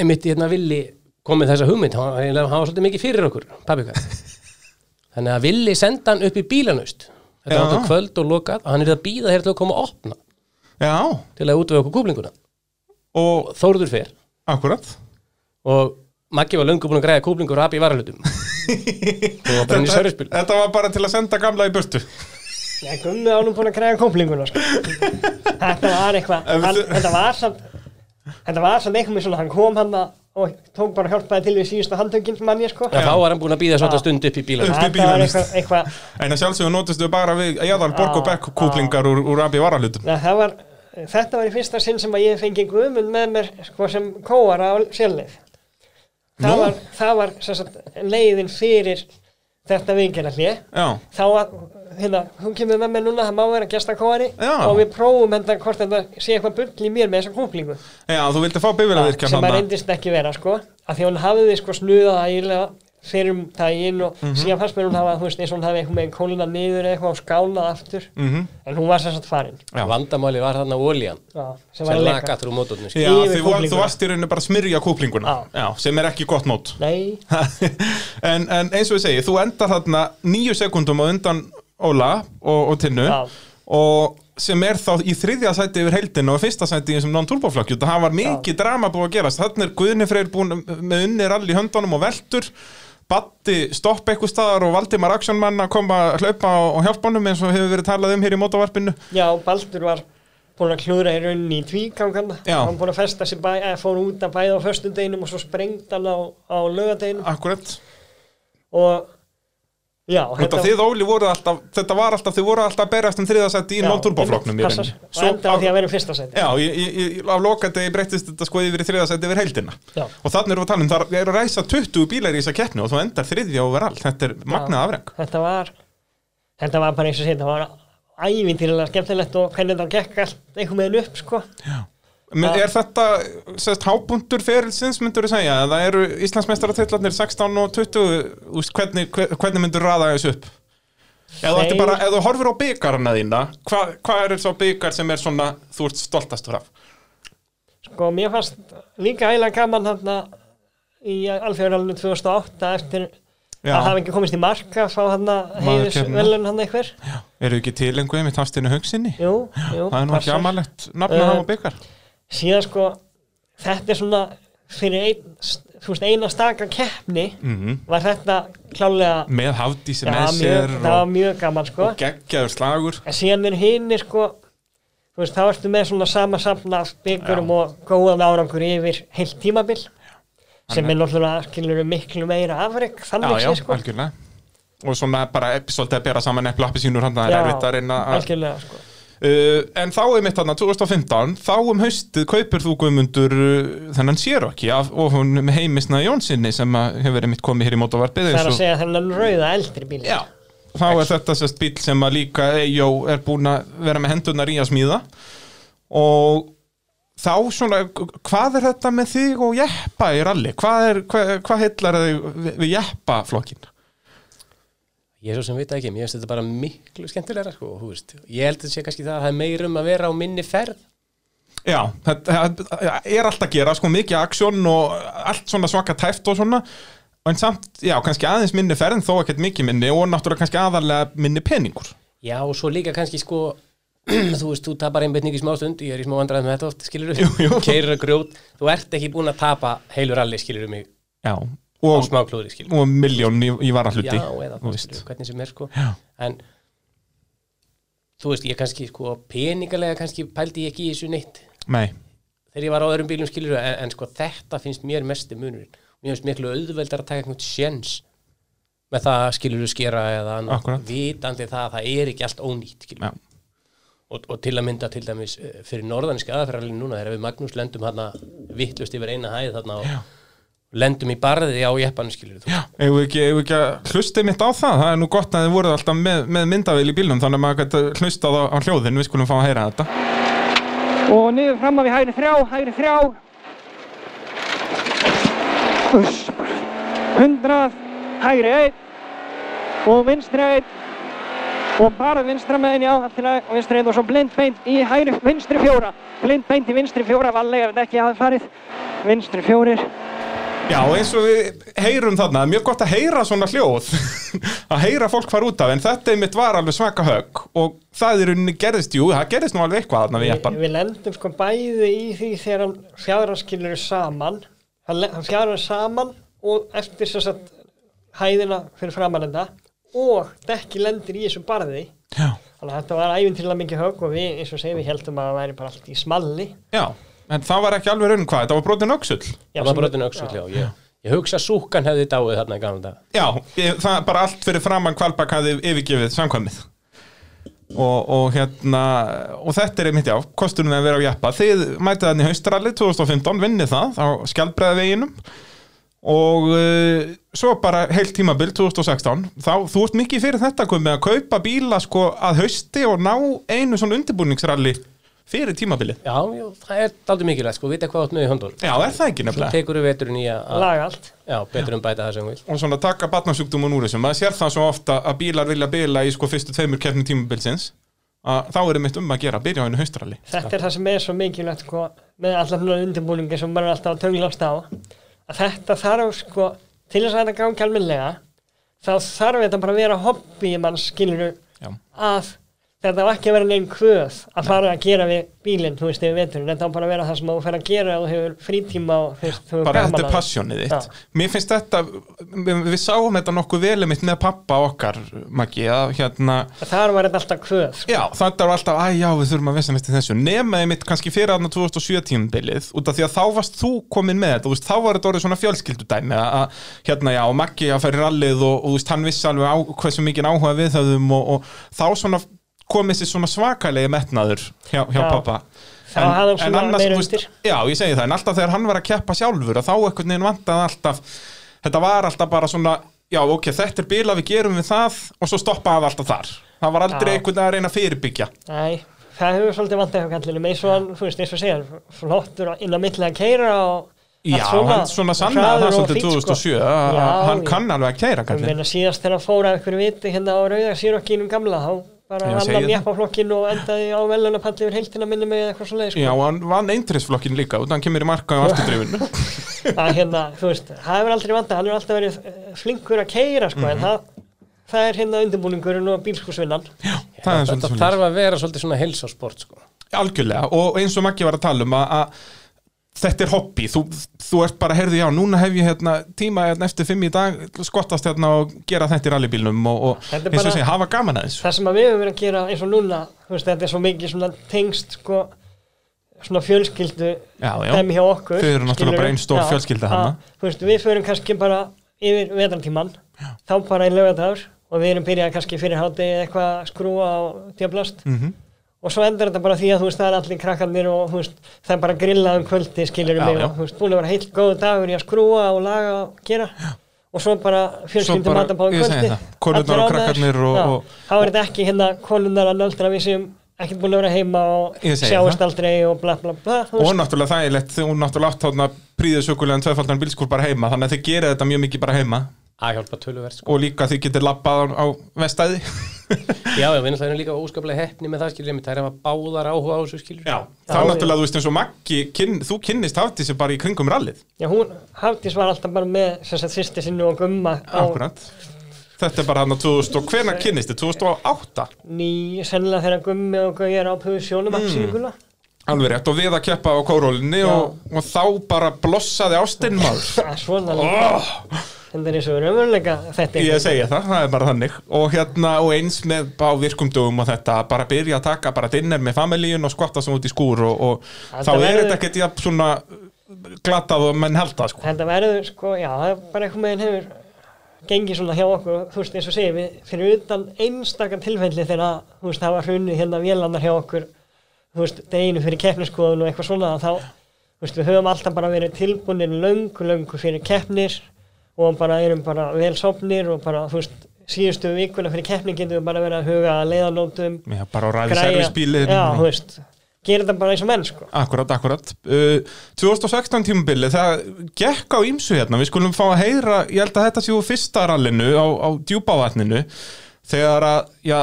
einmitt í hérna villi komið þessa hugmynd, hann, hann hann var svolítið mikið fyrir okkur pappikar Þannig að villi senda hann upp í bílanust Þetta Já. var alltaf kvöld og lokað og hann er að býða hér til að koma að opna Já, til að útvega okkur kúplinguna og Þórður fer akkurat. og Maggi var löngu búin að græða kúplingur og api í varahlutum og bara hann í Þetta, sörjuspil þetta var bara til að senda gamla í burtu. Já, Gummi ánum búin að græða komplinguna sko. Þetta var eitthvað En hann- þú- Þetta var samt Þetta var samt eitthvað með svona Hann kom hann og tók bara hjálpaði til við síðustu handtökin mann ég sko Já, þá var hann búin að býða svona Já. stund upp í bílanust Upp. í Þetta var bílanum. eitthvað, eitthvað En að sjálfsögum notistu bara við jæðal borg og Já, bekk kúplingar úr, úr abi varalutum. Nei, það var, Þetta var í fyrsta sinn sem að ég fengi Guðmund með mér sko, sem kóara á sjálfleif Nú. Það var, það var sem sagt, leiðin fyrir þetta vikinallið Já, þá að, hérna, hún kemur með mér núna það má vera gestakóari Já. og við prófum hérna hvort þetta sé eitthvað bull í mér með þessa kúplingu já, þú vildi fá beigvælega virkan sem að reyndist ekki vera sko af því að hún hafði sko snuðað ægilega fyrir um daginn og Mhm. síðan fannst mér hún hafa þú veist eins og hún hafi eitthvað með kólina niður eða eitthvað og skálað aftur Mhm. en hún var sér satt farin Já. vandamáli var þarna ólían já, sem var að sem laka leka þrú mótornu Já, Yfir þú, var, kúplinguna. þú varst í rauninu bara að smyrja kúplinguna Já. Já, sem er ekki gott mót nei, en, en eins og ég segi, þú endar þarna nýju sekundum á undan Óla og, og Tinnu Já. og sem er þá í þriðja sæti yfir heildinu og fyrsta sæti í þessum non-turboflokki það var mikið drama búið að gerast þannig er Guðni Freyr búin með unni rall í höndunum og veltur Batti stopp eitthvað staðar og Valdimar Aksjónmann að koma að hlaupa og hjálpa honum eins og hefur verið talað um hér í mótavarpinu já, Baldur var búin að klúðra í rauninni í tvíkangana Já. hann búin að festa sér bæ, eða fór út að bæða á föstudeginum og svo sprengt hann á, á lögadeginum Akkurat og já, Þetta, þið Óli voru alltaf, þetta var alltaf, þið voru alltaf að berjast um þriðasætti í Já, non-turboflokknum í einmitt, rauninni. passar. og Svo enda á á- því að vera í fyrsta seti Já, ég, ég, ég, á lokadegi breyttist þetta sko yfir í þriðasætti yfir heildina. Já. Og þannig erum við að tala um, það er að ræsa 20 bílar í þessa keppni og þú endar þriðja overall. Þetta er magnað afreng. þetta var þetta var bara eins og sé, þetta var ævintýrilega skemmtilegt og hvernig þetta gekk allt einhver meðin upp sko Men Já. Er þetta, sérst, hábundur ferilsins myndur þú segja? Það eru Íslandsmeistaratillarnir 16 og 20, úst, hvernig, hver- hvernig myndur raða þessu upp? Ef þú ætti Þeir- bara, ef þú horfir á byggarna þína hvað hva er svo byggar sem er svona þú ert stoltastur af? Sko, mér fannst líka ægilega gaman þarna í alfjörðalunum 2008 eftir Já. að hafa ekki komist í marka frá þarna heiðis Maðurkeppnina. velun hann einhver. Eru ekki til einhver með tafstinu hugsinni? Jú, jú. Það er nú ekki passar. amalegt nafn að Eh, hafa byggar Síðan sko, þetta er svona fyrir ein, þú veist, eina staka keppni Mhm. var þetta klálega með hafdísi Já, með mjög, sér það var og, mjög gaman sko. og geggjaður slagur En síðan er hinni sko þú veist, þá ertu með svona sama samna af byggurum og góðan árangur yfir heilt tímabil sem er náttúrulega skilur miklu meira afrek Já, já, þannig séð, sko algjörlega Og svona bara ep- svolítið að bera saman epli appisínur hann það er Já, erfitt að reyna að algjörlega sko uh, En þá er mitt hann 2015 þá um haustið kaupir þú guðmundur uh, þennan sér ekki af, og hún með heimisna Jónsinni sem að hefur verið mitt komið hér í mótavarpið það er eins að og- segja þennan rauða eldri bíl Já, þá er þetta sérst bíl sem að líka Eyjó er búin að vera með hendunar í að smíða og þá svona, hvað er þetta með þig og jeppa í ralli? Hvað, er, hvað, hvað heillar þig við, við jeppa flokkin? Ég er svo sem veit það ekki, mér finnst þetta bara miklu skemmtilegra sko, þú veist. Ég held að þetta sé kannski það að það er meira um að vera á minni ferð. Já, þetta þetta er allt að gera, sko mikið aksjón og allt svona svaka tæft og svona en samt, já, kannski aðeins minni ferðin þó ekkert mikið minni og náttúrulega kannski aðarlega minni peningur Já, og svo líka kannski sko, þú veist, þú tapar einbytning í smá stund, ég er í smá andræðum með þetta oft, skilur Jú, jú. Keirir að grjót, þú ert ekki búin að tapa heilur allir, skilur mig, Já, á og, smá klúðri, skilur og miljón í, í varahluti Já, eða þú bara, veist. skilur, hvernig sem er sko Já. en þú veist, ég kannski sko peningalega kannski pældi ég ekki í þessu neitt Nei, þegar ég var á öðrum bílum skilur en, en sko þetta finnst mér mesti munurinn mér finnst miklu auðveldar að taka einhvern sjens með það skilur skera eða annað. Akkúrat. vitandi það að það er ekki allt ónýtt skilur já, og, og til að mynda til dæmis eh, fyrir norðaniski aðferðarlinn núna þegar við Magnús lendum hérna vittlust yfir eina hæð þarna og lendum í barði á jeppanum skilur þú Eigum við ekki, eigum við ekki að hlusta mitt á það? Það er nú gott að þið voruð alltaf með, með myndavél í bílnum þannig að maður gæti hlustað á, á hljóðin við skulum fá að heyra þetta og niður fram að við hægri þrjá, hægri þrjá Uss, bara. 100 hægri 1 og vinstri 1 og bara vinstra meðin já, allt í lagi, og vinstri 1 og svo blind beint í hægri vinstri 4 blind beint í vinstri 4, vallega ef þetta ekki hafi farið vinstri 4 Já, eins og við heyrum þarna, það er mjög gott að heyra svona hljóð að heyra fólk fara út af en þetta einmitt var alveg svaka högg og það er unni gerðist, jú, það gerðist nú alveg eitthvað þarna við jeppan Við lendum sko bæði í því þegar hann fjárhanskilur saman hann, le- hann fjárhann saman og eftir þess að hæðina fyrir framanenda og dekki lendir í þessu barði Já, þannig að þetta var æfintilega mikið högg og við, eins og segjum, við heldum að það væri bara allt í smalli já, en það var ekki alveg raunin hvað, þetta var brotin öxull Já, það var sem- brotinu öxull já, ég, ég hugsa að súkkan hefði dáið þarna í gamla dag Já, ég, það er bara allt fyrir framann Kvalbak hafði yfirgefið samkvæmið og, og hérna og þetta er einmitt já, kostunum við að vera á jeppa þið mætið hann í haustralli 2015 vinnið það á skjaldbreðaveginum og uh, svo bara heilt tímabil 2016 þá, þú ert mikið fyrir þetta komið að kaupa bíla sko að hausti og ná einu svona undirbúningsralli fyrir tímabilið Já, já, það er daldið mikilvægt, sko, vita hvað átt með í höndunum. Já, er það ekki Svo nefnilega? tekur við veturinn í að, að- laga allt já, betur um bæta það sem við. og svona taka batnarsjúkdómun úr þessum maður sér það svo ofta að bílar vilja bila í sko fyrstu tveimur keppni tímabilsins að þá er mitt um að gera, byrja á einu haustrali þetta er það sem er svo mikilvægt sko, með allar svona undirbúningi sem maður er alltaf að tönglast á að þetta þarf sko til þess að þetta gangi almennilega þá þarf þetta bara að vera hobby mann skilur Já. að þetta á ekki að vera neinn kvöð að fara að gera við bílinn, þú veist, yfir veturinn þetta á bara að vera það sem þú fer að gera og þú hefur frítíma og þú veist, þú hefur bara gaman þetta að er passjónið þitt Já. mér finnst þetta, við, við sáum þetta nokkuð velum mitt með pappa okkar Maggi, að hérna þar var þetta alltaf kvöð sko. Já, þetta var alltaf, æ, já, við þurfum að vissna mest í þessu Nemaði mitt kannski fyrir aðna 2007 tímabilið Út af því að þá varst þú komin með þetta þú veist, Þá var þetta orðið svona fjölskyldudæmi að, að, Hérna, já, Maggi að færi rallið og, og þú veist, hann vissi alveg á, hversu mikið áhuga við þaðum og, og þá svona komið sér svona svakalegi metnaður hjá, hjá Já. pappa Þá hafði hann svona þú meira veist, undir. Já, ég segi það, en alltaf þegar hann var að keppa sjálfur að þá einhvern veginn vantaði alltaf þetta var alltaf bara svona já, ok, þetta er bila, við gerum við það og svo stoppaði það alltaf þar það var aldrei Já. einhvern veginn að reyna að fyrirbyggja Nei, það hefur svolítið vantað hjá kallinum eins og hann, þú veist, eins og segja flottur á- inn á milli að keira og Já, svona- hann svona sannaði það hraður og svolítið fínt, sko. 2007 að að Já, hann já. kann alveg að kæra Ég kallin meina síðast þegar hann fór að ykkur viti hérna á rauða sírokkinum gamla þá bara Já, segið annan það. jafnaflokkin og endaði á velunapalli yfir heiltina minni með eitthvað svo leið Já, sko. og hann vann eintrisflokkin líka út, hann kemur í marka á afturdrifinu að hérna, þú veist, það hefur aldrei vanda hann er alltaf verið eh, flinkur að keira sko, Mhm. en það, það er hérna undirbúningurinn og bílskúsvinnan Það er Þetta svolítið svolítið þarf að vera svolítið svona helsásport sko. Algjörlega, og eins og Maggi var að tala um að, að þetta er hobby, þú, þú ert bara heyrði já, núna hef ég hérna, tíma hérna, eftir fimm í dag, skottast hérna og gera þetta í rallybílnum og, og Þetta er eins og bara- segja, hafa gaman að þessu það sem að við höfum verið að gera eins og núna þú veist, þetta er svo mikið svona tengst sko, svona fjölskyldu Já, já. dæmi hjá okkur Þau eru náttúrulega skilurðu. bara ein stór Já, fjölskylda þarna. að, þú veist, við förum kannski bara yfir vetartíman þá bara í lögataður og við erum byrjað kannski fyrir hátti eitthvað að skrúa og djöblast Mhm. og svo endur þetta bara því að þú veist það er allir krakkarnir og þú veist það er bara grillað um kvöldi skilur Já, mig já. og þú veist búin að vera heill góðu dagur í að skrúa og laga og gera og svo bara fjölskyldum bara- matabá í ég segi kvöldi það, konurnar Allir og ánægðir. krakkarnir og- Já, og- þá er þetta ekki hérna konurnar að nöldra við sem ekkert búin að vera heima og Ég segi sjáast það. aldrei og bla bla bla þú Og veist. náttúrulega þægilegt, hún náttúrulega átt þarna príðið sökulegan tveifaldan bílskúr bara heima þannig að þið gera þetta mjög mikið bara heima að hjálpa töluvert sko. og líka þið getur labbað á, á vestæði já, já, við náttúrulega erum líka óskaplega heppni með það skilur við, það er að báðar áhuga á þessu skilur þá Já, já. náttúrulega þú veist eins og Maggi kyn, þú kynnist hafði sér bara í kringum rallið Já, hún Hafdís var alltaf bara með sem sagt sýsti sinni og gumma á akkurat þetta er bara hann að 2000 og hvenær kynnist þið 2008 ný sennilega þegar gummi og gauja er á puðu sjónum mm. alveg rétt og við að keppa á kórólinni og, og þá bara blossaði ástinn maður svona oh, Ah, þetta er eins og raunveruleika þetta hérna. ég segja það, það er bara þannig og hérna og eins með á virkumdugum og þetta bara byrja að taka bara dinner með familíun og skvatta sem út í skúr og, og Þetta þá er verður- þetta ekkert jafn svona glatað og menn halda sko þetta verður sko, já, það er bara einhvern veginn hefur gengið svona hjá okkur, þú veist, eins og segir við, fyrir utan einstaka tilfelli þegar, að, þú veist, það var hrunni hérna vélannar hjá okkur, þú veist, deginu fyrir keppniskoðun og eitthvað svona, þá, þú veist, við höfum alltaf bara verið tilbúinir löngu, löngu fyrir keppnir og bara erum bara vel sopnir og bara, þú veist, síðustu vikuna fyrir keppni getum við bara verið að huga að leiðanótum, Já, bara á ræðiservisbílið já, þú veist, gera þetta bara eins og menn, sko. Akkurat, akkurat uh, 2016 tímabilið, það gekk á ímsu hérna, við skulum fá að heyra ég held að þetta séu fyrsta rallinu á, á djúpavatninu þegar að, já,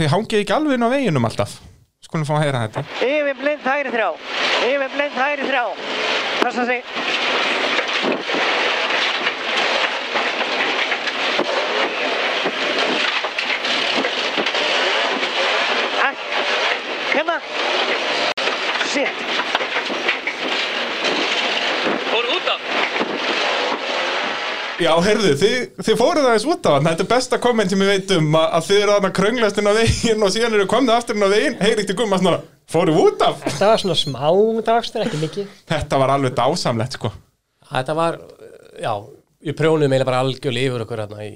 þið hangið ekki alveg inn á veginum alltaf, skulum fá að heyra þetta Yfir blind hægri þrjá Yfir blind hægri þrjá Passa sig Æ, Hérna Shit Já, heyrðu, þið, þið fóruð aðeins út af hann þetta er besta komment sem ég veit um að, að þið eru þarna krönglast inn á veginn og síðan eru komnið aftur inn á veginn, heyrið til gumma svona fóruð út af, Þetta var svona smá dagstur, ekki mikið þetta var alveg dásamlegt sko, þetta var, já, við prjónum eiginlega bara algjörlega yfir okkur hérna í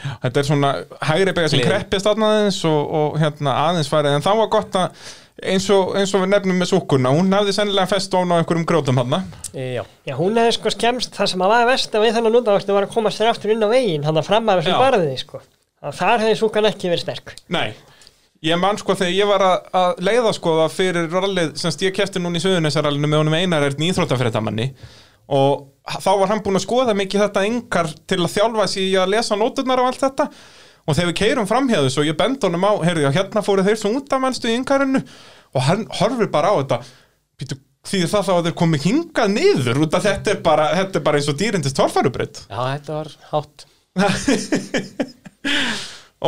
Þetta er svona hægri bega sem Gleði. kreppist þarna aðeins og, og hérna aðeins farið en þá var gott að eins og, eins og við nefnum með súkuna hún hafði sennilega fest ofn á einhverjum grótum hann e, já, Já, hún hefði sko skemst það sem að var vest að við þennan núndagstur var að koma sér aftur inn á veginn hann að fram að Já. þessum barðið, sko og þar hefði súkan ekki verið sterk Nei Ég man sko þegar ég var að, að leiða skoða fyrir rallið semst ég kefti núna í söðunisarallinu með honum Einar Erni íþróttafréttamanni og h- þá var hann búinn að skoða mikið þetta yngar til að þjálfa sig í að lesa nóturnar og allt þetta og þegar við keirum framhjáðus og ég bend honum á heyrðu, já, hérna fóru þeir svo út af mannstu í yngarinu og hann horfir bara á þetta Býtu, því það þá að þeir komið hingað niður út að þetta er bara, þetta er bara eins og dýrindist torfærubreytt já, þetta var hátt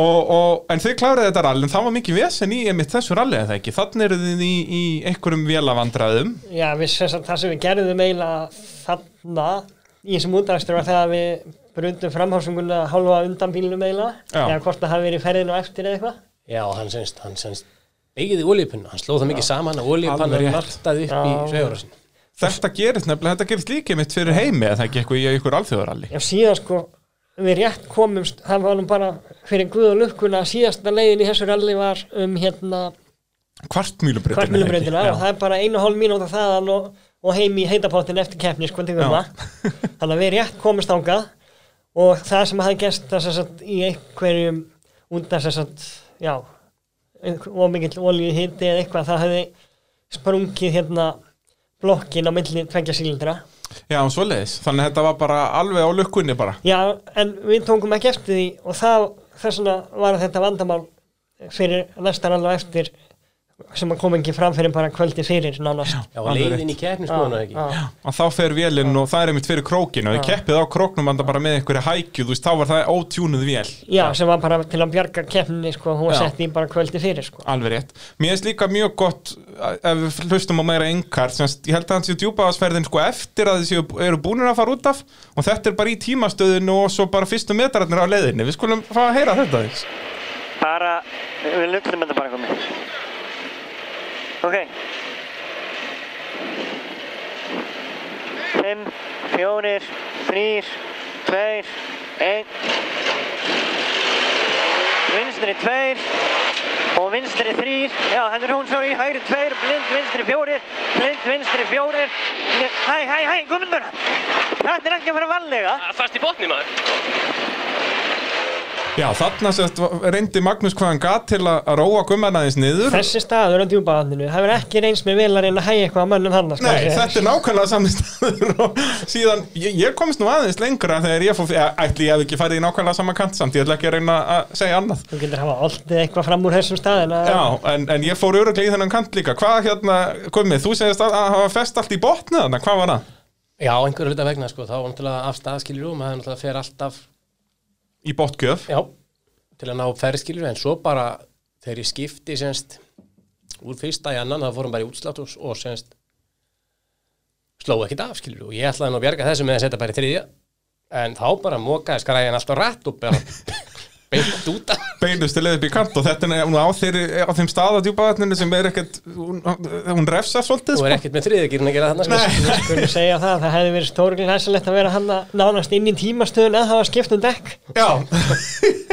og, og, en þið kláraði þetta rall en það var mikið vesen í einmitt þessu ralli eða ekki þannig eru þið í, í einhverjum vélavandræðum Já, við, sem sagt, það sem við gerðum eiginlega þarna í þessum útdagstur var þegar við brundum framhásunguna hálfa undan bílnum eiginlega Já. eða hvort það hafi verið ferðin og eftir eða eitthvað já, hann senst, hann senst beigði olíupunna, hann slóð það mikið saman að olíupanna Alveg rétt. nartaði upp Já. í sveigurasin þetta gerist nefnilega, þetta gerist líka einmitt fyrir heimi eða ekki eitthvað í einhver alþjóðaralli Já, síðan sko, við rétt komumst það var nú bara fyrir guð og lukkuna síðasta leiðin í þessu ralli var um hérna kvartmýlubreytina kvartmjölubreyndina og það er bara einu og hálf mínúta þaðan og, og heim í heitapottin eftir keppni sko, til gumma. þannig að við rétt komumst ángað og það sem hafði gerst það sem sagt í einhverjum undan sem sagt, já einhver- of mikill olíu hitti eða eitthvað, það hefði sprungið hérna blokkin á milli tvengja sílindra Já, svoleiðis, þannig að þetta var bara alveg á lukkunni bara Já, en við tókum ekki eftir því og það, þess vegna var þetta vandamál fyrir næstan alveg eftir sem að kom ekki fram fyrir bara kvöldi fyrir nánast. Já, alveg leiðin í keppni skoðan ekki Já, já. að þá fer vélinn og það er einmitt fyrir krókinu og þið keppið á króknum anda bara með einhverja hækju þú veist, þá var það ótjúnuð vél já, sem var bara til að bjarga keppninni, sko, hún var Já. sett í bara kvöldi fyrir, sko. alveg rétt. Mér finnst líka mjög gott að- ef við hlustum á meira engar semst, ég held að hann séu djúpaðasferðin sko eftir að þessi eru búinir að fara út af og þetta er bara í tímastöðinu og svo bara fyrstu metrarnir á leiðinni, við skulum fara að heyra þetta þess. Bara, við lullum þetta bara komið. Ok. 5, 4, 3, 2, 1. Vinstri 2 og vinstri 3. Já, hendur hún svo í hægri 2, blind vinstri 4, blind vinstri 4. Hæ, hæ, hæ, Guðmundur! Þetta er ekki að fara varlega. Fast í botni maður Já, þarna semst var- reyndi Magnús hvað hann gat til að að róa gummanaðins niður Þessi staður á djúbaðaninu, það verður ekki reyns með vel að reyna að hægja eitthvað að mönnum hann, sko. Nei, þetta er nákvæmlega samistæður og síðan, ég, ég komst nú aðeins lengra þegar ég fór, ég, ætli ég hef ekki farið í nákvæmlega sama kant samt, ég ætla ekki að reyna að segja annað Þú getur hafa alltaf eitthvað fram úr þessum staðin að... Já, en, en ég fór öruglega í þennan kant líka Hvað hérna, komið, þú segist að, að hafa fest allt í botni þarna, hvað var það? Já, einhverju hluta vegna sko, þá var náttúrulega af stað skilur og maður náttúrulega fer alltaf Í botgjöf já, til að ná ferð skilur en svo bara þegar ég skipti senst, úr fyrsta í annan þá fórum bara í útslátt og, og senst sló ekkert af skilur og ég ætlaði nú að bjarga þessu með að setja bara í þriðja en þá bara mokaði skræðin alltaf rætt og bara beint út af Beinustu leið upp í kant og þetta er nú á, þeirri, á þeim staða djúpaðatninu sem er ekkert Hún, hún refsar svolítið og sko. er ekkert með þriðja gyrun að gera þarna sko. Nei, Ég skulle segja það, það hefði verið stórglega hæsilegt að vera hann nánast inn í tímastöðun að hafa skipt um dekk. já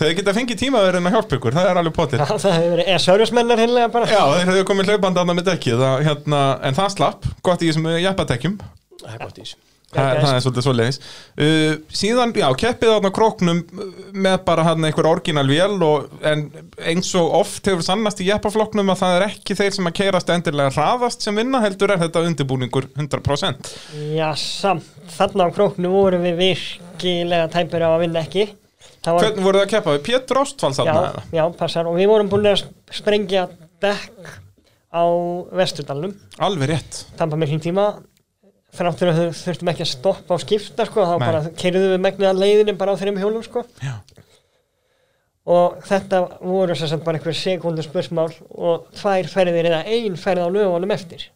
Þau geta fengið tímaverðin að hjálpa ykkur, það er alveg potið Það hefði verið, eða servicemennar hinnlega bara. Já, þeir höfðu komið hlaupandi annað með dekkið það, hérna, en það slapp, gott í þessum jeppadekkjum það, það er gott í þessu Já, það er svolítið svoleiðis uh, síðan, já, keppið þarna á króknum uh, með bara hann einhver orginal vél og, en eins og oft hefur sannast í jeppaflokknum að það er ekki þeir sem að keirast endilega hraðast sem vinna heldur er þetta undirbúningur 100% Já, samt, þarna á króknu vorum við virkilega tæpir á að vinna ekki Það var, Hvernig voru það að keppa við? Pétur Ástfalds þarna? já, eða? já, passar og við vorum búin að sprengja dekk á Vesturdalnum Alveg rétt Tampa miklum tíma þráttur að þau þurftum ekki að stoppa og skipta sko, þá Nei. bara keirðum við megnið að leiðinu bara á þeirrim hjólum sko. Já. og þetta voru sem sagt bara einhver sekundu spursmál og tvær ferðir eða ein ferð á lögunum eftir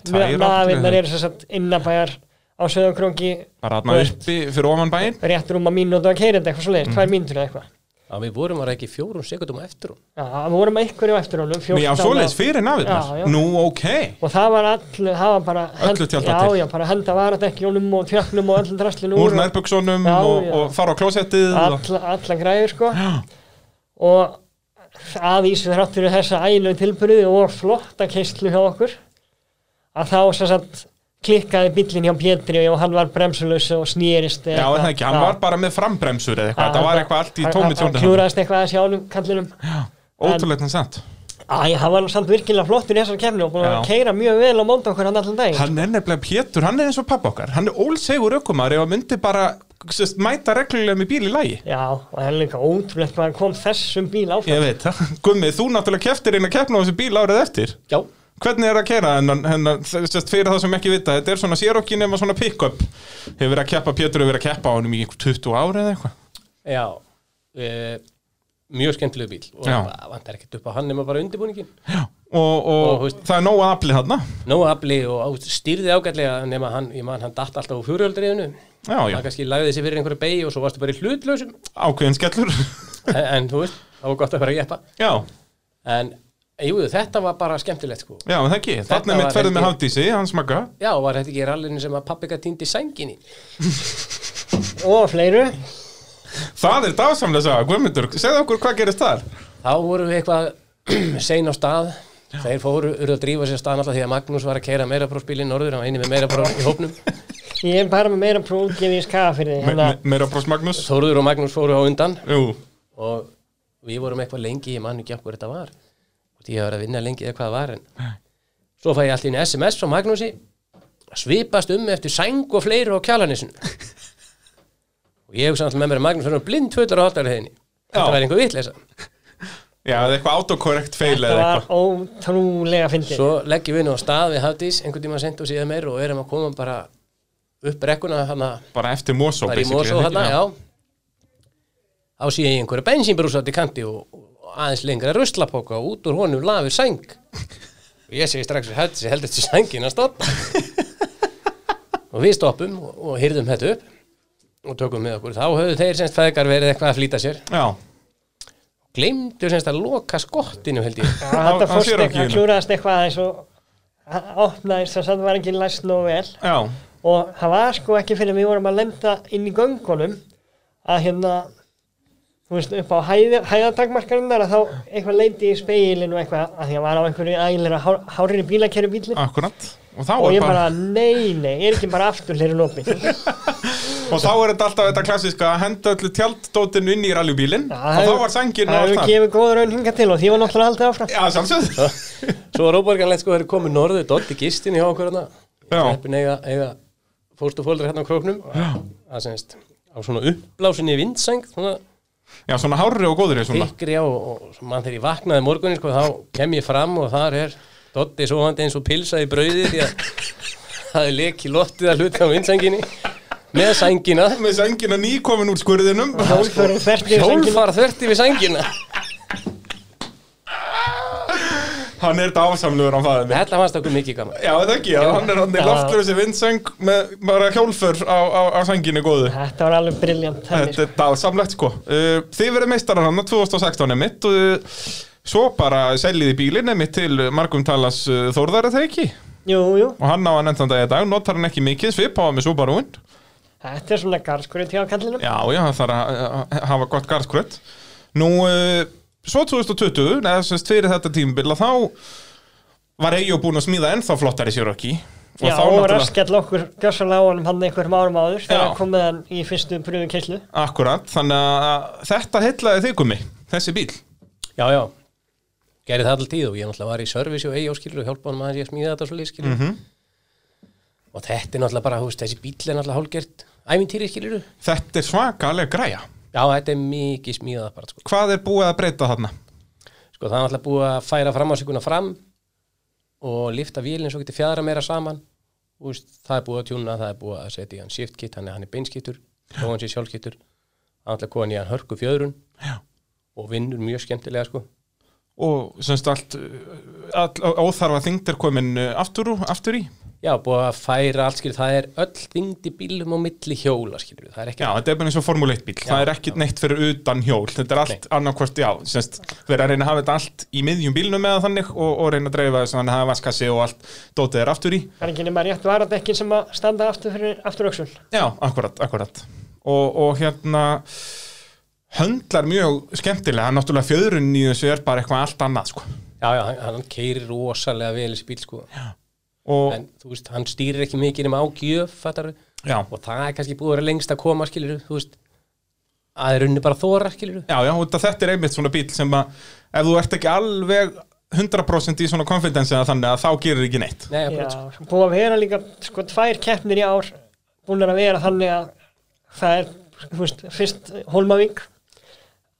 Tvær á- Nafinnar eru sem sagt innabæjar á Söðakróki bara hann uppi fyrir ofan bæinn rétt rúma mínútu að keira þetta eitthvað svo Mhm. leiðist, tvær mínútur eða eitthvað Já, við vorum var ekki fjórum sekundum á eftir hún Já, við vorum einhverju á eftir honum Já, 14 svoleiðis að- fyrir Já, nafinnar já. Nú, ok Og það var allu, það var bara Öllu tjaldað Já, til. já, bara henda varat ekki honum og tjöknum og öllum draslinu Úr nærbuksunum Já, og, já. og fara á klósettið og- alla, alla græður sko og að ísum þrátt fyrir þessa ælu tilbyrði og flotta keislu hjá okkur að þá sem sagt klikkaði bíllinn hjá Pétri og hann var bremsulös og snýrist Já, er það ekki, hann var bara með frambremsur eða eitthvað, það var eitthvað allt í tómi hann tjónir klúraðist eitthvað að sjálfum kallinum Ótrúlegt en samt Æ, hann var samt virkilega flottur í þessar kemni og búin Já. að keira mjög vel á mónd okkur hann allan dag Hann er nefnilega Pétur, hann er eins og pappa okkar Hann er ólsegur ökumar ef hann myndi bara sest, mæta reglulega með bíl í lagi Já, og það er líka ótrúlegt hvað hann kom þessum bíl áfram Ég veit það Gummi, þú náttúrulega keftir inn að keppna á þessu bíl árið eftir Já, Hvernig er að kera hennan, hennan sest, fyrir það sem ekki vita, þetta er svona sérokki nema svona pick-up Hefur verið að keppa, Pétur hefur verið að keppa á honum í einhver 20 ári eða eitthvað já e, Mjög skemmtilegu bíl og Já. það vantar ekkert upp á hann nema bara undirbúningin Og, og, Og, veist- það er nóg aðafli þarna Nó afli og á, stýrði ágætlega nema hann, ég man, hann datt alltaf á fjórhjóldriðinu Já, já, hann kannski lagði sig fyrir einhverju beigi og svo varstu bara í hlutlausum ákveðin skellur en, en þú veist, það var gott að vera að jeppa Já, en jú, þetta var bara skemmtilegt sko já, en það ekki Þarna er var mitt ferðið með ekki- Hafdísi, hans magga Já, var þetta ekki rallinu sem að pappi gæti týndi sænginni og fleiru Það er dásamlega saga, Guðmundur, segð okkur hvað gerist þar Þá vorum við eitthvað sein á stað Þeir fóru, urðu að drífa sér af stað alltaf því að Magnús var að keira meira bróspílinn norður hann var eini með meira brós í hópnum Ég er bara með meira prófgið í skafirði Me- hérna. me- Meira brós Magnús Þóruður og Magnús fóru á undan Jú, og við vorum eitthvað lengi, ég man ekki af hverju þetta var og því að vera að vinna lengi eða hvað það var en svo fæ ég allt í einu SMS frá Magnúsi að svipast um eftir sæng og fleiri á kjalanissun og ég hugsa alltaf með mér að Magnús verður blind tvötur á hotarleginni þetta Já. væri einhver vitleysa Já, það er eitthvað autokorrekt feil eða það var eitthvað ótrúlega fyndið svo leggjum við nú á stað við Hafdís einhvern tíma sent og síðan meir og erum að koma bara upp rekkuna hana Bara eftir Mosó bara í basically, Mosó er það hana, ekki? já þá sé ég einhverja bensínbrúsa til kanti og, og aðeins lengra ruslapoka og út úr honum lafir sæng og ég segi strax við Hafdís heldur þessi sængin að stoppa og við stoppum og, og hyrðum þetta upp og tökum með okkur þá höfðu þeir semst fæðgar verið eitthvað að flýta sér Já, gleymdu semst að loka skottinu held ég Já, Á- á þetta fórst sér á eitthvað, kílinu. klúraðast eitthvað aðeins og það opnaðist þess að það var ekki læst nóg vel já, og það var sko ekki fyrir við vorum að lenda inn í göngunum að hérna þú veist upp á hæð, hæðatakmarkarinnar að þá eitthvað leiti í speilin og eitthvað að því að var á einhverju ægilega hár, hárinu bílakerri bílin akkurat Og þá og er ég bara bara nei nei, ég er ekki bara aftur hlirin opið Og þá er þetta alltaf þetta klassiska að henda öllu tjalddótinu inn í rallybílinn og þá var sængin og það allt hefur það gefið góður raun hinga til og því var náttúrulega haldið áfram Já, sjálfsögð Svo var óborganlegt sko að þeir komið norðu Dotti gistin hjá okkur hana Já. Sleppin eiga, eiga fóstufóldri hérna á króknum Það semst á svona uppblásinni vindseng svona Já, svona hárri og góðri svona þykri á og, og mann þegar ég vaknaði morgunin sko þá kem ég fram og þar er Dotti sofandi eins og pilsa í brauði því að það er leki lottið að hluta á vindsenginni með sængina Með sængina nýkomin úr skurðinum Hjólfari þvert yfir sængina. Hjólfar þörti við sængina Hann er þetta ásamlugur á faðið minn Þetta fannst okkur mikið gaman Já, þetta ekki, já, hann er hann í Já. loftlösi vindseng með bara hjólfur á, á, á sænginu góðu þetta var alveg briljant Þetta er dásamlegt sko Uh, Þið verið meistarar hann 2016 emitt og uh, svo bara seljiði bílinn emitt til margum talas uh, Þórðar er það ekki jú, jú, og hann á hann ennþann dag í dag, notar hann ekki mikið svipaða með Subaruinn þetta er svona garðskurinn til á kallinum Já, já, það þarf að að hafa gott garðskrödd Nú, uh, svo 2020 neða semst fyrir þetta tímabilla þá var Eyjó búin að smíða ennþá flottari sér ekki Já, og raskall okkur gjössalega á honum hann einhverjum árum áður þegar Já. komið hann í fyrstu pröfu keislu Akkurat, þannig að þetta hellaði þig um mig, þessi bíl Já, já, gerði það alltaf tíð og ég náttúrulega var í service og eigi áskilur og hjálpa hann maður ég að smíða þetta svo leiðskilur mm og þetta er náttúrulega bara, þú veist, þessi bíl er náttúrulega hálgert ævintýri skilur Þetta er svakalega græja Já, þetta er mikið smíðað bara, sko. Hvað er búið að breyta þarna? sko það er náttúrulega búið að færa fram á siguna fram og lifta vílinn svo getið fjadra meira saman Þú veist, það er búið að tjúna, það er búið að setja í hann shift kit, hann er, hann er beinskittur og hann sé sjálfskittur, hann ætla að koma hann í hann hörku fjöðrun Já. og vinnur mjög skemmtilega sko. Og semst allt uh, all, óþarfa þyngd er komin uh, aftur, úr- aftur í Já, búið að færa allt skilur, það er öll þyngd í bílum og milli hjóla skilur, það er ekki Já, þetta er bara eins og Formule 1 bíl Það er ekkit neitt fyrir utan hjól Þetta er allt annarkvort, já, semst Verið að reyna að hafa þetta allt í miðjum bílnum eða þannig og, og reyna að dreifa þess að hafa vaskassi og allt Dótið er aftur í Það er ekki nema rétt varadekkin sem að standa aftur fyrir afturöksul Já, akkurat, akkurat Og, og hérna höndlar mjög skemmtilega náttúrulega fjöðrun í þessu er bara eitthvað allt annað sko. Já, já, hann, hann keirir rosalega vel þessi bíl sko. og en þú veist, hann stýrir ekki mikið nema á gjöf fattar, já, og það er kannski búið að vera lengst að koma skilur, þú veist að er unni bara þóra skilur Já, já, og þetta er einmitt svona bíl sem að ef þú ert ekki alveg 100% í svona confidence eða þannig að þá gerir ekki neitt. Nei, Já, bara, sko. sem búið að vera líka sko tvær keppnir í ár búin að vera þannig að það er, þú veist, fyrst Holmavík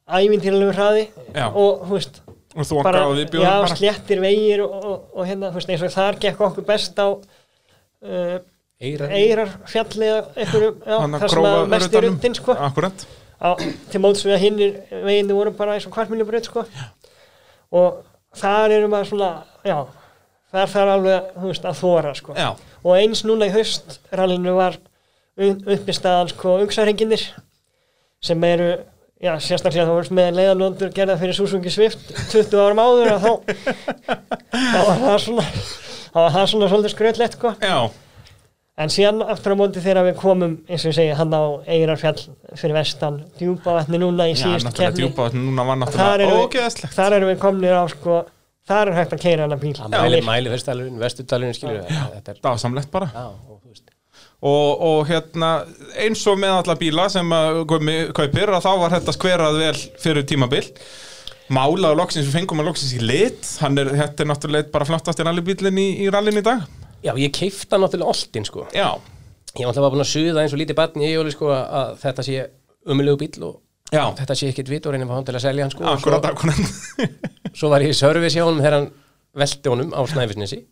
ævintýralegu hraði Já. og, þú veist, Og þú bara, okkar og við já, bjóðum bara. sléttir vegir og, og, og hérna, þú veist, eins og þar gekk okkur best á uh, Eirar, eirar fjallið einhverju, já, Þannig það að sem grófa að mest í rutanum. rundin, sko Akkurat. á, til móts við að hinnir veginni voru bara eins og kvartmiljubraut sko. og þar eru maður svona já, þar þarf alveg þú veist, að þóra sko. Já. og eins núna í haust rallinu var uppistaðan sko, ungsarenginir sem eru já, sérstaklega þá voru með leiðanóndur gerða fyrir Susungi Swift 20 árum áður að þá þá var það svona þá var það svona svolítið skröðlegt sko. Já, En síðan aftur á móti þegar við komum, eins og ég segi, hann á Eirarfjall fyrir vestan, djúpa vatni núna í já, síðust náttúrulega kefni. djúpa, núna var Þar náttúrulega erum, við, ógeðslegt. þar erum við komnir á, sko, þar er hægt að keira hana bíl. hann mæli, mæli verstalun, vestudalun skilur, þetta er Dásamlegt bara. já, og, þú veist, Og, og hérna, eins og með alla bíla sem að Gumi kaupir að þá var þetta skverað vel fyrir tímabil. Málað og loksins, við fengum að loksins í lit Hann er, þetta er náttúrulega bara flottast en allir bílinn í, í rallin í dag Já, ég keifta náttúrulega oltinn sko Já, Ég var alltaf bara búin að suða eins og lítið batn í Jóli sko að- að þetta sé umulegu bíl og já, þetta sé ekkit vit og reynir hann til að selja hann sko og akkurat, akkurat svo, svo var ég í service hjá honum þegar hann velti honum á Snæfisnesi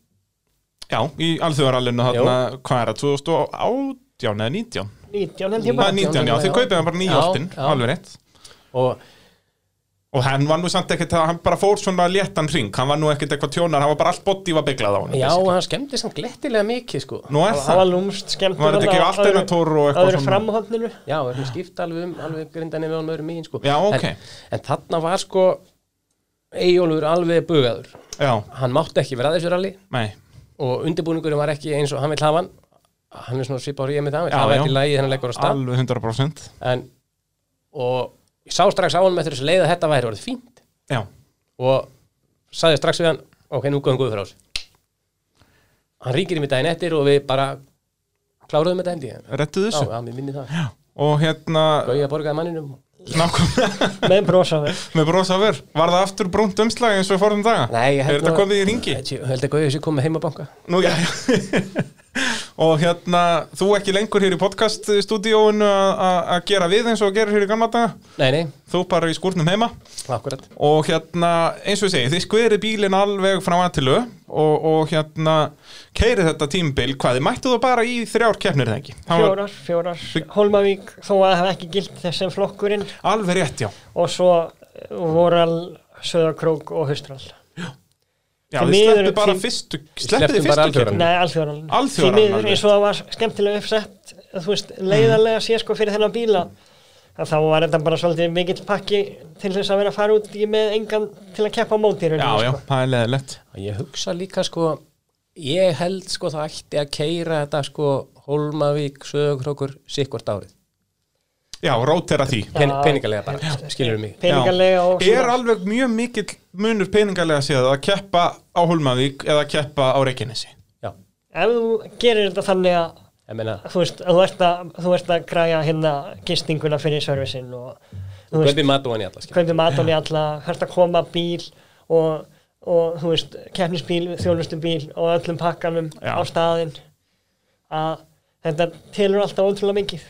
Já, í alþjóðarallinu þarna, hvað er það, 2018 eða 19? 19 held ég Það bara er 19, já, já. þið kaupið hann bara Já, nýjóltinn, já. alveg rétt og Og hann var nú samt ekkert, hann bara fór svona léttan ring, hann var nú ekkert eitthvað tjónar, hann var bara allt bótti var bygglað á hann já, hann skemmti samt glettilega mikið sko Nú er Það það, var lúmst skemmt Var þetta ekki alternator og eitthvað Öðru svona? framhóttninu Já, við erum skipt alveg um, alveg grindanir með honum öðrum mín sko Já, ok. en, en þarna var sko Eyjólfur alveg bugaður já, Hann mátti ekki vera að þessu rally nei og undirbúningurinn var ekki eins og hann vil hafa hann Hann er svona svipað og ég með það, hann Já, vil hafa já. þetta í lagi þegar hann leggur á stað Alveg 100% en, og ég sá strax á hann með þessu leið að þetta væri orðið fínt Já, og sagði strax við hann ok, nú góðum góðu frá þessu hann ringir í mig daginn eftir og við bara kláruðum þetta hendi já, rettu þessu já, mér minni það, Og hérna, gauði að borgaði manninum nákvæmlega með brosaði með brosaver Var það aftur brúnt umslag eins og við fórum daga? Nei, ég Er held þetta nú- komið í ringi? Ég held að gauði þessi komið heimabanka Nú, já, já Og hérna, þú ekki lengur hér í podcaststúdíóinu að gera við eins og að gera hér í gamla daga nei, nei, Þú bara í skúrnum heima akkurat Og hérna, eins og ég segi, þið skverið bílinn alveg frá aðtilu og, og hérna, keirið þetta tímbil hvað, þið mættu þú bara í þrjár keppnir eða ekki? Það var Fjórar, fjórar, Holmavík þó að það hef ekki gilt þessum flokkurinn Alveg rétt, já, og svo eh, Voral, Söðakrók og Hustral já Því Þið miður- sleppið bara því- fyrstu, slepptum sleppið þið bara fyrstu alþjóðanum. keppnir Nei, alþjóðan Alþjóðanum, Því miður Mm. alveg. Mm. eins og það var skemmtilega uppsett þú veist, leiðarlega sé sko fyrir þennan bíla að þá var þetta bara svolítið mikill pakki til þess að vera að fara út í með engan til að keppa á móti Já, í rauninni, já, sko. það er leðilegt ég hugsa líka sko ég held sko það ætti að keira þetta sko Holmavík, Söðukrókur, Sikvart árið Já, rótera því Pen, Já. peningalega bara, skilur mig peningalega og Já. Er svona. alveg mjög mikill munur peningalega séð að keppa á Hólmavík eða að keppa á Reykjanesi já, ef þú gerir þetta þannig að ég meina þú veist, að þú ert að, þú ert að græja hérna gistinguna fyrir servicin og þú veist, Gauði matúan í alla skilur kaupið matan í alla, hvert að koma bíl og, og þú veist, keppnisbíl, þjónustubíl og öllum pakkanum Já. á staðinn að þetta telur alltaf ótrúlega mikið.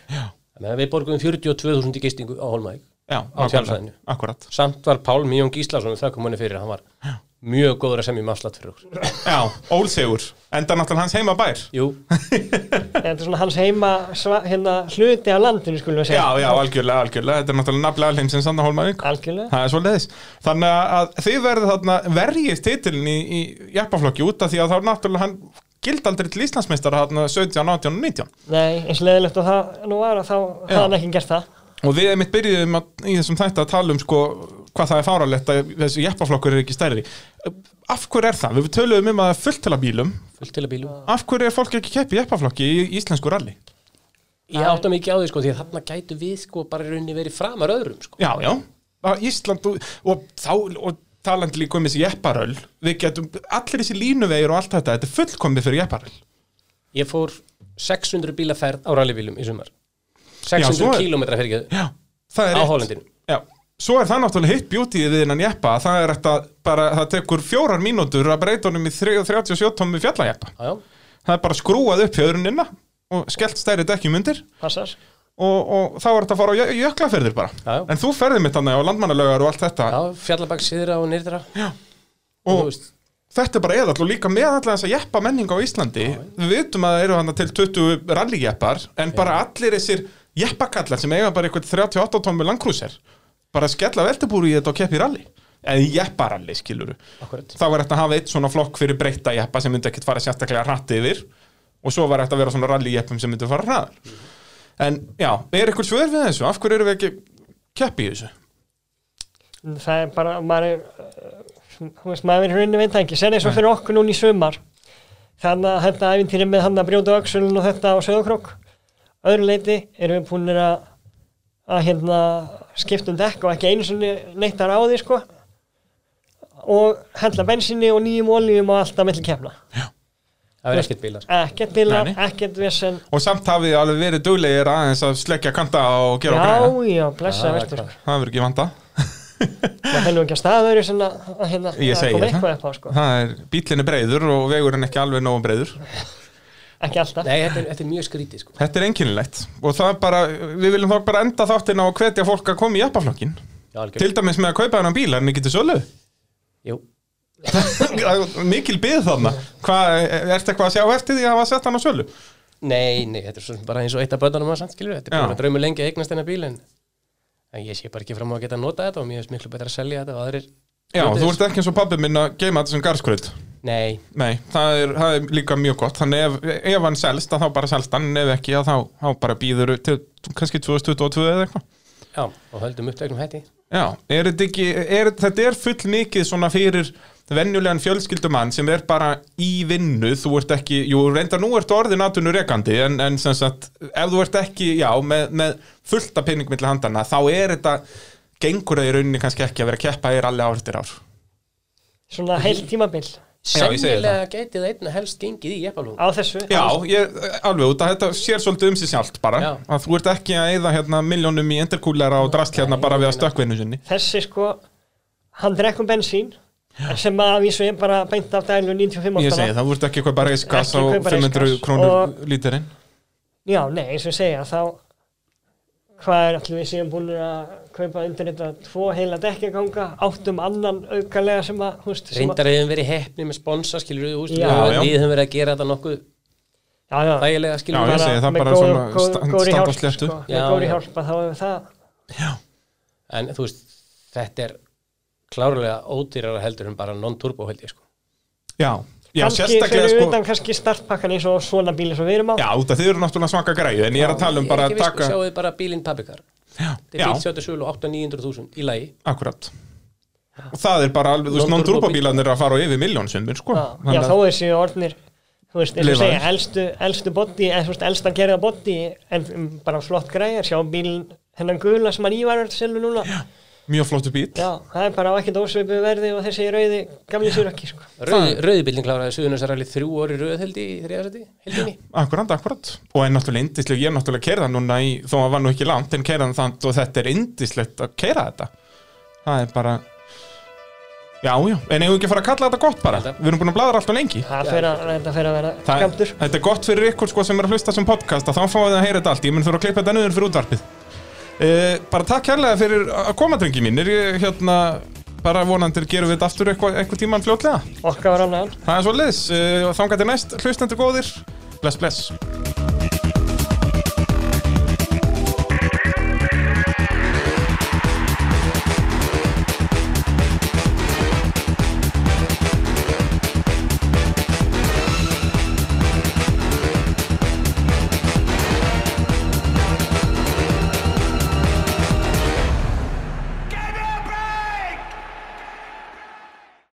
Þannig að við borgum 42.000 í gistingu á Holmæk. Já, tjálsvæðinu. akkurat Samt var Pál Míjón Gíslason, það kom henni fyrir, hann var mjög góður að semja um afslátt fyrir okkur. Já, ólsegur, enda náttúrulega hans heima bær Jú, þetta er svona hans heima sva, hérna, hluti af landinu, skulum við segja. Já, já, algjörlega, algjörlega, þetta er náttúrulega nafnilega alheimsins annar Hólmavík Algjörlega. Það er svolítið Þannig að þið verðið þarna verjist titilin í, í jeppaflokki út af því að þá er náttúrulega hann gildaldri til Íslandsmeistara þarna 17, 18 og 19 Nei, eins leðilegt og það nú var að þá hafði Já. hann ekki gert það. og við einmitt byrjuðum að, í þessum þætti að tala um sko, hvað það er fáralegt að þessi jeppaflokkur er ekki stærri af hverju er það? Við töluðum um að það er fullt til að bílum fullt til að bílum. af hverju er fólk ekki keppi jeppaflokki í íslensku rally? Ég átta mikið á því, sko, því að þarna gætu við, sko, bara í rauninni verið framar öðrum, sko. Já, já, Að Ísland og, og, þá, og talandi líka um þessi jepparöll við getum, allir þessi línuvegir og allt þetta þetta er fullkomið fyrir jepparöll Ég fór 600 bílaferð á rallybílum í sumar. svo 600 er- kílómetra fyrir ekki Já, það er á rétt. Hollendinu. Já, svo er það náttúrulega hitt bjútið við innan jeppa að það er þetta bara, það tekur fjórar mínútur að breyta honum í 37 tómmi fjallajeppa Já, já. það er bara skrúað upp hjöðrunina og skellt stærri dekkjum undir Passar. og, og þá er þetta að fara á jö- jöklaferðir bara Já, já. en þú ferðir mitt þannig á landmannalögar og allt þetta Já, fjallabak síðra og nýrdra. Já. Og- Og, þú veist, þetta er bara eðall og líka með allar þess að jeppa menning á Íslandi við vitum að það eru hann til 20 rallyjeppar en bara allir þessir jeppakallar sem eiga bara eitthvað 38 tómmu langkrúsir bara skella veltebúru í þetta og keppi í rally eða í jepparalli skiluru Akkúrat. þá var þetta að hafa eitt svona flokk fyrir breyta jeppa sem myndi ekkit fara sérstaklega hratt yfir og svo var þetta að vera svona rallyjeppum sem myndi fara hraðar en já, er eitthvað svör við þessu? af hverju eru við ekki keppi í þessu? það er bara maður er, uh, þú veist, maður er í rauninni veit það ekki sér eins og fyrir okkur núna í sumar þannig að þetta æfintýri með hann að brjóta öxulun og þetta á söðokrók öðru leiti erum við búinir að að hérna skipta um dekk og ekki einu sinni neitt að ráði sko og hella bensinni og nýjum olíum og allt að milli kefna það verið ekkert bílar. sko. ekkert bílar, Nei, nei. ekkert vesen og samt hafið þið alveg verið duglegir aðeins að slekja kanta og gera og já, græja já, blessa Já, veistu það er sko. það hefur ekki vanda maður fennum ekki að staða öðru sem að, að hérna, Ég að segi koma það. eitthvað upp á sko. það er, bílinn er breyður og vegurinn ekki alveg nógu breyður ekki alltaf Nei, þetta er, þetta er mjög skrítið sko. þetta er einkennilegt og það er bara, við viljum þá bara enda þáttinn á að hvetja fólk að koma í appaflokkin Já, algjörlega. til dæmis með að kaupa hennan bíl en ekki til sölu Jú, Það er mikil byð þarna hvað, ertu eitthvað að sjá eftir því að hafa sett hann á sölu nei, nei, þetta er svo sem bara eins og eitt af börnunum að samt skilur Þetta er Já. bara draumur lengi að eignast þennan bíl en, en ég sé bara ekki fram á að geta nota þetta og mér finnst miklu betra að selja þetta og aðrir já, njóti þú þess. ert ekki eins og pabbi minn að geima þetta sem garskvöld Nei, nei, það er, það er líka mjög gott þannig ef, ef hann selst, að þá bara selst hann en ef ekki, að þá, þá bara býður til kannski 2022 eða eitthvað já, og höldum upptöknum hætti Já, er þetta ekki, er, þetta er full mikið svona fyrir venjulegan fjölskyldumann sem er bara í vinnu, þú ert ekki, jú, reyndar nú ertu orðin atvinnu rekandi, en, en sem sagt, ef þú ert ekki, já, með, með fullta pinning milli handana, þá er þetta, gengur það í rauninni kannski ekki að vera að keppa þér alveg ár eftir ár. svona heil tímabil Já, ég segi Sennilega gæti það einna helst gengið í eppalú á þessu Já, ég, alveg út að þetta sér svolítið um sig sjálft bara, Já. að þú ert ekki að eyða hérna miljónum í enderkúlera og drast hérna bara við að stökkvinnu sinni. þessi sko hann drekkum bensín sem að vísu ég bara beint af dælu 95 Ég áttafa. segi það, þú ert ekki eitthvað bara reisgas á Ekki kaupa 500 reisgas. krónur Og- lítirinn. já, nei, eins og ég segja þá hvað er allir við séum búin að kaupa undir þetta tvo heila dekkjaganga áttum annan aukalega sem að, húst, sem að Reyndar hefum verið hefni með sponsa skilur við, úst, Já. Já, já. við höfum verið að gera þetta nokkuð já, já, þægilega Já, skilur ég við segi það með bara góð- svona góð- stand- góðri standa hjálp, sléttu. sko, Já, með góðri já. hjálp að þá hefur það En þú veist, þetta er klárlega ódýrara heldur en bara non-turbo held ég sko Já, já kannski sérstaklega fyrir sko utan kannski startpakkan eins og svona bíli sem við erum á Já, út af þið eru náttúrulega svaka græðu En ég er að tala um bara Ég að er ekki viss, taka Sjáuðu bara bílinn pappikar Þetta er Já. bíl sjáðu sölu 8-900.000 í lagi Akkurat Og það er bara alveg, þú veist, Non-turbo non-turbo bílarnir að fara á yfir miljón sumbur, sko Já, Þannig já að- þó þessi orðnir þú veist, eins og Lifaðir. segja, elstu, elstu boddi eða þú veist, elstan gerða boddi en um, bara flott græjar, sjá bíl hennan gula sem hann ívarar til selvi núna já. Mjög flottu bíl það er bara á ekkert ósveipu verði og þessi rauði gamli sér ekki, sko Rauði, rauði bílinn kláraði Suðunarsaralið þrjú orði rauð held ég í þriðarsæti heldinni Akkurat, akkurat Og er náttúrulega indisleg, ég er náttúrulega keirða núna í Þó að var nú ekki langt, en keirðan þannig Og þetta er indislegt að keira þetta Það er bara Já, já, en eigum við ekki að fara að kalla þetta gott bara Þetta- Við erum búin að bladra alltaf lengi það fer að, þetta fer að vera Það- skamtur Þetta er gott fyrir ykkur sko sem er að hlusta sem podcast að þá fáið þið að heyra þetta allt, ég mun þurfa að klippa þetta nöður fyrir útvarpið uh, Bara takk hérlega fyrir að koma drengi mínir, ég hérna bara vonandir gerum við þetta aftur eitthvað, eitthvað tíman fljótlega okkar var annan Eh, Það er svo liðs, uh, þangar til næst, hlustendur góðir Bless, bless